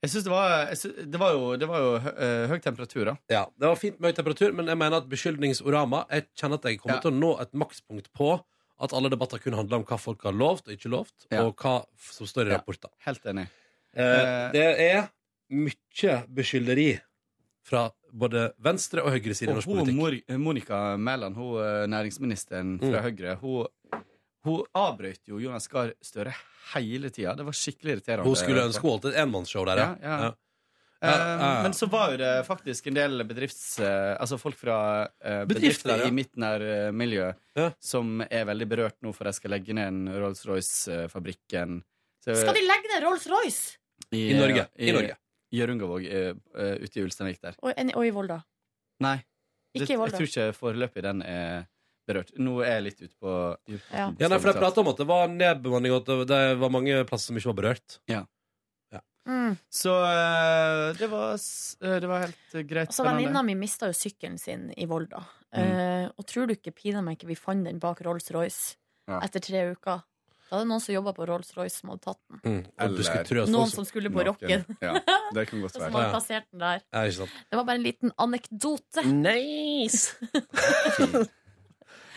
Speaker 7: Jeg synes det, var, jeg sy- det var jo, det var jo hø, eh, høy temperatur, da.
Speaker 1: Ja, det var fint med høy temperatur, men jeg mener at beskyldningsorama Jeg kjenner at jeg kommer til å nå et makspunkt på at alle debatter kun handler om hva folk har lovt og ikke lovt, og hva f- som står i rapporter.
Speaker 7: Helt enig.
Speaker 1: Eh, det er mye beskylderi fra både venstre- og høyresiden i
Speaker 7: Og
Speaker 1: norsk
Speaker 7: hun,
Speaker 1: politikk.
Speaker 7: Mor eh, Monica Mæland, hun eh, næringsministeren fra
Speaker 1: Mm.
Speaker 7: Høyre, hun, hun avbrøt jo Jonas Gahr Støre hele tida. Det var skikkelig irriterende.
Speaker 1: Hun skulle ønske hun holdt et enmannsshow der,
Speaker 7: Ja, ja. Eh,
Speaker 1: ja, ja.
Speaker 7: Men så var jo det faktisk en del bedrifts... eh, altså folk fra eh,
Speaker 1: Bedrifter,
Speaker 7: bedrifter
Speaker 1: ja.
Speaker 7: i mitt nærmiljø som er veldig berørt nå, for de skal legge ned en Rolls-Royce-fabrikken.
Speaker 2: Skal de legge ned Rolls-Royce?
Speaker 1: I Norge. I
Speaker 7: I
Speaker 1: Norge.
Speaker 7: Gjørungavåg, eh, eh, ute i Ulsteinvik der.
Speaker 2: Og, en- og i Volda.
Speaker 7: Nei.
Speaker 2: Ikke i
Speaker 7: det, jeg
Speaker 2: Volda.
Speaker 7: tror ikke foreløpig den er berørt. Nå er jeg litt ute på
Speaker 1: Ja,
Speaker 2: Ja.
Speaker 1: nei, for jeg pratet om at det var nedbemanning, og at det var mange plasser som ikke var berørt.
Speaker 7: Ja.
Speaker 2: Mm.
Speaker 7: Så eh, det, var, s- eh, det var helt eh, greit.
Speaker 2: Altså,
Speaker 7: spennende.
Speaker 2: Venninna mi mista jo sykkelen sin i Volda.
Speaker 7: Mm.
Speaker 2: Eh, og tror du ikke pinadø meg ikke vi fant den bak Rolls-Royce
Speaker 7: Ja.
Speaker 2: etter tre uker? Da er det noen som jobba på Rolls-Royce som hadde tatt den.
Speaker 1: Og du skulle tro at folk
Speaker 2: Noen som skulle på
Speaker 1: Naken.
Speaker 2: rocken.
Speaker 7: Mm. Ja, det kan godt
Speaker 2: Som
Speaker 1: være.
Speaker 2: hadde
Speaker 1: Ja.
Speaker 2: plassert den der.
Speaker 1: Ja, ikke sant.
Speaker 2: Det var bare en liten anekdote.
Speaker 3: Nice!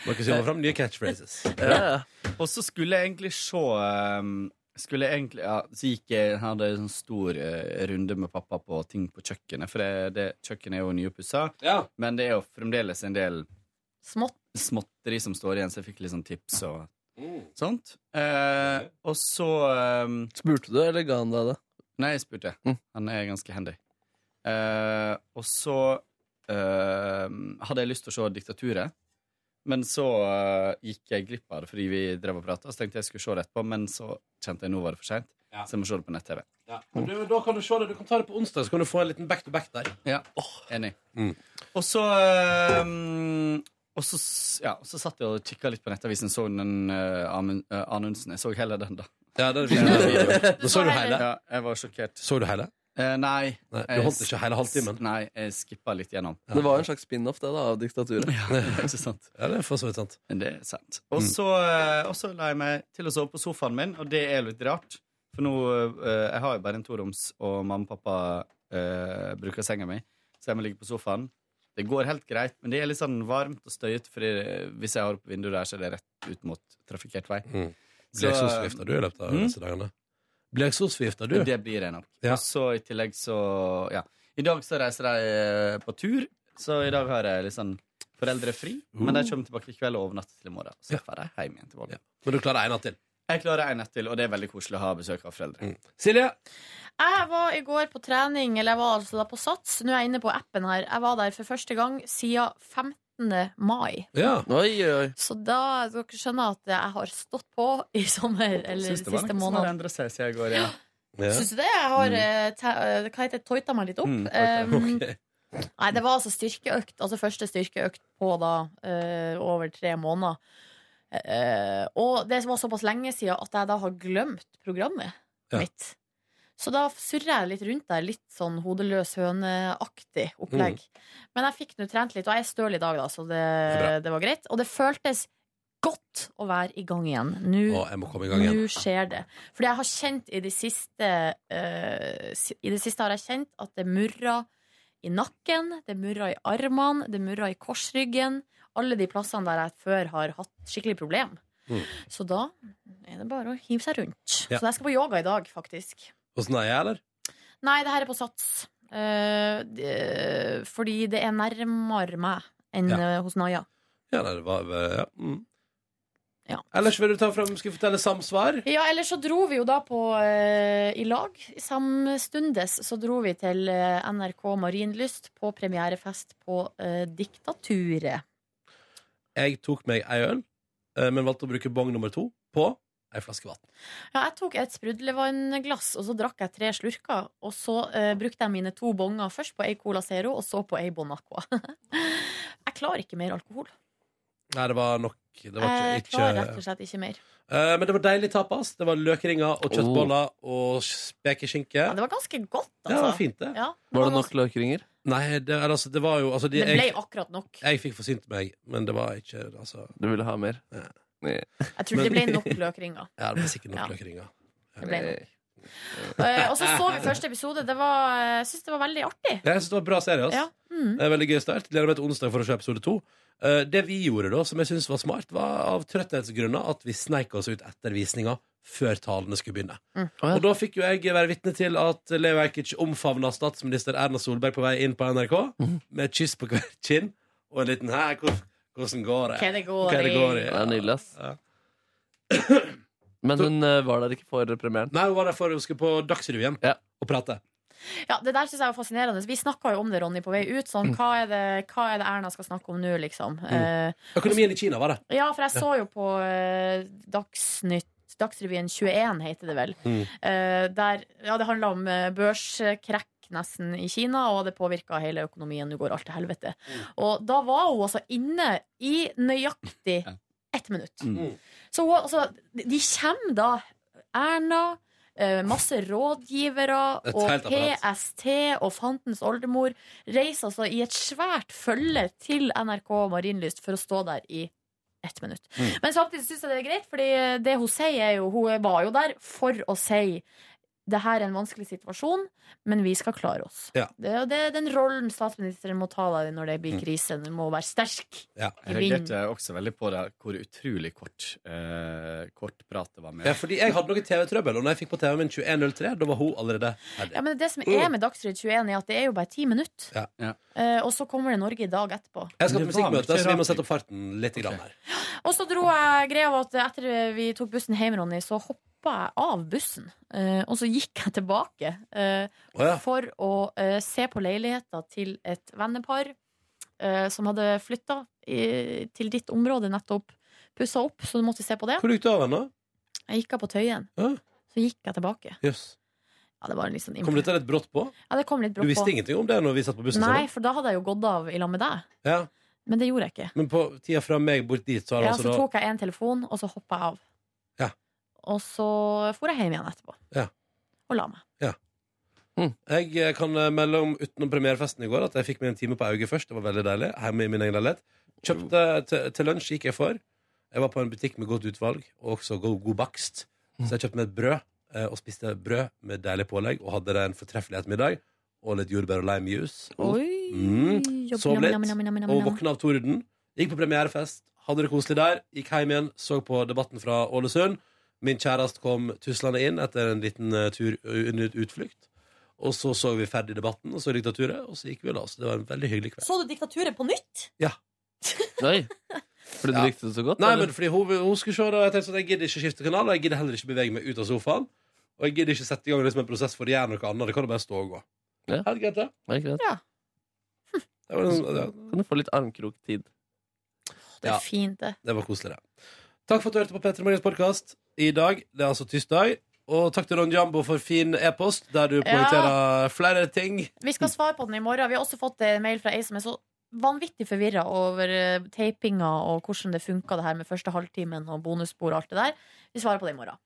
Speaker 1: Dere skal få fram nye catchphrases.
Speaker 7: Og så skulle jeg egentlig se um, skulle egentlig, ja, så gikk jeg, jeg hadde en sånn stor eh, runde med pappa på ting på kjøkkenet. For det, det, kjøkkenet er jo nyoppussa, men det er jo fremdeles en del
Speaker 2: Smått.
Speaker 7: småtteri som står igjen, så jeg fikk litt sånn tips og sånt. Eh, og så ehm,
Speaker 3: Spurte du, eller ga han deg det? Mm.
Speaker 7: Nei, jeg spurte. Han er ganske handy. Eh, og så eh, hadde jeg lyst til å se Diktaturet. Men så eh, gikk jeg glipp av det fordi vi drev og prata. Så tenkte jeg jeg skulle se det etterpå, men så kjente jeg nå var det for seint.
Speaker 1: Ja.
Speaker 7: Så jeg må se det på nett-TV.
Speaker 1: Ja. Men du, da kan du se det. Du kan ta det på onsdag, så kan du få en liten back to back der.
Speaker 7: Ja, enig.
Speaker 1: Mm.
Speaker 7: Og så eh, og så, s- ja, så satt jeg og kikka litt på Nettavisen. Så den eh, Amund- eh, Anundsen. Jeg så heller den, da.
Speaker 1: Ja, det er fint. Da så du hele?
Speaker 7: Ja, jeg var sjokkert.
Speaker 1: Så du hele?
Speaker 7: Eh, nei.
Speaker 1: Nei, du
Speaker 7: Jeg
Speaker 1: holdt ikke hele halvtimen?
Speaker 7: s- Nei, jeg skippa litt gjennom.
Speaker 3: Det var jo en slags spin-off det da, av diktaturet.
Speaker 7: ikke sant.
Speaker 1: Ja, det er for så vidt sant.
Speaker 7: Det er sant. Og så, eh, og så la jeg meg til å sove på sofaen min, og det er litt rart. For nå eh, Jeg har jo bare en toroms, og mamma og pappa eh, bruker senga mi. Så jeg må ligge på sofaen. Det går helt greit, men det er litt sånn varmt og støyete, for hvis jeg har opp vinduet der, så er det rett ut mot trafikkert vei.
Speaker 1: Mm. Blir eksosforgifta du i løpet av disse dagene? Blir eksosforgifta du?
Speaker 7: Det blir jeg nok. Og så i tillegg så Ja. I dag så reiser jeg eh, på tur, så i dag har jeg litt sånn foreldrefri. Men
Speaker 1: Oh.
Speaker 7: de kommer tilbake i kveld og overnatter til i morgen. Så drar jeg hjem igjen til Volda.
Speaker 1: Men du klarer en natt til? Mm.
Speaker 7: Jeg klarer en natt til, og det er veldig koselig å ha besøk av foreldre.
Speaker 1: Silje?
Speaker 2: Jeg var i går på trening, eller jeg var altså da på Sats. Nå er jeg inne på appen her. Jeg var der for første gang siden 15. mai.
Speaker 1: Ja.
Speaker 3: Oi, oi.
Speaker 2: Så da skal dere skjønne at jeg har stått på i sommer, eller
Speaker 7: Syns det var
Speaker 2: siste
Speaker 7: noe som hadde
Speaker 2: måned.
Speaker 7: endret seg siden jeg går, ja.
Speaker 2: Syns du det? Jeg har
Speaker 1: Mm.
Speaker 2: eh, te- eh, hva heter det, tøyta meg litt opp.
Speaker 7: Mm,
Speaker 2: Um, Nei, det var altså styrkeøkt. Altså første styrkeøkt på da eh, over tre måneder. Eh, og det var såpass lenge siden at jeg da har glemt programmet
Speaker 1: Ja.
Speaker 2: mitt. Så da surrer jeg litt rundt der, litt sånn hodeløs høneaktig opplegg. Men jeg fikk nå trent litt, og jeg er støl i dag, da, så det, det, var greit. Og det føltes godt å være i gang igjen. Nå,
Speaker 1: Å, jeg må komme i gang igjen.
Speaker 2: nå skjer det. Fordi jeg har kjent i det siste eh, si- I det siste har jeg kjent at det murrer i nakken, det murrer i armene, det murrer i korsryggen. Alle de plassene der jeg før har hatt skikkelig problem.
Speaker 1: Mm.
Speaker 2: Så da er det bare å hive seg rundt.
Speaker 1: Ja.
Speaker 2: Så jeg skal på yoga i dag, faktisk.
Speaker 1: Åssen er jeg, eller?
Speaker 2: Nei, det her er på sats. Eh, det- fordi det er nærmere meg enn eh, hos Naya.
Speaker 1: Ja, nei, det var Ja. Mm.
Speaker 2: Ja.
Speaker 1: Ellers vil du ta fram Skal vi fortelle samsvar?
Speaker 2: Ja, ellers så dro vi jo da på eh, i lag. Samstundes så dro vi til eh, NRK Marienlyst på premierefest på eh, Diktaturet.
Speaker 1: Jeg tok meg ei øl, eh, men valgte å bruke bong nummer to på ei flaske vann.
Speaker 2: Ja, jeg tok et sprudlevannglass, og så drakk jeg tre slurker. Og så eh, brukte jeg mine to bonger først på ei Cola Zero, og så på ei Bon Aqua. jeg klarer ikke mer alkohol.
Speaker 1: Nei, det var nok. Det var
Speaker 2: Jeg
Speaker 1: ikke,
Speaker 2: klarer Eh, rett
Speaker 1: ikke
Speaker 2: og slett ikke mer.
Speaker 1: Eh, Men det var deilig tapas. Det var løkringer og kjøttboller og spekeskinke.
Speaker 2: Det var ganske godt,
Speaker 1: Ja,
Speaker 2: altså.
Speaker 1: det var fint, det.
Speaker 2: Ja.
Speaker 1: Var det nok løkringer? Nei, det, eller, altså, det var jo altså, de,
Speaker 2: Det ble
Speaker 1: jeg,
Speaker 2: akkurat nok.
Speaker 1: jeg fikk forsynt meg, men det var ikke altså,
Speaker 3: Du ville ha mer?
Speaker 2: Jeg tror det ble nok løkringer.
Speaker 1: Ja, det ble sikkert nok
Speaker 2: Ja.
Speaker 1: løkringer.
Speaker 2: Det ble nok. Eh, og så så vi første episode. Det var, jeg syns det var veldig artig.
Speaker 1: Jeg synes det var en bra serie. ass.
Speaker 2: Ja. Mm.
Speaker 1: Det er en Veldig gøy start. Gleder meg til onsdag for å se episode to. Eh, Det vi gjorde da, som jeg synes var smart, var av trøtthetsgrunner at vi sneik oss ut etter visninga før talene skulle begynne. Og da fikk jo jeg være vitne til at Leo Ajkic omfavna statsminister Erna Solberg på vei inn på NRK
Speaker 3: Mhm.
Speaker 1: med et kyss på hvert kinn og en liten Hei, hvor- hvordan går det?
Speaker 2: Hva det går
Speaker 1: Hva det
Speaker 2: i?
Speaker 1: går i?
Speaker 3: Det er nydelig, ass. Men hun eh, var der ikke for premieren?
Speaker 1: Nei, hun var der for hun skulle på Dagsrevyen og prate.
Speaker 2: Ja, Det der syns jeg var fascinerende. Vi snakka jo om det, Ronny, på vei ut. Sånn, hva, er det, hva er det Erna skal snakke om nå, liksom?
Speaker 1: Mm.
Speaker 2: Eh,
Speaker 1: Økonomien i Kina var det.
Speaker 2: ja, for jeg så jo på eh, Dagsnytt Dagsrevyen 21, heter det vel. Eh, der, ja, det handla om eh, børskrekk nesten i Kina, og det påvirka hele økonomien. Nå går alt til helvete.
Speaker 1: Mm.
Speaker 2: Og da var hun altså inne i nøyaktig ett minutt.
Speaker 7: Mm.
Speaker 2: Så hun, altså, de kommer da Erna, eh, masse rådgivere
Speaker 13: Et
Speaker 2: og
Speaker 13: helt apparat.
Speaker 2: PST og fantens oldemor reiser altså i et svært følge til NRK Marienlyst for å stå der i ett minutt.
Speaker 13: Mm.
Speaker 2: Men samtidig syns jeg det er greit, Fordi det hun sier, er jo Hun var jo der for å si det her er en vanskelig situasjon, men vi skal klare oss.
Speaker 1: Ja.
Speaker 2: Det, er- det er den rollen statsministeren må ta da når det
Speaker 13: Mm.
Speaker 2: blir krise. Du må være sterk. I
Speaker 7: Jeg
Speaker 2: vinden.
Speaker 7: reagerte også veldig på det, hvor utrolig kort, eh, kort prat det var med.
Speaker 1: Ja, fordi jeg hadde noe TV-trøbbel, og når jeg fikk på TV-en min 21.03, da var hun allerede ferdig.
Speaker 2: Ja, men det som
Speaker 13: Oh.
Speaker 2: er med Dagsrevy 21, er at det er jo bare ti minutter.
Speaker 1: Ja.
Speaker 2: Eh, og så kommer det Norge i dag etterpå.
Speaker 1: Jeg skal
Speaker 7: Det
Speaker 1: på
Speaker 7: var
Speaker 1: musikkmøte,
Speaker 7: mye
Speaker 1: så vi må
Speaker 7: rart.
Speaker 1: sette opp farten litt grann her.
Speaker 2: Og så dro jeg greia av at etter vi tok bussen hjem, Ronny, så hoppa jeg av bussen. Eh, og så gikk jeg tilbake eh,
Speaker 1: Å ja.
Speaker 2: for å eh, se på leiligheta til et vennepar eh, som hadde flytta til ditt område nettopp. Pussa opp, så du måtte se på det.
Speaker 1: Hvor gikk du av henne?
Speaker 2: Jeg gikk av på Tøyen. Så gikk jeg tilbake.
Speaker 1: Jøss.
Speaker 2: Ja, det var en litt sånn
Speaker 1: Kom dette litt brått på?
Speaker 2: Ja, det kom litt
Speaker 1: Du
Speaker 2: brått
Speaker 1: visste ingenting om det når vi satt på bussen?
Speaker 2: Nei,
Speaker 1: sammen?
Speaker 2: for da hadde jeg jo gått av i lag med deg.
Speaker 1: Ja.
Speaker 2: Men det gjorde jeg ikke.
Speaker 1: Men på tida fra meg bort dit, så har
Speaker 2: Ja,
Speaker 1: altså
Speaker 2: så
Speaker 1: da
Speaker 2: tok jeg en telefon, og så hoppa jeg av.
Speaker 1: Ja.
Speaker 2: Og så for jeg hjem igjen etterpå.
Speaker 1: Ja.
Speaker 2: Og la meg.
Speaker 1: Jeg eh, kan eh, melde om utenom premierefesten i går at jeg fikk meg en time på Auge først. Det var veldig deilig. Hjemme i min egen leilighet. Kjøpte til, til lunsj gikk jeg for. Jeg var på en butikk med godt utvalg og også god, god bakst. Så jeg kjøpte meg et brød eh, og spiste brød med deilig pålegg og hadde det en fortreffelig ettermiddag. Og litt jordbær og limejuice. Og-
Speaker 2: Oi.
Speaker 1: Mm.
Speaker 2: Jobb,
Speaker 1: Sov
Speaker 2: nam,
Speaker 1: litt.
Speaker 2: nam, nam, nam, nam,
Speaker 1: Og
Speaker 2: nam.
Speaker 1: våkna av torden. Gikk på premierefest. Hadde det koselig der. Gikk hjem igjen, så på Debatten fra Ålesund. Min kjæreste kom tuslende inn etter en liten eh, tur under utflukt. Og så så vi ferdig Debatten, og så Diktaturet, og så gikk vi og la oss. Det var en veldig hyggelig kveld.
Speaker 2: Så du Diktaturet på nytt?
Speaker 1: Ja.
Speaker 3: Fordi du likte det så godt?
Speaker 1: Nei,
Speaker 3: eller?
Speaker 1: men fordi hun, hun skulle se det, og jeg tenkte sånn, jeg gidder ikke skifte kanal, og jeg gidder heller ikke bevege meg ut av sofaen. Og jeg gidder ikke sette i gang liksom en prosess for å gjøre noe annet. Det kan jo bare stå og gå.
Speaker 3: Ja.
Speaker 1: Helt greit, det.
Speaker 3: Er det ikke det?
Speaker 1: Det var liksom, ja.
Speaker 3: Kan du få litt armkroktid?
Speaker 2: Det er fint, det.
Speaker 1: Det var koselig, det. Takk for at du hørte på Petter Morgens podkast i dag. Det er altså tirsdag. Og takk til Ron Jambo for fin e-post, der du poengterer flere ting.
Speaker 2: Vi skal
Speaker 1: Mm.
Speaker 2: svare på den i morgen. Vi har også fått en mail fra ei som er så vanvittig forvirra over eh, tapinga og hvordan det funka, det her med første halvtimen og bonusspor og alt det der. Vi svarer på det i morgen.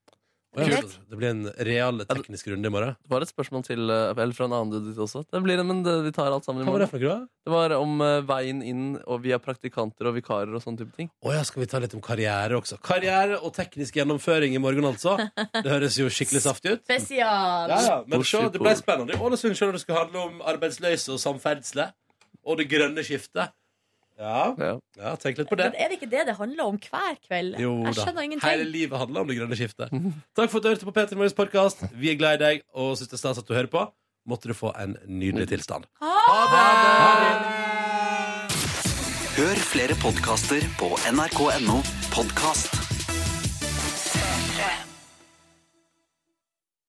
Speaker 2: Greit.
Speaker 1: Det blir en real teknisk runde i morgen.
Speaker 3: Det var et spørsmål til, eh, eller fra en annen dude ditt også. Det blir en, men det, vi tar alt sammen i
Speaker 1: Hva var det
Speaker 3: morgen.
Speaker 1: for noe? da?
Speaker 3: Det var om eh, veien inn og via praktikanter og vikarer og sånne type ting.
Speaker 1: Å ja, skal vi ta litt om karriere også? Karriere og teknisk gjennomføring i morgen, altså. Det høres jo skikkelig saftig ut.
Speaker 2: Spesial!
Speaker 1: Ja, ja. Men se, det ble spennende. I Ålesund skjønner det skulle handle om arbeidsløse og samferdsle. Og det grønne skiftet. Ja, ja tenk litt på det.
Speaker 2: Men er det ikke det det handler om hver kveld?
Speaker 1: Jo
Speaker 2: jeg
Speaker 1: da.
Speaker 2: skjønner ingenting.
Speaker 1: Hele livet handler om det grønne skiftet. Takk for at du hørte på Peter Morgens podkast. Vi er glad i deg og syns det er stas at du hører på. Måtte du få en nydelig tilstand.
Speaker 4: Hør flere podkaster på nrk.no podkast.